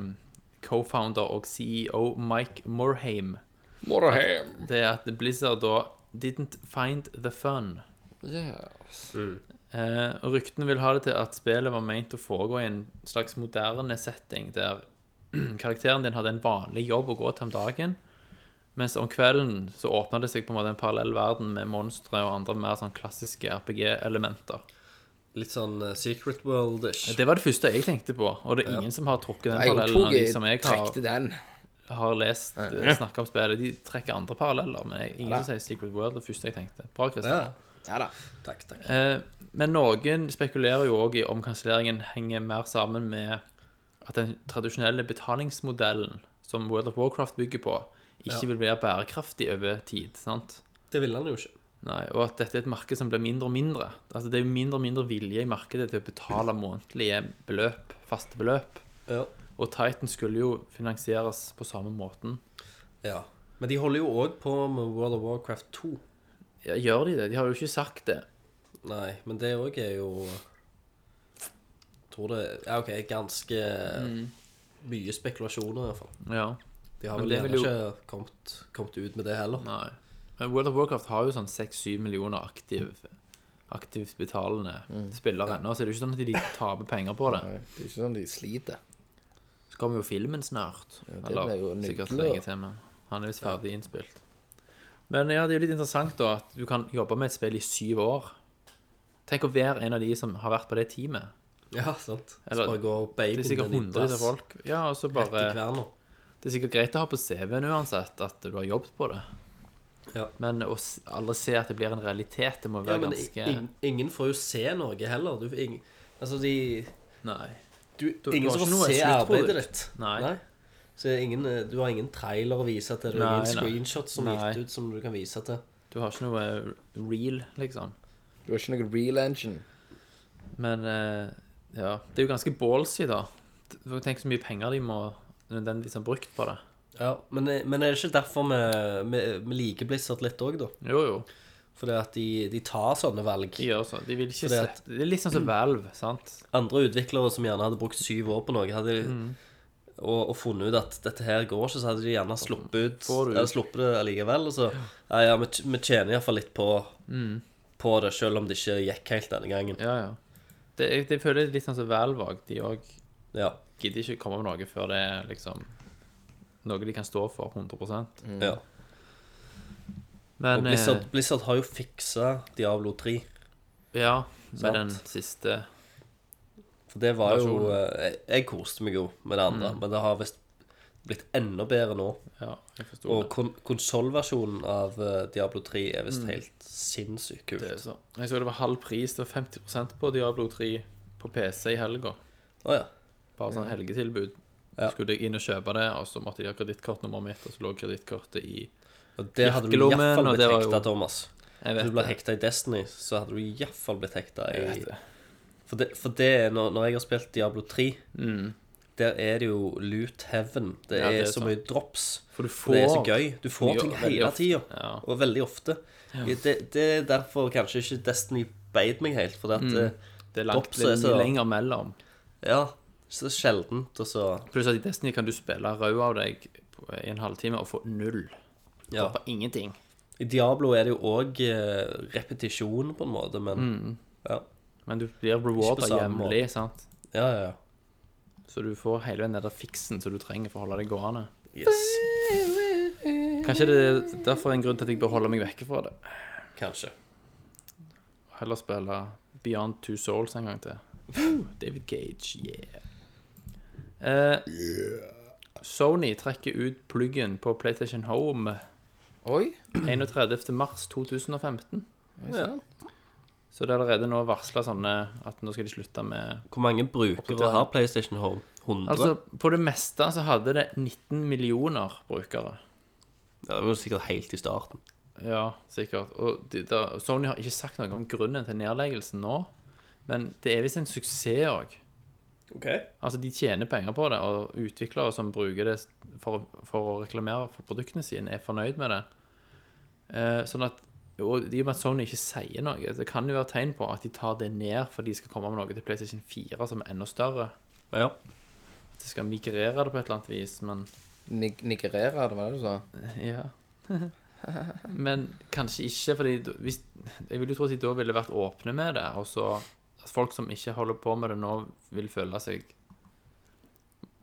E: co-founder og CEO Mike Morhaim,
F: Motorham.
E: det er at Blizzard da didn't find the fun.
F: Yes.
E: Eh, og ryktene vil ha det til at spillet var meint å foregå i en slags moderne setting, der karakteren din hadde en vanlig jobb å gå til om dagen, mens om kvelden så åpna det seg på en måte en parallell verden med monstre og andre mer sånn klassiske RPG-elementer.
G: Litt sånn eh, Secret World-ish.
E: Det var det første jeg tenkte på, og det er ingen som har trukket den
F: Jeg
E: parallellen
F: tok
E: av de som jeg
F: trekte
E: har,
F: den.
E: har lest eh, snakke om spillet. De trekker andre paralleller, men jeg, ingen som sier Secret World, det første jeg tenkte. Bra, Kristian.
G: Ja.
F: Ja da.
G: Takk, takk.
E: Eh, men noen spekulerer jo òg i om kanselleringen henger mer sammen med at den tradisjonelle betalingsmodellen som World of Warcraft bygger på, ikke vil være bærekraftig over tid. sant?
G: Det ville han jo ikke.
E: Nei, Og at dette er et marked som blir mindre og mindre. Altså Det er jo mindre og mindre vilje i markedet til å betale månedlige beløp, faste beløp.
G: Ja.
E: Og Titan skulle jo finansieres på samme måten.
G: ja. Men de holder jo òg på med World of Warcraft 2.
E: Ja, gjør de det? De har jo ikke sagt det.
G: Nei, men det òg er jo Tror det Ja, OK, ganske
E: Mm.
G: mye spekulasjoner, i hvert fall.
E: Ja,
G: De har
E: Men
G: vel
E: det
G: gjerne
E: vil jo-
G: ikke kommet, kommet ut med det heller.
E: nei. Men World of Warcraft har jo sånn 6-7 millioner aktiv, aktivt betalende spillere ennå, så det er jo ikke sånn at de taper penger på det.
F: Nei, Det er ikke sånn de sliter.
E: Så kommer jo filmen snart. eller
F: blir jo nydelig,
E: sikkert
F: da.
E: lenge til, men han er visst ferdig innspilt. Men ja, det er jo litt interessant da at du kan jobbe med et spill i syv år. Tenk å være en av de som har vært på det teamet.
G: Ja, sant.
E: Eller-
G: så bare går
E: Det
G: babyen
E: er sikkert
G: din i
E: hundrevis
G: dass
E: av folk. Ja, og så
G: rett i
E: bare
G: kverna.
E: Det er sikkert greit å ha på CV-en uansett at du har jobbet på det.
G: Ja.
E: Men å s- aldri se at det blir en realitet, det må
G: Ja,
E: være
G: men
E: ganske
G: ing- ingen får jo se noe heller. Du, ing, altså, de
E: Nei.
G: du,
E: Du- du
G: Ingen
E: har
G: som
E: ikke noe
G: får se
E: sluttprodukt.
G: arbeidet ditt.
E: Nei.
G: Så ingen, eh, du har ingen trailer å vise til. Du har
E: Nei,
G: ingen
E: nei.
G: screenshots som er
E: Nei.
G: gitt ut som du kan vise til.
E: Du har ikke noe real, liksom.
F: Du har ikke noe real engine.
E: Men eh, ja, det er jo ganske ballsy, da. T- Tenk så mye penger de må nødvendigvis ha brukt på det.
G: Ja, men, eh, men er det ikke derfor vi, vi, vi liker Blizzard litt òg, da?
E: Jo, jo.
G: Fordi at de, de tar sånne valg.
E: De gjør så. De vil ikke
G: Fordi at-
E: slippe Det er litt sånn som Valve, sant?
G: Andre utviklere som gjerne hadde brukt syv år på noe, hadde og, og funnet ut at dette her går ikke, så hadde de gjerne sluppet ut
E: Får du-
G: eller sluppet det allikevel. Og så Ja, ja, vi, t- vi tjener iallfall litt på, på det, selv om det ikke gikk helt denne gangen.
E: Mm. Ja, ja. Det, jeg, det føler jeg er litt sånn som Valve òg. De òg
G: Ja.
E: gidder ikke komme med noe før det er liksom noe de kan stå for 100
G: ja. Og
E: Men eh,
G: Blizzard, Blizzard har jo fiksa Diablo 3.
E: eh, Ja, med
G: Sant.
E: den siste
G: For det var jo
E: Versjonen.
G: eh, Jeg, jeg koste meg jo med det andre,
E: Mm.
G: men det har visst blitt enda bedre nå.
E: Ja, jeg forsto
G: Og
E: det.
G: kon konsollversjonen av eh, Diablo 3 er visst helt sinnssykt kult.
E: Mm. det er så. Jeg så det var halv pris. Det var 50 på Diablo 3 på PC i helga.
G: Å ja.
E: Bare sånn helgetilbud.
G: Ja.
E: Skulle jeg inn og kjøpe det, og så måtte de ha kredittkortnummeret mitt, og så lå kredittkortet i
G: Og det hadde du i
E: Kirkelommen,
G: hvert fall
E: og
G: blitt
E: det var
G: hekta,
E: jo-
G: Thomas.
E: Jeg
G: Hvis
E: vet
G: du ble
E: det.
G: hekta i Destiny, så hadde du i hvert fall blitt hekta i
E: Jeg vet det.
G: For det, for det er når, når jeg har spilt Diablo 3, der er det jo loot heaven. Det
E: Mm. Ja,
G: er,
E: det er
G: så
E: sant.
G: mye drops.
E: For du
G: det er
E: får
G: så gøy. Du får
E: mye-
G: ting
E: veldig
G: hele
E: ofte.
G: tida,
E: Ja.
G: og veldig ofte. Det, det er derfor kanskje ikke Destiny beit meg helt, fordi at
E: Mm.
G: eh,
E: Det er langt
G: drops
E: det
G: er
E: er
G: så
E: mye lenger mellom.
G: Ja, så sjeldent, og så
E: Pluss at i Destiny kan du spille rød av deg på- i en halvtime og få null.
G: ja.
E: Bare ingenting.
G: I Diablo er det jo òg repetisjon, på en måte, men
E: Mm.
G: ja.
E: Men du blir rewarda
G: samme måte.
E: jevnlig, sant.
G: ja, ja, ja.
E: Så du får hele den der fiksen som du trenger for å holde deg gående.
G: Yes.
E: Kanskje det er derfor en grunn til at jeg bør holde meg vekke fra det.
G: Kanskje.
E: Heller spille Beyond Two Souls en gang til. David Gage, yeah. Eh, Sony trekker ut pluggen på PlayStation Home
F: Oi.
E: 31. mars 2015. Så det er allerede nå varsla sånne at nå skal de slutte med
G: Hvor mange brukere har PlayStation Home? 100?
E: Altså, på det meste så hadde det 19 millioner brukere.
G: Ja, det var sikkert helt i starten.
E: Ja, sikkert. Og de, da, Sony har ikke sagt noe om grunnen til nedleggelsen nå, men det er visst en suksess òg. Altså, de tjener penger på det, og utviklere som bruker det for, for å reklamere for produktene sine, er fornøyd med det. Eh, sånn at Og i og med at Sony ikke sier noe, det kan jo være tegn på at de tar det ned for de skal komme med noe til PlayStation 4 som er enda større.
G: Ja.
E: At de skal migrere det på et eller annet vis, men
F: Nig Nigerera, det var det du sa?
E: ja. Men kanskje ikke, fordi da- hvis, jeg vil jo tro at de da ville vært åpne med det. Og så at folk som ikke holder på med det nå, vil føle seg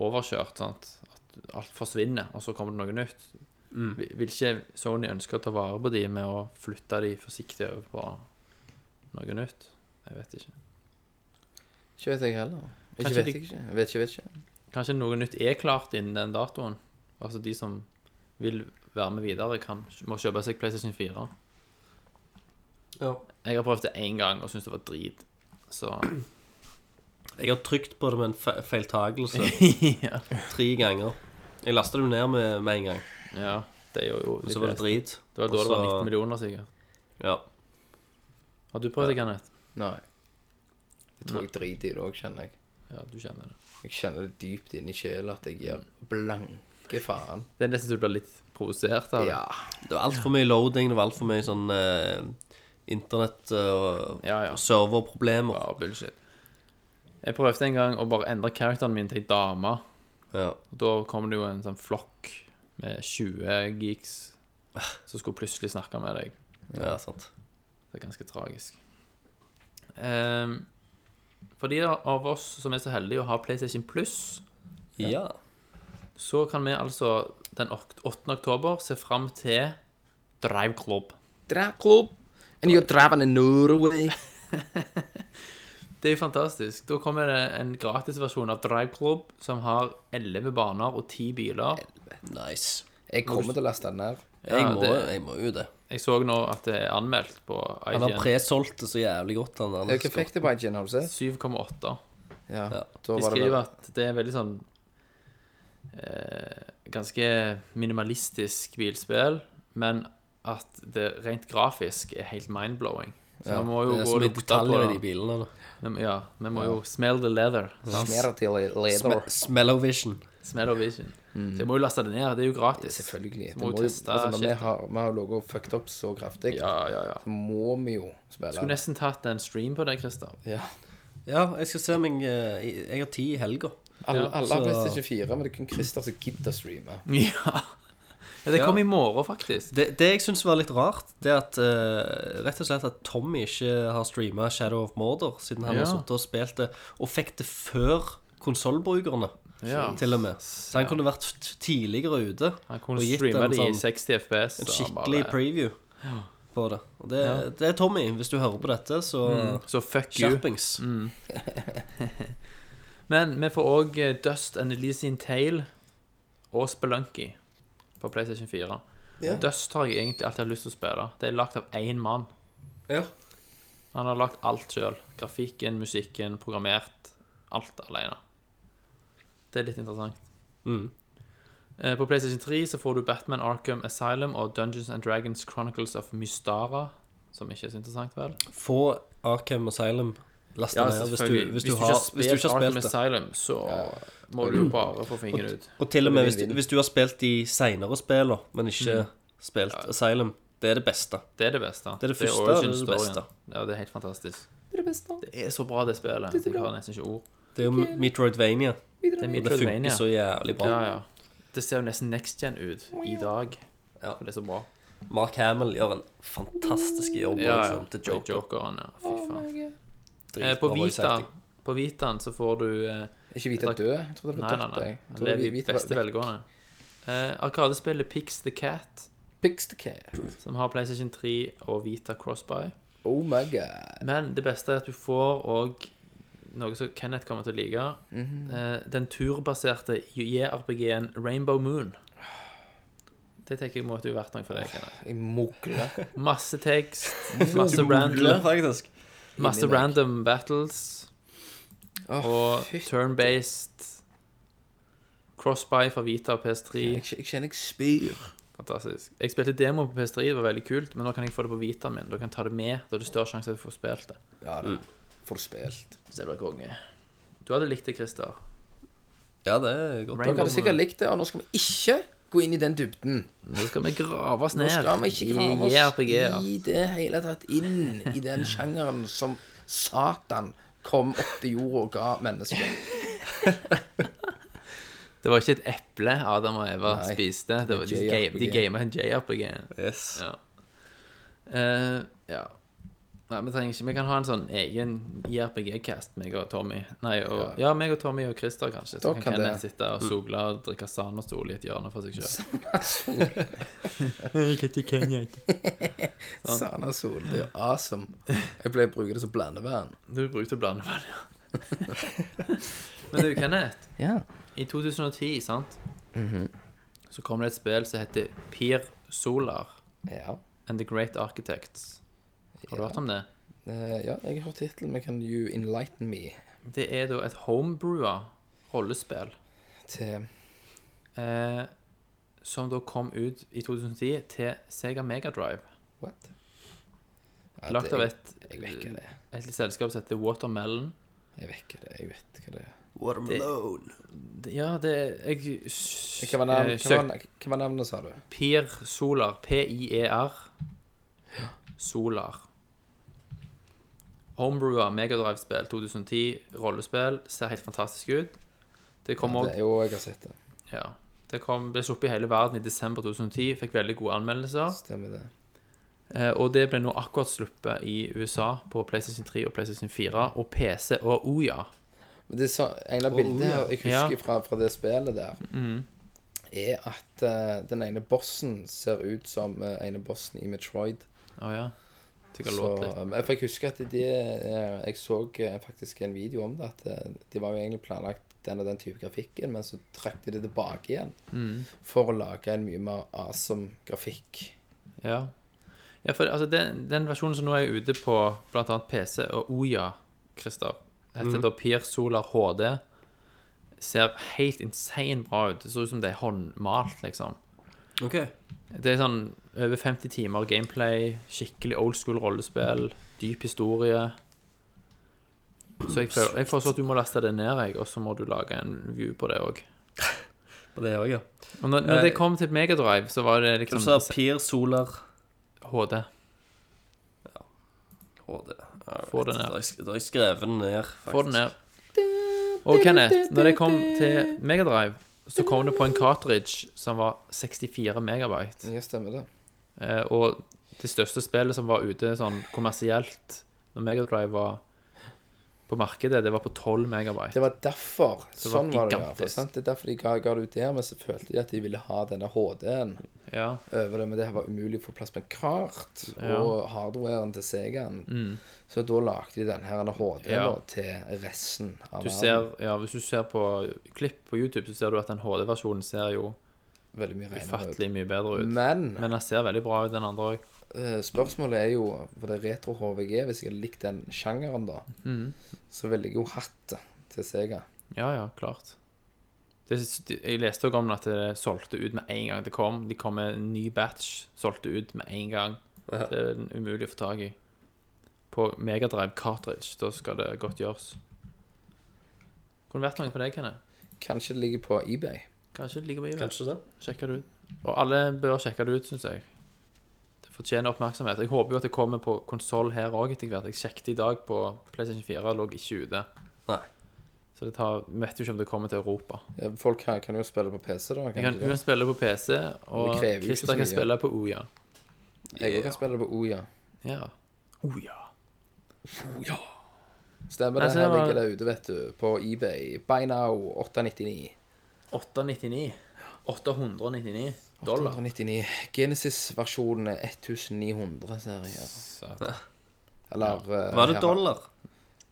E: overkjørt. Sant? At alt forsvinner, og så kommer det noe nytt. Vi- Vil ikke Sony ønske å ta vare på de med å flytte de forsiktig over på noe nytt? Jeg vet ikke.
F: Ikke vet jeg heller. Ikke
E: Kanskje
F: vet
E: de-
F: jeg ikke. Vet ikke, vet ikke.
E: Kanskje noe nytt er klart innen den datoen? Altså de som vil være med videre, kan, må kjøpe seg PlayStation 4.
G: Ja.
E: Jeg har prøvd det én gang og syntes det var drit. Så
G: Jeg har trykt på det med en fe feiltagelse
E: ja.
G: tre ganger. Jeg lastet det jo ned med, med en gang,
E: ja. Det gjør jo
G: men
E: de
G: så var det
E: fleste.
G: drit.
E: Det var da det
G: Og
E: var
G: så-
E: 19 millioner, sikkert.
G: Ja.
E: Har du prøvd det, Kenneth?
F: Nei. Jeg tror jeg driter i det òg, kjenner jeg.
E: Ja, du kjenner det.
F: Jeg kjenner det dypt inni sjela at jeg gir blanke faen.
E: Det er nesten så du blir litt provosert av det.
F: Ja.
G: Det var altfor mye loading, det var altfor mye sånn eh, internett eh, og
E: Ja, ja.
G: og serverproblemer.
E: Bare bullshit. Jeg prøvde en gang å bare endre characteren min til ei dame.
G: Ja.
E: Og da kom det jo en sånn flokk med 20 geeks som skulle plutselig snakke med deg.
G: ja, sant.
E: Det er ganske tragisk. Ehm, for de av oss som er så heldige å ha PlayStation Plus,
G: Ja.
E: så kan vi altså den ok- 8. oktober se fram til Drive Club.
F: Dracula, and you're driving in Norway.
E: Det er jo fantastisk. Da kommer det en gratisversjon av Drive Club som har 11 baner og 10 biler.
G: Nice.
F: Jeg kommer til å laste den ned.
G: Jeg,
E: Ja,
G: må,
E: det-
G: jeg må jo det.
E: Jeg så nå at det er anmeldt på
G: Han har
E: IGN.
G: presolgt det så jævlig godt, han der.
F: Hva fikk det på IGN, har du sett?
E: 7,8.
F: Ja.
G: Ja.
F: Da
E: De
F: var det
E: skriver
F: vel
E: at det er veldig sånn eh, Ganske minimalistisk bilspill, men at det rent grafisk er helt mind-blowing. Så vi må jo
G: Det er
E: gå
G: så mye
E: lukta
G: detaljer i
E: på-
G: de bilene. da.
E: Vi må- Ja, vi må jo smell the leather. sant?
F: mer til leder.
G: Sme- Smellovision.
E: Smell of vision.
G: Mhm.
E: Så jeg må jo laste det ned. Det er jo gratis.
F: Selvfølgelig.
E: Så
F: Det
E: må
F: må
E: jo
F: jo,
E: teste
F: altså, når vi
E: shit.
F: har, vi har ligget og fucked opp så kraftig,
E: Ja, ja, ja.
F: så må vi jo spille.
E: Skulle nesten tatt en stream på det, Christer.
F: Ja.
G: Ja, jeg skal se om jeg eh, Jeg jeg har tid i helga.
F: Alle, alle har
G: så-
F: PlayStation 4, men det er kun Christer som gidder å streame.
E: Ja. ja det kom
G: Ja.
E: i morgen, faktisk.
G: Det, det jeg syns var litt rart, det er at eh, rett og slett at Tommy ikke har streama Shadow of Morder, siden han
E: Ja.
G: har sittet og spilt det, og fikk det før konsollbrukerne,
E: Ja.
G: til og med. Så han kunne vært t- tidligere ute
E: Han kunne
G: og gitt
E: streame
G: en,
E: det i
G: sånn,
E: 60 FPS.
G: en
E: så han
G: skikkelig
E: bare-
G: preview på det. Og det, det er Tommy, hvis du hører på dette, så
E: Så fuck you.
G: skjerpings.
E: Men vi får òg Dust and Elysian Tale og Spelunky på PlayStation 4. Dust har jeg egentlig alltid hatt lyst til å spille. Det er lagd av én mann.
G: Ja.
E: Han har lagd alt sjøl. Grafikken, musikken, programmert. Alt alene. Det er litt interessant.
G: Mm.
E: Eh, På PlayStation 3 så får du Batman Arkham Asylum og Dungeons and Dragons Chronicles of Mystara, som ikke er så interessant, vel?
G: Få Arkham Asylum lasta ned hvis du,
E: selvfølgelig.
G: hvis, du har, hvis du ikke har
E: Arkham
G: spilt det.
E: Asylum, så må du jo bare få fingeren ut.
G: Og til og med hvis,
F: Vinn-vinn.
G: hvis du har spilt de seinere spillene, men ikke
E: Mm.
G: spilt Asylum, det er det beste.
E: Det er det beste.
G: er det første,
E: origin
G: det er det
E: storyen.
G: beste.
E: Ja, det er helt fantastisk. Det er det beste. Det er så bra, det spillet. jeg har nesten ikke ord.
G: Det er jo Metroidvania.
E: Det er
G: Og det funker
E: Metroidvania.
G: så jævlig bra.
E: Ja, ja. Det ser jo nesten next gen ut i dag.
G: Ja.
E: For det er så bra.
G: Mark Hamill gjør en fantastisk jobb
E: Ja, ja.
G: liksom, til Joker.
E: Jokeren, ja. Fy faen.
G: Dritbra
E: Eh, på
G: voice
E: Vita,
G: acting.
E: på Vitaen så får du eh,
F: Ikke Vita
E: Takk.
F: død. Jeg trodde det
E: Nei,
F: var
E: nei,
F: dødt.
E: nei.
F: jeg. Jeg
E: Han
F: trodde
E: lever i
F: Vita var-
E: beste velgående. Eh, Arkadespillet Pix the Cat,
F: Pixed Cat.
E: som har PlayStation 3 og Vita Crossby.
F: Oh my god.
E: Men det beste er at du får òg noe som Kenneth kommer til å like. eh, den turbaserte JRPG-en Rainbow Moon. Det tenker jeg måtte jo vært noe for deg. Kenneth.
F: Jeg mugler.
E: Masse tekst, masse,
G: Mugler,
E: random,
G: faktisk.
E: masse random battles og turn-based. Crossby fra Vita og PS3.
F: Jeg, jeg kjenner jeg spyr.
E: Fantastisk. Jeg spilte demo på PS3, det var veldig kult, men nå kan jeg få det på Vitaen min. Da kan jeg ta det med, da er det større sjanse at jeg får spilt det.
F: Ja da. Får du spilt.
E: Så det blir konge. Du hadde likt det, Christer.
G: Ja, det er godt.
F: Dere
E: Rainbow
F: hadde sikkert likt det, og nå skal vi ikke gå inn i den dybden.
E: Nå skal vi grave oss
F: Nå
E: ned
F: skal vi ikke grave
E: i
F: oss
E: RPG-er.
F: i det hele tatt inn i den sjangeren som Satan kom opp til jorda og ga mennesker.
E: Det var ikke et eple Adam og Eva
F: Nei,
E: spiste. Det var, de
F: JRPG.
E: ga- de gama en JRPG.
G: Yes.
E: Ja. Eh, ja. Nei, vi trenger ikke Vi kan ha en sånn egen JRPG-cast, meg og Tommy. Nei, og, ja, meg og Tommy og Christer, kanskje. Så
F: Da
E: kan,
F: kan
E: Kenneth
F: det-
E: sitte og sogle og drikke Sanastol i et hjørne for seg sjøl. Sånn.
F: Sana Sol, det er awesome. Jeg pleier å bruke det som blandevern.
E: Du brukte blandevann, ja. Men du, Kenneth.
F: Ja.
E: I 2010, sant, Mhm. så kom det et spill som heter Pier Solar
F: Ja.
E: and The Great Architects. Har du hørt om det?
F: Eh, ja, jeg har hørt tittelen, men kan you enlighten me
E: Det er da et homebrewa rollespill
F: til
E: eh, som da kom ut i 2010 til Sega Megadrive.
F: What? Ja,
E: Lagt
F: det-
E: av et,
F: Jeg vet ikke det.
E: et lite selskap som heter Watermelon.
F: Jeg vet ikke det. Jeg vet ikke det.
E: Det- Ja, det Jeg s-
F: Hva var navn-
E: eh,
F: hva var
E: søkte
F: na- hva var navnet, sa du?
E: Pier Solar. P-i-e-r. Solar. Homebrewa Megadrive-spill 2010. Rollespill. Ser helt fantastisk ut. Det kom òg
F: Det er jo jeg har sett det.
E: Ja. Det kom, ble sluppet i hele verden i desember 2010, fikk veldig gode anmeldelser.
F: Stemmer det.
E: Eh, og det ble nå akkurat sluppet i USA på PlayStation 3 og PlayStation 4 og PC og Oya.
F: Men det sa, en av bildene her, jeg
E: Ja. Mm.
F: husker fra, fra det spillet der, er at eh, den ene bossen ser ut som uh, ene bossen i Metroid.
E: Å ja. Sikkert
F: Så,
E: låt litt.
F: um, for jeg husker at de, eh, jeg så eh, faktisk en video om det, at eh, de var jo egentlig planlagt den og den type grafikken, men så trakk de det tilbake igjen
E: Mm.
F: for å lage en mye mer awesome grafikk.
E: Ja. ja, for altså, den, den versjonen som nå er ute på bl.a. PC og Oya, Christer, heter
G: Mhm.
E: da Pier Solar HD, ser helt insane bra ut. Det ser ut som det er håndmalt, liksom.
G: OK.
E: Det er sånn over 50 timer gameplay, skikkelig old school rollespill, dyp historie. Så jeg, prøver, jeg foreslår at du må laste det ned, jeg, og så må du lage en view på det òg.
G: På det òg, ja.
E: Og når, når det kom til Megadrive, så var det
G: Du
E: liksom
G: sa Pier Solar
E: HD.
G: HD.
E: Få det ned.
G: Da har jeg sk- da har jeg skrevet den ned. faktisk.
E: Få det ned. Og Kenneth, når det kom til Megadrive, så kom det på en cartridge som var 64 megabyte.
F: Ja, stemmer det.
E: Eh, Og det største spillet som var ute sånn kommersielt når Megadrive var på markedet, det var på 12 megabyte.
F: Det var derfor.
E: det var
F: sånn var det. ja, for
E: gigantisk.
F: sant? Det er derfor de ga, ga det ut der, men så følte de at de ville ha denne HD-en
E: Ja,
F: over det, men det her var umulig å få plass på en kart
E: Ja. Mm.
F: og hardwaren til Segaen. Så da lagde de denne her HD-en
E: Ja.
F: da, til resten av
E: du
F: verden.
E: ser, ja, hvis du ser på klipp på YouTube, så ser du at den HD-versjonen ser jo
F: veldig mye renere ut.
E: ufattelig mye bedre ut.
F: Men
E: Men den ser veldig bra ut, den andre òg.
F: eh, spørsmålet er jo For det er retro HVG, hvis jeg hadde likt den sjangeren, da,
E: Mm.
F: så ville jeg jo hatt det til Sega.
E: Ja, ja, klart. Det, jeg leste òg om at det solgte ut med en gang det kom. De kom med en ny batch, solgte ut med en gang. Det er umulig å få tak i. På Megadrive Cartridge, da skal det godt gjøres. Kunne vært noe for deg, Kenneth.
F: Kanskje det ligger på eBay.
E: Kanskje det ligger på eBay.
G: Kanskje det.
E: Sjekke det ut. Og alle bør sjekke det ut, syns jeg. Det fortjener oppmerksomhet. Jeg håper jo at det kommer på konsoll her òg etter hvert. Jeg sjekket i dag på PlayStation 4, lå ikke ute.
G: Nei.
E: Så det tar, vi vet jo ikke om det kommer til Europa.
F: Ja, Eh, Folk her kan jo spille på PC, da.
E: Jeg kan,
F: kanskje
E: du kan
F: det?
E: spille på PC,
F: Men
E: og
F: det krever jo ikke så
E: Christer kan
F: mye.
E: spille på Oja.
F: Jeg også kan spille på Oya.
E: Ja. Oja.
F: Stemmer
E: Nei,
F: det.
E: så Altså, det
F: Her
E: var-
F: ligger det ute, vet du. På eBay. By now 899.
E: 899. 899 dollar.
F: 899. Genesis-versjonen er 1900, ser jeg her.
E: Satan.
F: Eller eh, her-
G: Var det dollar?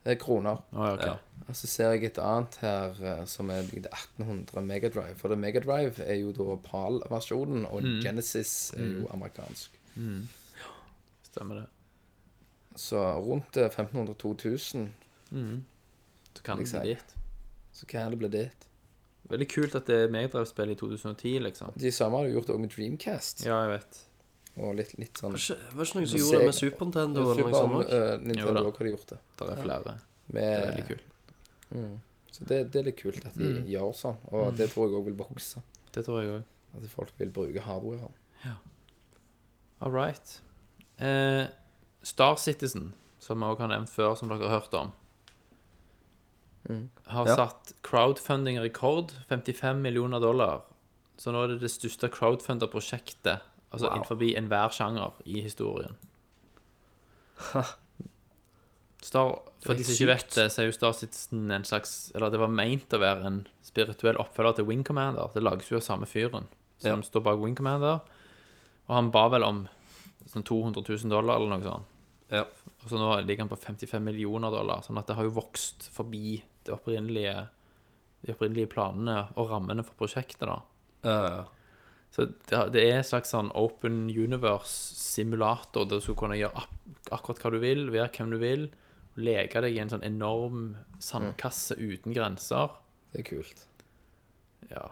F: Eh, Kroner.
E: Å, ja, ok.
G: Ja.
F: Og så ser jeg et annet her eh, som er ligger til 1800 Megadrive. For det Megadrive er jo da PAL-versjonen, og
E: Mm.
F: Genesis er jo amerikansk.
E: Stemmer det.
F: Så rundt eh, 1500-2000,
E: Du kan
F: Liksom.
E: det dit.
F: så hva er det ble det?
E: Veldig kult at det er Megadrive-spill i 2010, liksom.
F: De samme har du gjort også med Dreamcast,
E: Ja, jeg vet.
F: og litt, litt sånn
G: Var ikke, var ikke noen som
F: Så
G: gjorde
F: ser-
G: det med Super Nintendo? eller noe
F: Super
G: sånt også?
F: eh,
E: Jo da.
F: Nintendo også har de gjort det.
E: Det er flere. Det er
F: Med,
E: veldig kult.
F: Så det, det er litt kult at de gjør sånn, og det tror jeg òg vil vokse.
E: Det tror jeg òg.
F: At folk vil bruke hardwaren.
E: All right. Eh, Star Citizen, som vi også har nevnt før, som dere har hørt om, har
G: Ja.
E: satt crowdfunding-rekord, 55 millioner dollar. Så nå er det det største crowdfunder-prosjektet altså innenfor enhver sjanger i historien. Star, for de som ikke vet det, så er jo Star Citizen en slags Eller det var meint å være en spirituell oppfølger til Wing Commander. Det lages jo av samme fyren som står bak Wing Commander. Og han ba vel om sånn 200 000 dollar eller noe sånt.
G: Ja.
E: Og så altså nå ligger han på 55 millioner dollar, sånn at det har jo vokst forbi det opprinnelige, de opprinnelige planene og rammene for prosjektet. da.
G: Eh,
E: Så det, det er en slags sånn open universe-simulator der du skal kunne gjøre ak akkurat hva du vil, være hvem du vil, og leke deg i en sånn enorm sandkasse uten grenser.
F: Det er kult.
E: Ja.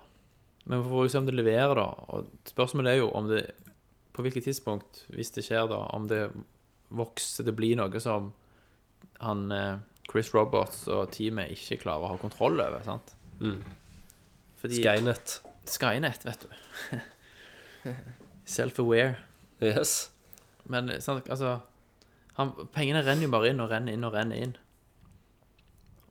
E: Men vi får jo se om det leverer, da. Og spørsmålet er jo om det På hvilket tidspunkt, hvis det skjer, da, om det vokser Det blir noe som han eh, Chris Roberts og teamet ikke klarer å ha kontroll over, sant?
G: Mm.
E: Fordi
G: Skynet.
E: Skynet, vet du. Self-aware.
G: Yes.
E: Men sant, altså han, Pengene renner jo bare inn og renner inn og renner inn.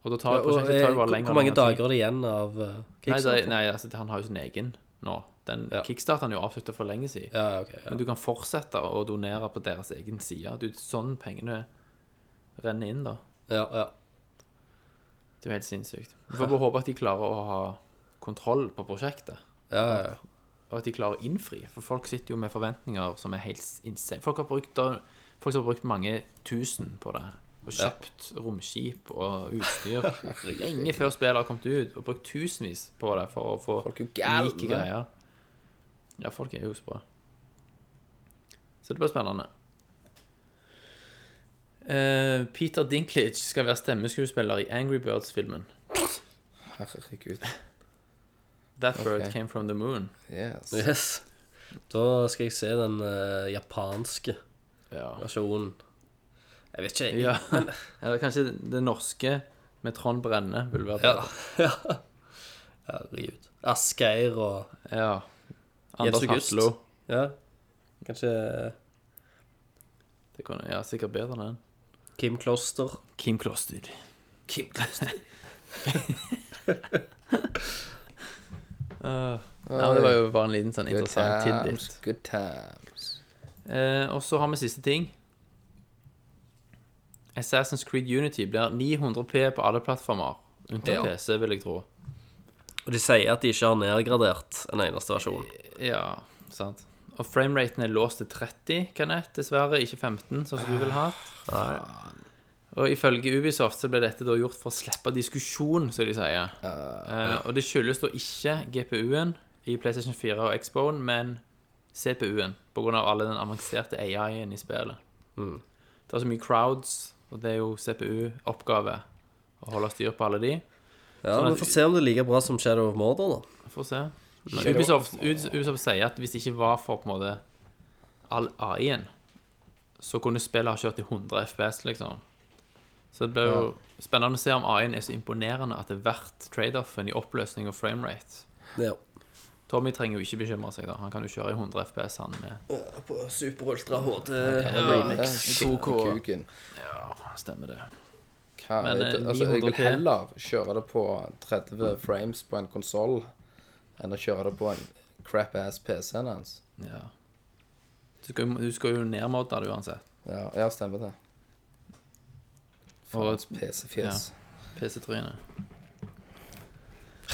E: Og da tar
G: Og,
E: jo prosjektet
G: eh,
E: tar jo
G: hvor
E: bare lenger
G: hvor
E: og lenger
G: mange
E: tid.
G: dager er det igjen av uh,
E: Nei, det,
G: Kickstarter?
E: er- nei altså, det- han har jo sin egen nå. Den
G: Ja.
E: kickstarter han jo avslutta for lenge siden.
G: Ja, ok, ja.
E: Men du kan fortsette å donere på deres egen side. Du, sånn pengene renner inn, da.
G: ja, ja.
E: Det er jo helt sinnssykt. Vi får bare håpe at de klarer å ha kontroll på prosjektet.
G: ja, ja, ja.
E: Og at de klarer å innfri. For folk sitter jo med forventninger som er helt insane. Folk har brukt, da- folk som har brukt mange tusen på det. Og kjøpt romskip og utstyr lenge før spillet har kommet ut. Og brukt tusenvis på det for å få
F: Folk er jo
E: Like
F: gærne.
E: greier. Ja, folk er jo så bra. Så det blir spennende. Eh, Peter Dinklage skal være stemmeskuespiller i Angry Birds-filmen.
F: Herregud.
E: That bird
F: Ok.
E: came from the moon.
F: Yes.
G: Yes. Da skal jeg se den eh, japanske
E: Ja.
G: versjonen. Jeg vet ikke, jeg.
E: ja. Eller kanskje det, det norske med Trond Brenne vil være
G: Ja. ja. Herregud. Asgeir og
E: bedre. Ja. Anders
G: Jens August.
E: Haslo.
G: Ja. Kanskje eh,
E: Det kunne, ja, sikkert bedre enn den.
G: Kim Kloster.
E: Kim Kloster. Kim Kloster. ja, men det var jo bare en liten sånn
F: Good
E: interessant tidbit.
F: times. Good times.
E: Eh, og så har vi siste ting. Assassin's Creed Unity blir 900P på alle plattformer. Unntatt
G: Ja.
E: PC, vil jeg tro.
G: Og de sier at de ikke har nedgradert en eneste versjon.
E: Ja, sant. Og frameraten er låst til 30, Kanett, dessverre. Ikke 15, sånn som du vil ha. Og ifølge Ubisoft så ble dette da gjort for å slippe diskusjon, som de sier. Eh, og det skyldes da ikke GPU-en i PlayStation 4 og Xbone, men CPU-en. På grunn av alle den avanserte AI-en i spillet. Det er så mye crowds, og det er jo CPU-oppgave å holde styr på alle de.
G: Ja,
E: Sånn at-
G: Vi får se om det er like bra som Shadow of Mordor, da.
E: Få se. Men Ubisoft, Ubis- Ubisoft sier at hvis det ikke var for på en måte all AI-en, så kunne spillet ha kjørt i 100 FPS, liksom. Så det blir jo spennende å se om AI-en er så imponerende at det er verdt trade-offen i oppløsning og framerate.
G: Ja.
E: Tommy trenger jo ikke bekymre seg, da. Han kan jo kjøre i 100 FPS, han med
G: På Super Ultra HD.
E: OK.
F: Kuken.
E: Stemmer det.
F: Hva,
E: Men,
F: jeg,
E: eh,
F: altså, jeg vil
E: 900p.
F: heller kjøre det på 30 frames på en konsoll enn å kjøre det på en crap ass PC-en hans.
E: Ja. Du skal, jo- du skal jo nærmodde det uansett.
F: Ja, ja stemmer det.
E: Og
F: PC-fjes.
E: PC-trynet.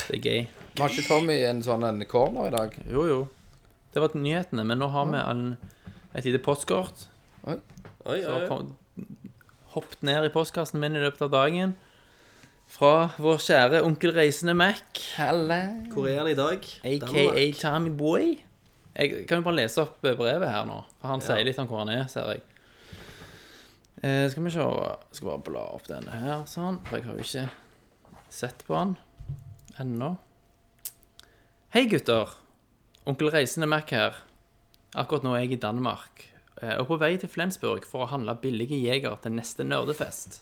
E: Det er gøy.
F: Vi har ikke Tommy i en sånn en corner i dag.
E: Jo, jo. Det var nyhetene, men nå har vi en, et lite postkort.
G: Oi,
E: Det
G: oi,
E: har
G: oi.
E: kom- hoppet ned i postkassen min i løpet av dagen. Fra vår kjære onkel Reisende Mac,
G: Hvor er han i dag?
E: aka Tommy Boy. Jeg kan jo bare lese opp eh, brevet her nå, for han sier litt om hvor han er, ser jeg. Eh, skal vi se Skal bare bla opp denne her, sånn. For jeg har jo ikke sett på han ennå. Hei, gutter. Onkel Reisende Mac her. Akkurat nå er jeg i Danmark eh, og på vei til Flensburg for å handle billige jeger til neste nerdefest.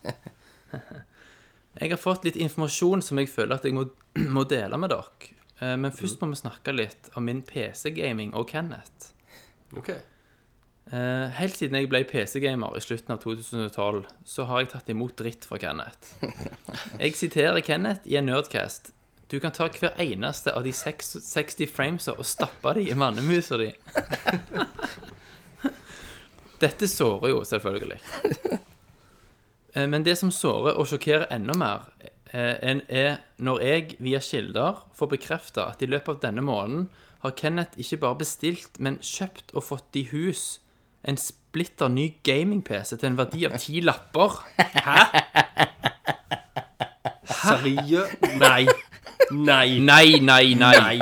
E: Jeg har fått litt informasjon som jeg føler at jeg må, må dele med dere. Eh, Men først må vi snakke litt om min PC-gaming og Kenneth.
G: OK.
E: Eh, Helt siden jeg ble PC-gamer i slutten av 2012, så har jeg tatt imot dritt fra Kenneth. Jeg siterer Kenneth i en Nerdcast. Du kan ta hver eneste av de seks- 60 framesa og stappe de i mannemusa di. Dette sårer jo, selvfølgelig. Eh, Men det som sårer og sjokkerer enda mer, eh, en- er når jeg via kilder får bekrefta at i løpet av denne måneden har Kenneth ikke bare bestilt, men kjøpt og fått i hus en splitter ny gaming-PC til en verdi av ti lapper.
G: Seriø? Nei. Nei.
E: Nei, nei, nei.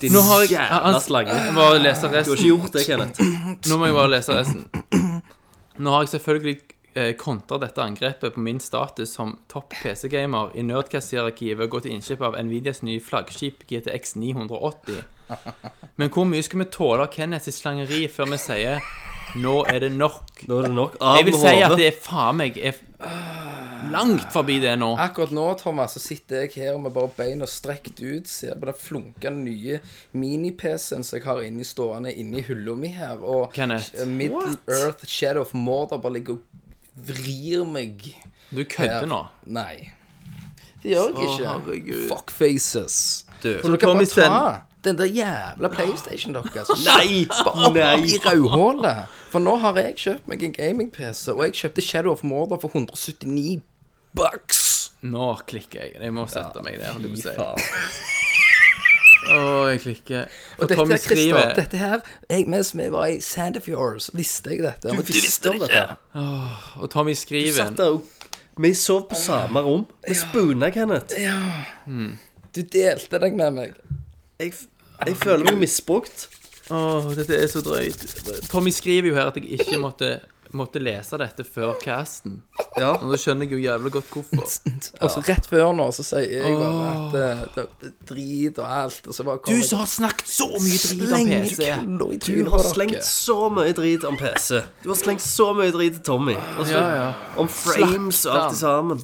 G: Din
E: Nå har jeg-
G: jævla
E: han-
G: slange.
E: Jeg må lese
G: Du har
E: resten.
G: ikke gjort det, Kenneth.
E: Nå må jeg bare lese resten. Nå har jeg selvfølgelig eh, kontra dette angrepet på min status som topp PC-gamer i Nerdcast-hierarkiet ved å gå til innkjøp av Nvidias nye flaggskip GTX 980. Men hvor mye skal vi tåle av Kenneths slangeri før vi sier 'nå er det nok'?
G: Nå er det nok. Av
E: Jeg vil si at
G: hodet.
E: det er faen meg er f- langt forbi det nå.
F: Akkurat nå, Thomas, så sitter jeg her med bare beina strekt ut, ser på den flunkende nye mini-PC-en som jeg har inni stående inni hylla mi her, og eh,
E: Kenneth.
F: Middle Earth Shadow of Mordor bare ligger og vrir meg.
E: Du kødder nå.
F: Nei. Det gjør jeg ikke.
E: herregud.
F: Fuckfaces.
G: Du.
F: For dere
E: Tommy
F: bare
E: Sten.
F: ta den der jævla PlayStation deres.
G: Nei!
F: Opp i
G: Nei!
F: rødhålet. For nå har jeg kjøpt meg en gaming-PC, og jeg kjøpte Shadow of Mordor for 179 bucks.
E: Nå klikker jeg. Jeg må sette meg der. holdt jeg på å si.
G: faen.
E: Å, jeg klikker.
F: Og
E: Og
F: dette,
E: Tommy
F: her, Christer,
E: skriver
F: dette her jeg, Mens vi var i Sandefjord, så visste jeg dette. Du visste om dette.
E: Og Tommy skriver
G: Satt der og Vi sov på samme rom. Vi spuna, Kenneth.
F: Du delte deg med meg.
G: Jeg, jeg føler meg misbrukt.
E: Åh, dette er så drøyt. Tommy skriver jo her at jeg ikke måtte, måtte lese dette før casten.
G: Ja.
E: Og da skjønner jeg jo jævlig godt hvorfor.
F: Og så rett før nå så sier jeg bare at eh, det, det, drit og alt, og så bare kommer
E: har snakket så mye
G: Du har slengt så mye drit om PC. Du har slengt så mye drit til Tommy.
E: altså.
G: Og så, Om frames og alt det sammen.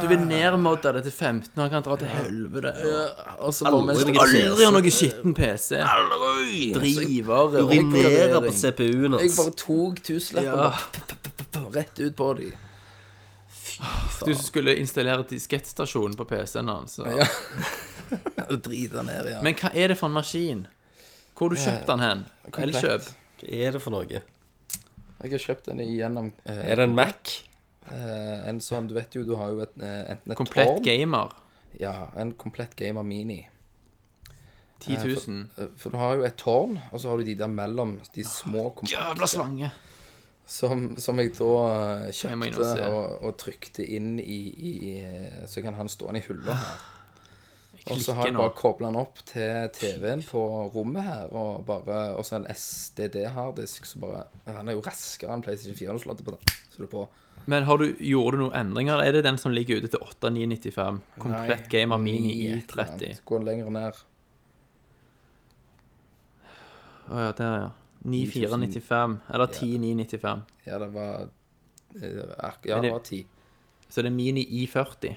E: Du vil nedmodde det til 15, og han kan dra til helvete.
F: Og så bare
G: Aldri
F: mens
G: noe
E: Aldri
G: PC.
E: ha noe skitten PC. Driver og
G: Urinerer på CPU-en
F: jeg
G: hans.
F: bare tok tusenlapper
E: Ja.
F: og bare p- p- p- p- rett ut på dem.
E: Du som skulle installere diskettstasjonen på PC-en hans. så-
F: Ja. Drita ned igjen.
E: Men hva er det for en maskin? Hvor har du kjøpt den hen?
F: komplett.
E: Elkjøp?
G: Hva er det for noe?
F: Jeg har kjøpt den igjennom eh,
G: Er det en Mac?
F: eh, en sånn Du vet jo, du har jo et, eh, enten et
E: Komplett
F: tårn
E: gamer.
F: Ja, en komplett gamer mini.
E: 10 000.
F: Eh, For du har jo et tårn, og så har du de der mellom, de små
E: Ah, Jævla
F: kompakte,
E: slange.
F: som, som jeg da eh,
E: Jeg må inn
F: kjøpte
E: og se.
F: og, og trykte inn i, i eh, Så kan han stå i hylla her. Og så
E: klikker
F: har jeg
E: nå.
F: bare kobla den opp til TV-en på rommet her, og bare, og så en SDD-harddisk, så bare Han er jo raskere enn PlayStation 4, så la det på den. Så det er på
E: Men har du, gjorde du noen endringer? Er det den som ligger ute til 8995? Komplett Gamer Mini E i30.
F: Gå lenger ned.
E: Å ja, der, ja. 9495. Eller 10995.
F: Ja, det var eh, ak- Ja,
E: Men det-
F: det var ti.
E: Så det er Mini i40.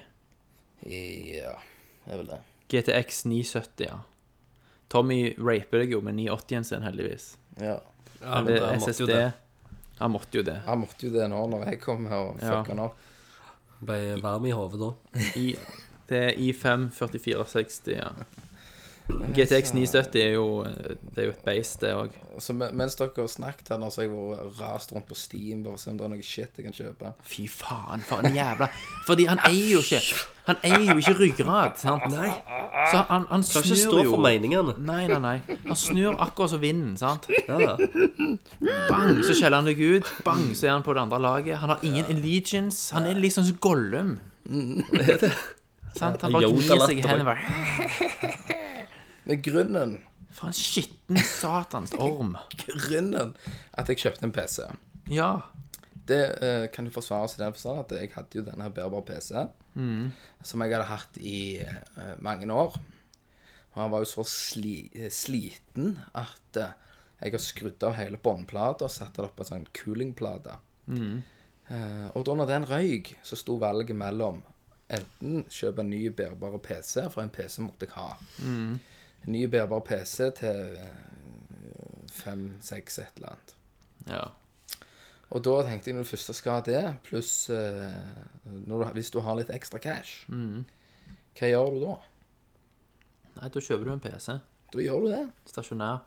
F: Ja, det er vel det.
E: GTX 970, ja. Tommy raper deg jo med 980-en sin, heldigvis.
F: Ja.
G: Ja, men
E: Det
G: da
E: er
G: måtte
E: SSD.
G: jo det.
E: Han måtte jo det.
F: Han måtte jo det nå når jeg kom her og
E: Ja.
F: fucka han opp.
G: Ble varm i hodet da.
E: I, det er i5 4460, ja.
G: altså-
E: GTX 970 er jo, eh, det er jo et beist, det òg.
F: Så me- mens dere har snakket her, nå, så har jeg vært rast rundt på Steam bare se om det er noe shit jeg kan kjøpe.
E: Fy faen, for en jævla Fordi han eier jo ikke Han eier jo ikke ryggrad, sant? Nei. Så han, han
G: Kan ikke
E: snur
G: stå
E: jo
G: for meningene.
E: Nei, nei, nei. Han snur akkurat som vinden, sant?
G: Ja, ja.
E: Bang, så skjeller han deg ut. Bang, så er han på det andre laget. Han har ingen allegiance. Han er liksom som Gollum. Sant? Han bare gnir seg i
G: Yoda-latter.
E: hendene. bare,
F: Men grunnen,
E: For en skitten satans orm.
F: grunnen at jeg kjøpte en PC,
E: Ja.
F: det eh, kan jo forsvares i den forstand at jeg hadde jo denne bærbare PC-en, som jeg hadde hatt i eh, mange år. Og han var jo så sli eh, sliten at eh, jeg har skrudd av hele båndplata og satt det opp på en sånn coolingplate. Eh, og da når den røyk, så sto valget mellom enten kjøpe en ny bærbar PC, for en PC måtte jeg ha. En ny bærbar PC til fem-seks et eller annet.
E: Ja.
F: Og da tenkte jeg når du først skal ha det, pluss eh, når du, hvis du har litt ekstra cash,
E: Mm.
F: hva gjør du da?
E: Nei, da kjøper du en PC.
F: Da gjør du det.
E: Stasjonær.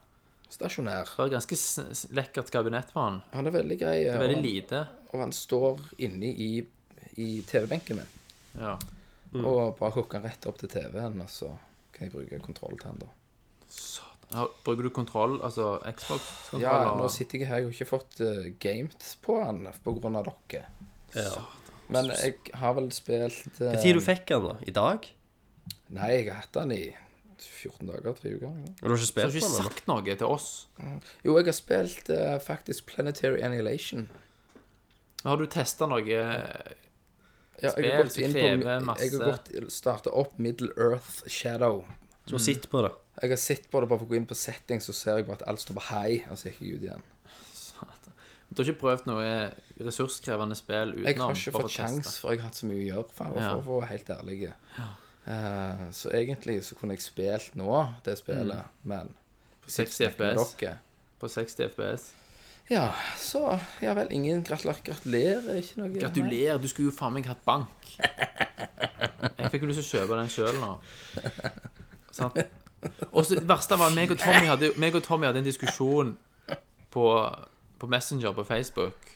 F: Stasjonær.
E: Det var et ganske s- s- lekkert kabinett for han.
F: Han er veldig grei, og
E: Veldig
F: han,
E: lite.
F: og han står inne i, i TV-benken min.
E: Ja. Mm.
F: Og bare hooker han rett opp til TV-en, og så kan jeg bruke kontroll til han da.
E: Ja, Bruker du kontroll, altså Xbox-kontroll?
F: Ja, nå sitter jeg her, jeg har ikke fått eh, gamet på han på grunn av dere.
G: Ja.
F: Men jeg har vel spilt eh,
G: Hva tid du fikk den, da? I dag?
F: Nei, jeg har hatt han i 14 dager, tre uker. Ja.
E: Du
G: Og du har ikke
E: har
G: spilt
E: ikke
G: på den?
E: sagt noe til oss.
F: Jo, jeg har spilt eh, faktisk Planetary Annihilation.
E: Men Har du testa noe
F: Ja, jeg
E: Spill
F: har gått
E: som
F: inn på
E: krever
F: Jeg
E: masse.
F: har gått starta opp Middle Earth Shadow.
G: Du må sitte på det.
F: Jeg har sett på det bare for å gå inn på settings, så ser jeg bare at alt står på high, og så gikk jeg ut igjen.
E: Du har ikke prøvd noe ressurskrevende spill utenom?
F: Jeg har ikke
E: for å
F: fått
E: teste?
F: sjans, for jeg har hatt så mye å gjøre, for, for,
E: Ja.
F: for å være helt ærlig. Eh, så egentlig så kunne jeg spilt nå, det
E: Mm.
F: spillet, men
E: 60 FPS.
F: dere.
E: På 60 FPS.
F: Ja, så Ja vel, ingen gratulerer, gratulerer ikke noe.
E: Gratulerer, du skulle jo faen meg hatt bank. Jeg fikk jo lyst til å kjøpe den sjøl nå. Sant? Og så det verste var at meg og Tommy hadde, meg og Tommy hadde en diskusjon på, på Messenger på Facebook.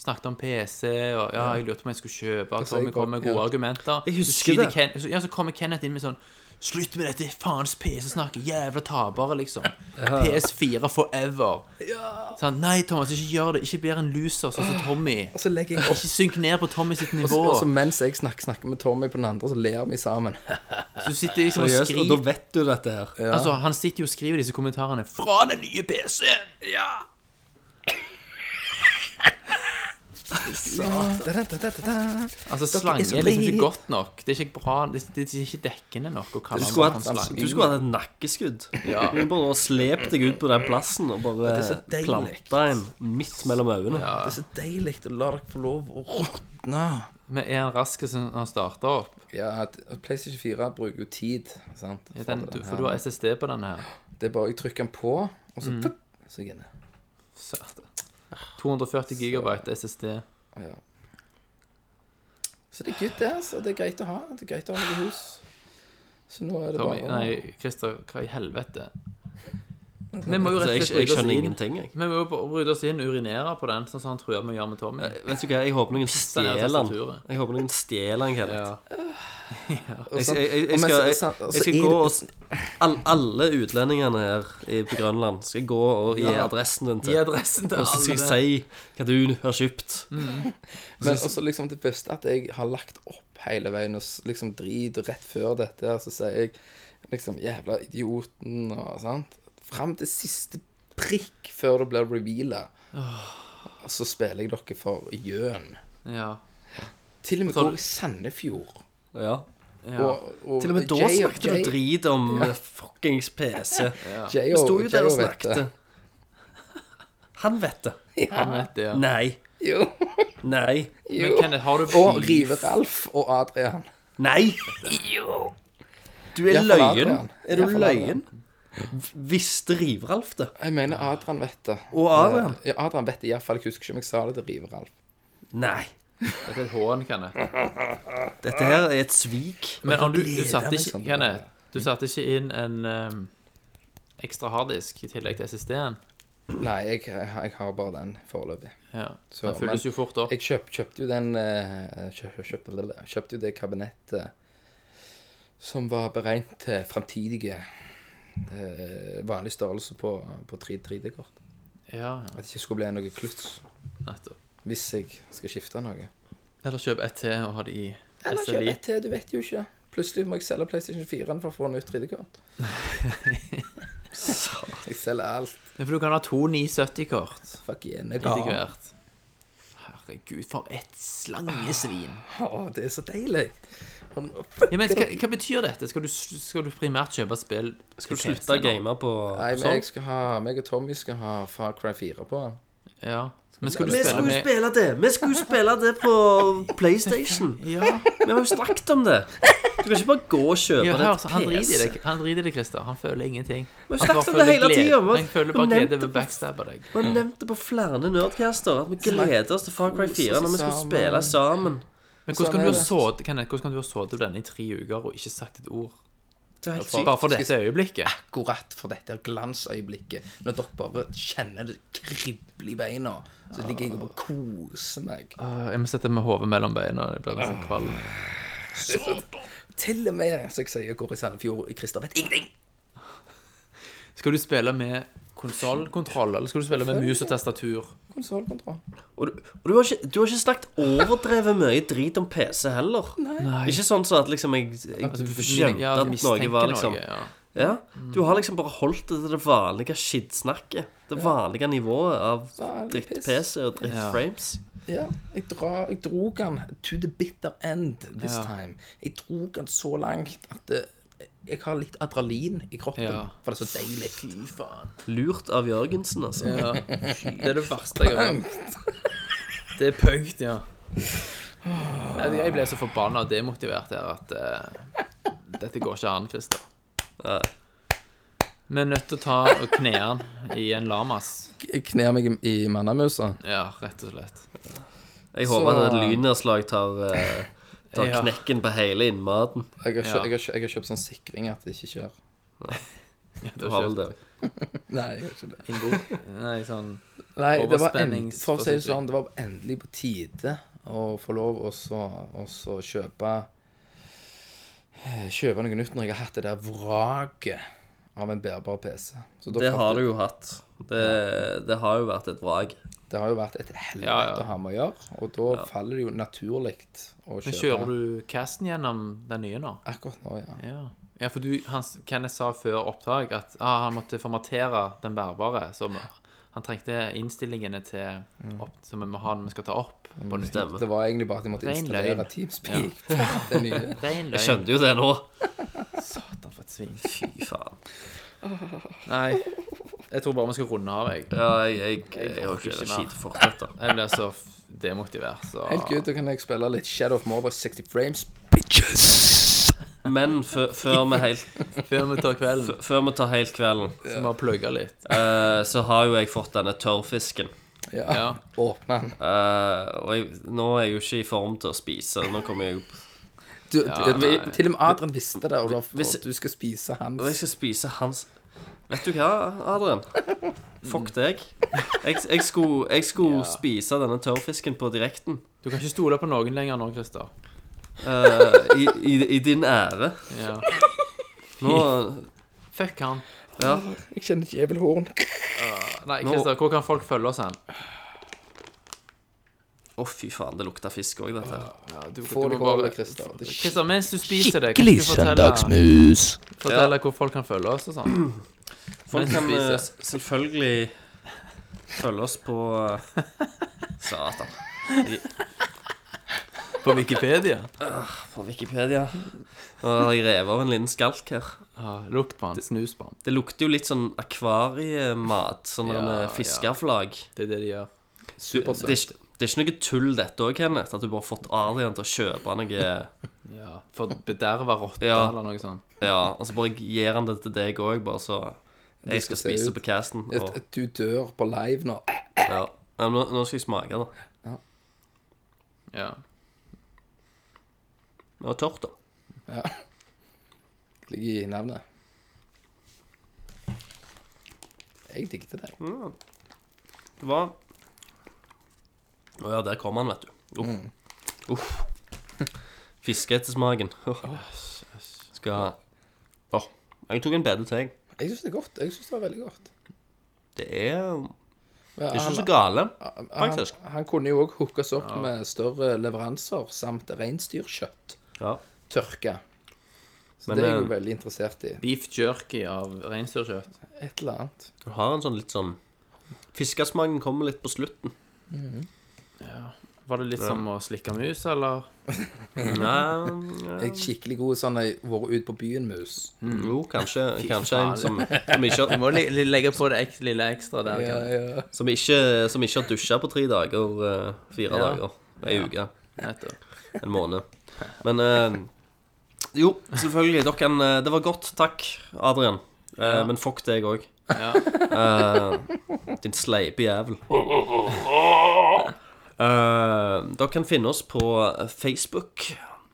E: Snakket om PC, og ja, jeg lurte på om jeg skulle kjøpe. Og
F: så jeg
E: Tommy kom med
F: kom-
E: gode
F: ja.
E: argumenter.
G: Jeg
E: Så
G: husker
E: skyter
G: det.
E: Ken, så, ja, så kommer Kenneth inn med sånn Slutt med dette faens PC-snakket. Jævla tapere, liksom. PS4 forever. Sånn, Nei, Thomas, ikke gjør det. Ikke bli en loser sånn som Tommy.
F: Og så legger jeg opp,
E: Ikke synk ned på Tommy sitt
F: og så,
E: nivå.
F: og så mens jeg snakker, snakker med Tommy på den andre, så ler vi sammen.
E: Så du sitter liksom og
G: og da
E: skriver
G: vet du dette her.
E: Altså, Han sitter jo og skriver disse kommentarene fra den nye PC-en! Ja! Altså, slange er liksom ikke godt nok. Det er ikke bra, det det er ikke dekkende nok å
G: Du
E: kalle
G: skulle
E: han
G: hatt,
E: for en slange.
G: du skulle hatt et nakkeskudd. Du bare slept deg ut på den plassen og bare
F: så deilig.
G: planta en midt mellom øynene.
F: Det er så deilig å la dere få lov å råtne.
E: Men er han rask som han starter opp?
F: Ja, at PlayStation 4 bruker jo tid, sant?
E: Er Den,
F: For
E: du,
F: den
E: for
F: her.
E: du har Mm. SSD på denne her.
F: Det er bare jeg trykker den på, og så pup, så er jeg inne.
E: Satan. 240 gigabyte SSD.
F: Ja. Så det er good, det. altså. Det er greit å ha. Det er greit å ha noe i hus. Så nå er det
E: Tommy,
F: bare
E: nei, Christer, hva i helvete? Vi må jo
G: Så
E: rett og
G: jeg,
E: slett
G: jeg
E: rydde oss
G: skjønner
E: inn.
G: ingenting, jeg.
E: Vi må jo bare rydde oss inn, urinere på den, sånn som han tror vi gjør med Tommy.
G: Vet du hva, jeg håper noen
E: ned
G: stjeler den.
E: tastaturet.
G: Jeg håper noen stjeler den, Kenneth.
E: Ja.
G: Jeg,
F: sant?
G: jeg, jeg,
F: Og
G: jeg,
F: men
G: skal,
F: så-
G: jeg,
F: så- så
G: jeg skal
F: er
G: gå
F: det-
G: og s- all, Alle utlendingene her i- på Grønland skal gå og gi adressen din
E: Gi
G: til.
E: adressen til
G: Og så
E: alle.
G: skal jeg
E: Mm.
G: si hva du har kjøpt.
F: Men også liksom det beste at jeg har lagt opp hele veien og s- liksom drit rett før dette, og så sier jeg liksom jævla idioten og sant. Fram til siste prikk før det blir reveala. Og så spiller jeg dere for gjøn.
E: Ja.
F: Til og med
E: Så-
F: går i Sandefjord.
G: Ja.
E: ja.
F: Og, og
G: Til og med da
F: Jay-
G: snakket
F: Jay-
G: du drit om eh, fuckings PC.
F: Jay
G: Vi
F: og-
G: sto jo
F: Jay
G: der og
F: og vet det.
G: snakket. Han vet det.
E: Han vet det, ja.
G: Nei.
F: Jo.
G: Nei.
E: Men Kenneth, har du
F: Og Rive-Ralf og Adrian.
G: Nei! Du er
F: Jeg forlater
G: løyen.
F: han.
G: Er du
F: Jeg forlater
G: løyen? Visste Rivralf det?
F: Jeg mener Adrian vet det.
G: Og Adrian?
F: Ja, Adrian vet det iallfall. Jeg husker ikke om jeg sa det til Rive-Ralf.
G: Nei.
E: Dette er et hån, Kenneth.
G: Dette her er et svik.
E: Men om du, du satte
F: meg
E: ikke
F: sånn.
E: Kenneth, du satte ikke inn en ehm, ekstra harddisk i tillegg til SSD-en.
F: Nei, jeg, jeg har bare den foreløpig.
E: Ja.
F: Så,
E: Den fylles
F: men-
E: jo fort opp.
F: Jeg kjøp, kjøpte jo den eh, kjø- kjøpte, kjøpte, jo det kabinettet eh, som var beregnet til framtidige eh, vanlig størrelse på, på 3D-kort.
E: Ja, ja,
F: At det ikke skulle bli noe kluts
E: nettopp.
F: hvis jeg skal skifte noe.
E: Eller kjøp ett til og ha det i
F: Eller kjøp
E: SLI.
F: ett til, du vet jo ikke. Plutselig må jeg selge PlayStation 4 for å få nytt 3D-kort. jeg selger alt.
E: Ja, For du kan ha to 970-kort
F: Fuck igjen.
E: etter hvert. Herregud, for et slangesvin.
F: Å, det er så deilig.
E: Ja, men hva, hva betyr dette? Skal du, skal du primært kjøpe spill
G: Skal du slutte å game på
F: Nei, men
G: sånn?
F: jeg skal ha, meg og Tommy skal ha Far Cry 4 på.
E: Ja. Men skulle du
G: Vi
E: spille
G: skulle jo
E: med
G: spille det! Vi skulle jo spille det på PlayStation.
E: Ja,
G: Vi har jo snakket om det. Du kan ikke bare gå og kjøpe
E: ja
G: det
E: hør, så han
G: til
E: driter i
G: PC.
E: det, han driter i det, Christer. Han føler ingenting.
G: Vi har
E: Han bare
G: snakket om det
E: føler
G: hele
E: glede.
G: tiden, men-
E: Han føler bare
G: men
E: glede
G: nevnte
E: ved å backstabbe deg.
G: Vi har nevnt det på flere nerdcaster at vi gleder oss til Far Cry 4 når vi skal
F: Sammen.
G: spille sammen.
E: Men hvordan
F: Sånn
E: kan du
F: er
E: ha
F: det.
E: sovet- Kenneth, hvordan kan du ha sovet denne i tre uker og ikke sagt et ord?
G: Det er helt sykt.
E: Bare for dette øyeblikket.
F: akkurat for dette her glansøyeblikket, når dere bare kjenner det krible i beina, så ligger jeg og bare koser meg.
E: Åh, Ah, Jeg må sette meg hodet mellom beina. Jeg blir nesten kvalm.
F: Til og med, som jeg sier, går i Sandefjord i Christer vet ingenting.
E: Skal du spille med konsollkontroll, eller skal du spille med mus og tastatur?
F: Konsolkontroll.
G: Og, du, og du, har ikke, du har ikke snakket overdrevet mye drit om PC heller. Ikke sånn så at liksom jeg, jeg
E: Altså,
G: skjønte
E: Ja,
G: at noe
E: mistenker
G: var liksom
E: ja.
G: Ja. Du har liksom bare holdt det til det vanlige skittsnakket. Det vanlige nivået av
F: Vanlig piss.
G: dritt-PC og dritt-frames.
F: Ja, jeg, dra, jeg drog han to the bitter end this
E: Ja.
F: time. Jeg drog han så langt at det, jeg har litt adrenalin i kroppen,
E: Ja.
F: for det er så deilig. Fy faen.
G: Lurt av Jørgensen, altså.
E: ja. Det er det verste jeg har hørt. Det er punkt, ja. Nei, Jeg ble så forbanna og demotivert her at eh, dette går ikke an, Christer.
G: Nei.
E: Vi er nødt til å ta og kne han i en lamas.
F: Jeg kner meg i mannamusa.
E: Ja, rett og slett.
G: Jeg håper
F: Så-
G: at et lynnedslag tar, eh, tar
E: Ja.
G: knekken på hele innmaten.
F: Jeg, har kjø-
E: Ja.
F: jeg, har kjø- jeg har kjøpt sånn sikring at det ikke skjer.
G: Du har vel det.
F: Nei, jeg har ikke det.
E: Nei, sånn
F: Nei, det var, en,
E: Overspennings-
F: for å si det sånn, det var endelig på tide å få lov å så- å så kjøpe eh, Kjøpe noe nytt når jeg har hatt det der vraket av en bærbar PC. Så da
G: Det
F: fant
G: har
F: jeg-
G: du jo hatt. Det, det har jo vært et vrak.
F: det har jo vært et helvete
E: Ja, ja.
F: å ha med å gjøre, og da faller det jo naturlig å
E: Men
F: kjøpe
E: kjører du casten gjennom den nye nå?
F: akkurat nå, ja.
E: Ja. ja, for du, han, Kenneth sa før opptak at ah, han måtte formatere den bærbare. Så han trengte innstillingene til opp, som vi må ha når vi skal ta opp. På nytt.
G: Stemmer.
F: Det var egentlig bare at jeg måtte
E: Ren
F: installere
E: løgn.
F: Teamspeak. Det nye.
E: Rein
G: Jeg
E: løgn.
G: skjønte jo det nå.
E: Satan, for et svin.
G: Fy faen.
E: Nei. Jeg tror bare vi skal runde av, jeg.
G: Ja, jeg, jeg, jeg, jeg har ikke energi til å fortsette.
E: Jeg blir så f- demotivert, så
F: Helt good, da kan jeg spille litt Shadow of Mordor 60 frames.
G: Men fø- før vi helt
E: Før vi tar kvelden,
G: fø- Før vi tar helt kvelden,
E: så må vi plugge litt.
G: eh, så har jo jeg fått denne tørrfisken.
F: Ja.
E: Ja.
F: Åpne den.
G: Eh, og jeg, nå er jeg jo ikke i form til å spise. Nå kommer jeg jo
F: Du, du, du, til og med Adrian visste det, og, da,
G: Hvis-
F: og du skal spise hans.
G: Og jeg skal spise hans Vet du hva, Adrian? Fuck deg. Jeg, jeg skulle, jeg skulle spise denne tørrfisken på direkten.
E: Du kan ikke stole på noen lenger nå, Christer.
G: Eh, i, i, I din ære.
E: Ja.
G: Nå
E: Fuck han.
G: Ja.
F: Jeg kjenner et jævelhorn.
E: Nei, Christer, hvor kan folk følge oss hen?
G: Å, fy faen, det lukter fisk òg, dette her.
F: Få det hålet, Christer. Det er
E: Christer, mens du spiser det, kan du fortelle, fortelle hvor folk kan følge oss og sånn?
G: Folk
E: Men
G: kan
E: spiser.
G: eh, s- selvfølgelig følge oss på eh, Satan.
E: På Wikipedia?
G: På Wikipedia. Nå har jeg revet av en liten skalk her.
E: Ja, lukt på han, snus på han.
G: Det lukter jo litt sånn akvariemat. Sånn
E: Ja,
G: ja,
E: ja.
G: fiskeflagg.
E: Det er det de gjør.
G: Det, er ikke- det er ikke noe tull, dette òg, Kenneth. At du bare har fått Adrian til å kjøpe noe eh,
E: Ja, For bederva rotter
G: Ja.
E: eller noe sånt.
G: Ja, og så bare gir han det til deg òg, bare så jeg
F: skal
G: skal
F: se
G: spise
F: ut.
G: på casten. Og,
F: Et- et Du dør på live nå.
G: ja. Ja, nå, nå skal jeg smake, da.
E: Ja.
G: Det var tørt, da.
F: Ligger i navnet. Jeg digget det.
G: Det var Å ja, der kom han, vet du. Uff.
E: Mm.
G: Uff. Fiskeettesmaken. Skal Åh, Jeg tok en bedre til, jeg.
F: Jeg syns det er godt. Jeg synes det var veldig godt.
G: Det er
F: Ja,
G: det er ikke så
F: han,
G: gale,
F: han,
G: faktisk.
F: han kunne jo òg hooke oss opp med større leveranser samt reinsdyrkjøtt.
G: Ja.
F: Tørke. Så
G: Men,
F: det er jeg jo
G: eh,
F: veldig interessert i.
E: Beef jerky av reinsdyrkjøtt.
F: Et eller annet.
G: Du har en sånn litt sånn Fiskesmaken kommer litt på slutten.
E: Var det litt som å slikke mus, eller?
G: Nei,
F: Jeg er skikkelig god sånn jeg har vært ute på byen med hus.
G: jo, kanskje,
E: Fy
G: kanskje en
E: faen.
G: som, som, ikke,
E: Du må le- le- legge på det ek- lille ekstra der.
F: Ja,
E: Kenneth.
F: ja.
G: som, ikke, som ikke har dusja på tre dager, eh,
E: Ja.
G: fire dager, ei uke.
E: Nettopp.
G: En måned. Men eh, Jo, selvfølgelig. Dere kan eh, Det var godt. Takk, Adrian. Eh, Men fuck deg òg. din sleipe jævel. Eh, dere kan finne oss på Facebook.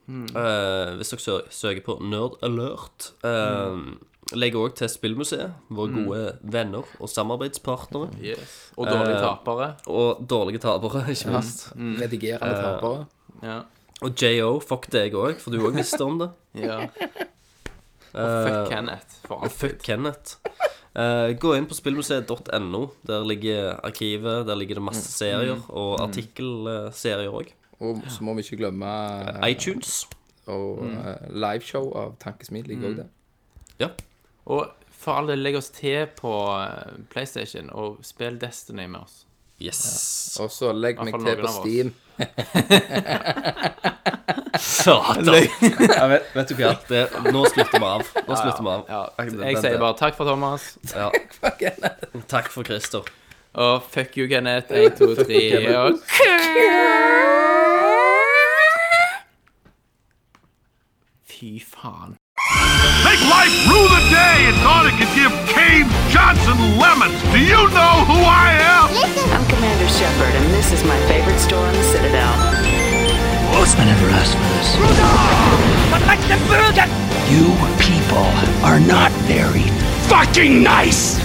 E: Hmm.
G: Eh, hvis dere sø- søker på Nerd Alert. Uh,
E: Hmm.
G: Legger òg til Spillmuseet, våre gode venner og samarbeidspartnere.
E: Yes. Og dårlige
G: Eh,
E: tapere.
G: Og dårlige tapere,
E: Mm.
G: ikke minst.
F: Redigerende
G: Eh,
F: tapere.
E: Ja.
G: Og JO, fuck deg òg, for du òg visste om det. Eh,
E: ja. Og fuck Kenneth. For
G: Og
E: alt.
G: Fuck Kenneth. Eh, gå inn på spillmuseet.no. Der ligger arkivet, der ligger det masse
E: Mm.
G: serier, og artikkelserier òg.
F: Og så må vi ikke glemme eh,
G: iTunes.
F: og,
E: Mm.
F: eh, liveshow av Tankesmid ligger òg der.
G: Ja.
E: Og for all del, legg oss til på eh, PlayStation og spill Destiny med oss.
G: Yes.
F: Og så legg meg
E: Hvertfall
F: til
E: noen av
F: på
E: oss.
F: Steam.
G: Satan. Ja, vet, vet du hva, det, nå slutter vi av. Nå slutter vi av.
E: Ja,
G: Den-
E: jeg
G: den-
E: sier bare takk for Thomas,
G: ja. Takk for Christer.
E: og fuck you, Kenneth. Én, to, tre, og Fy faen.
B: Make life rue the day and thought it could give Cave Johnson lemons. Do you know who I am?
C: I'm Commander Shepard, and this is my favorite store on the Citadel.
D: I never asked for this. You people are not very fucking nice!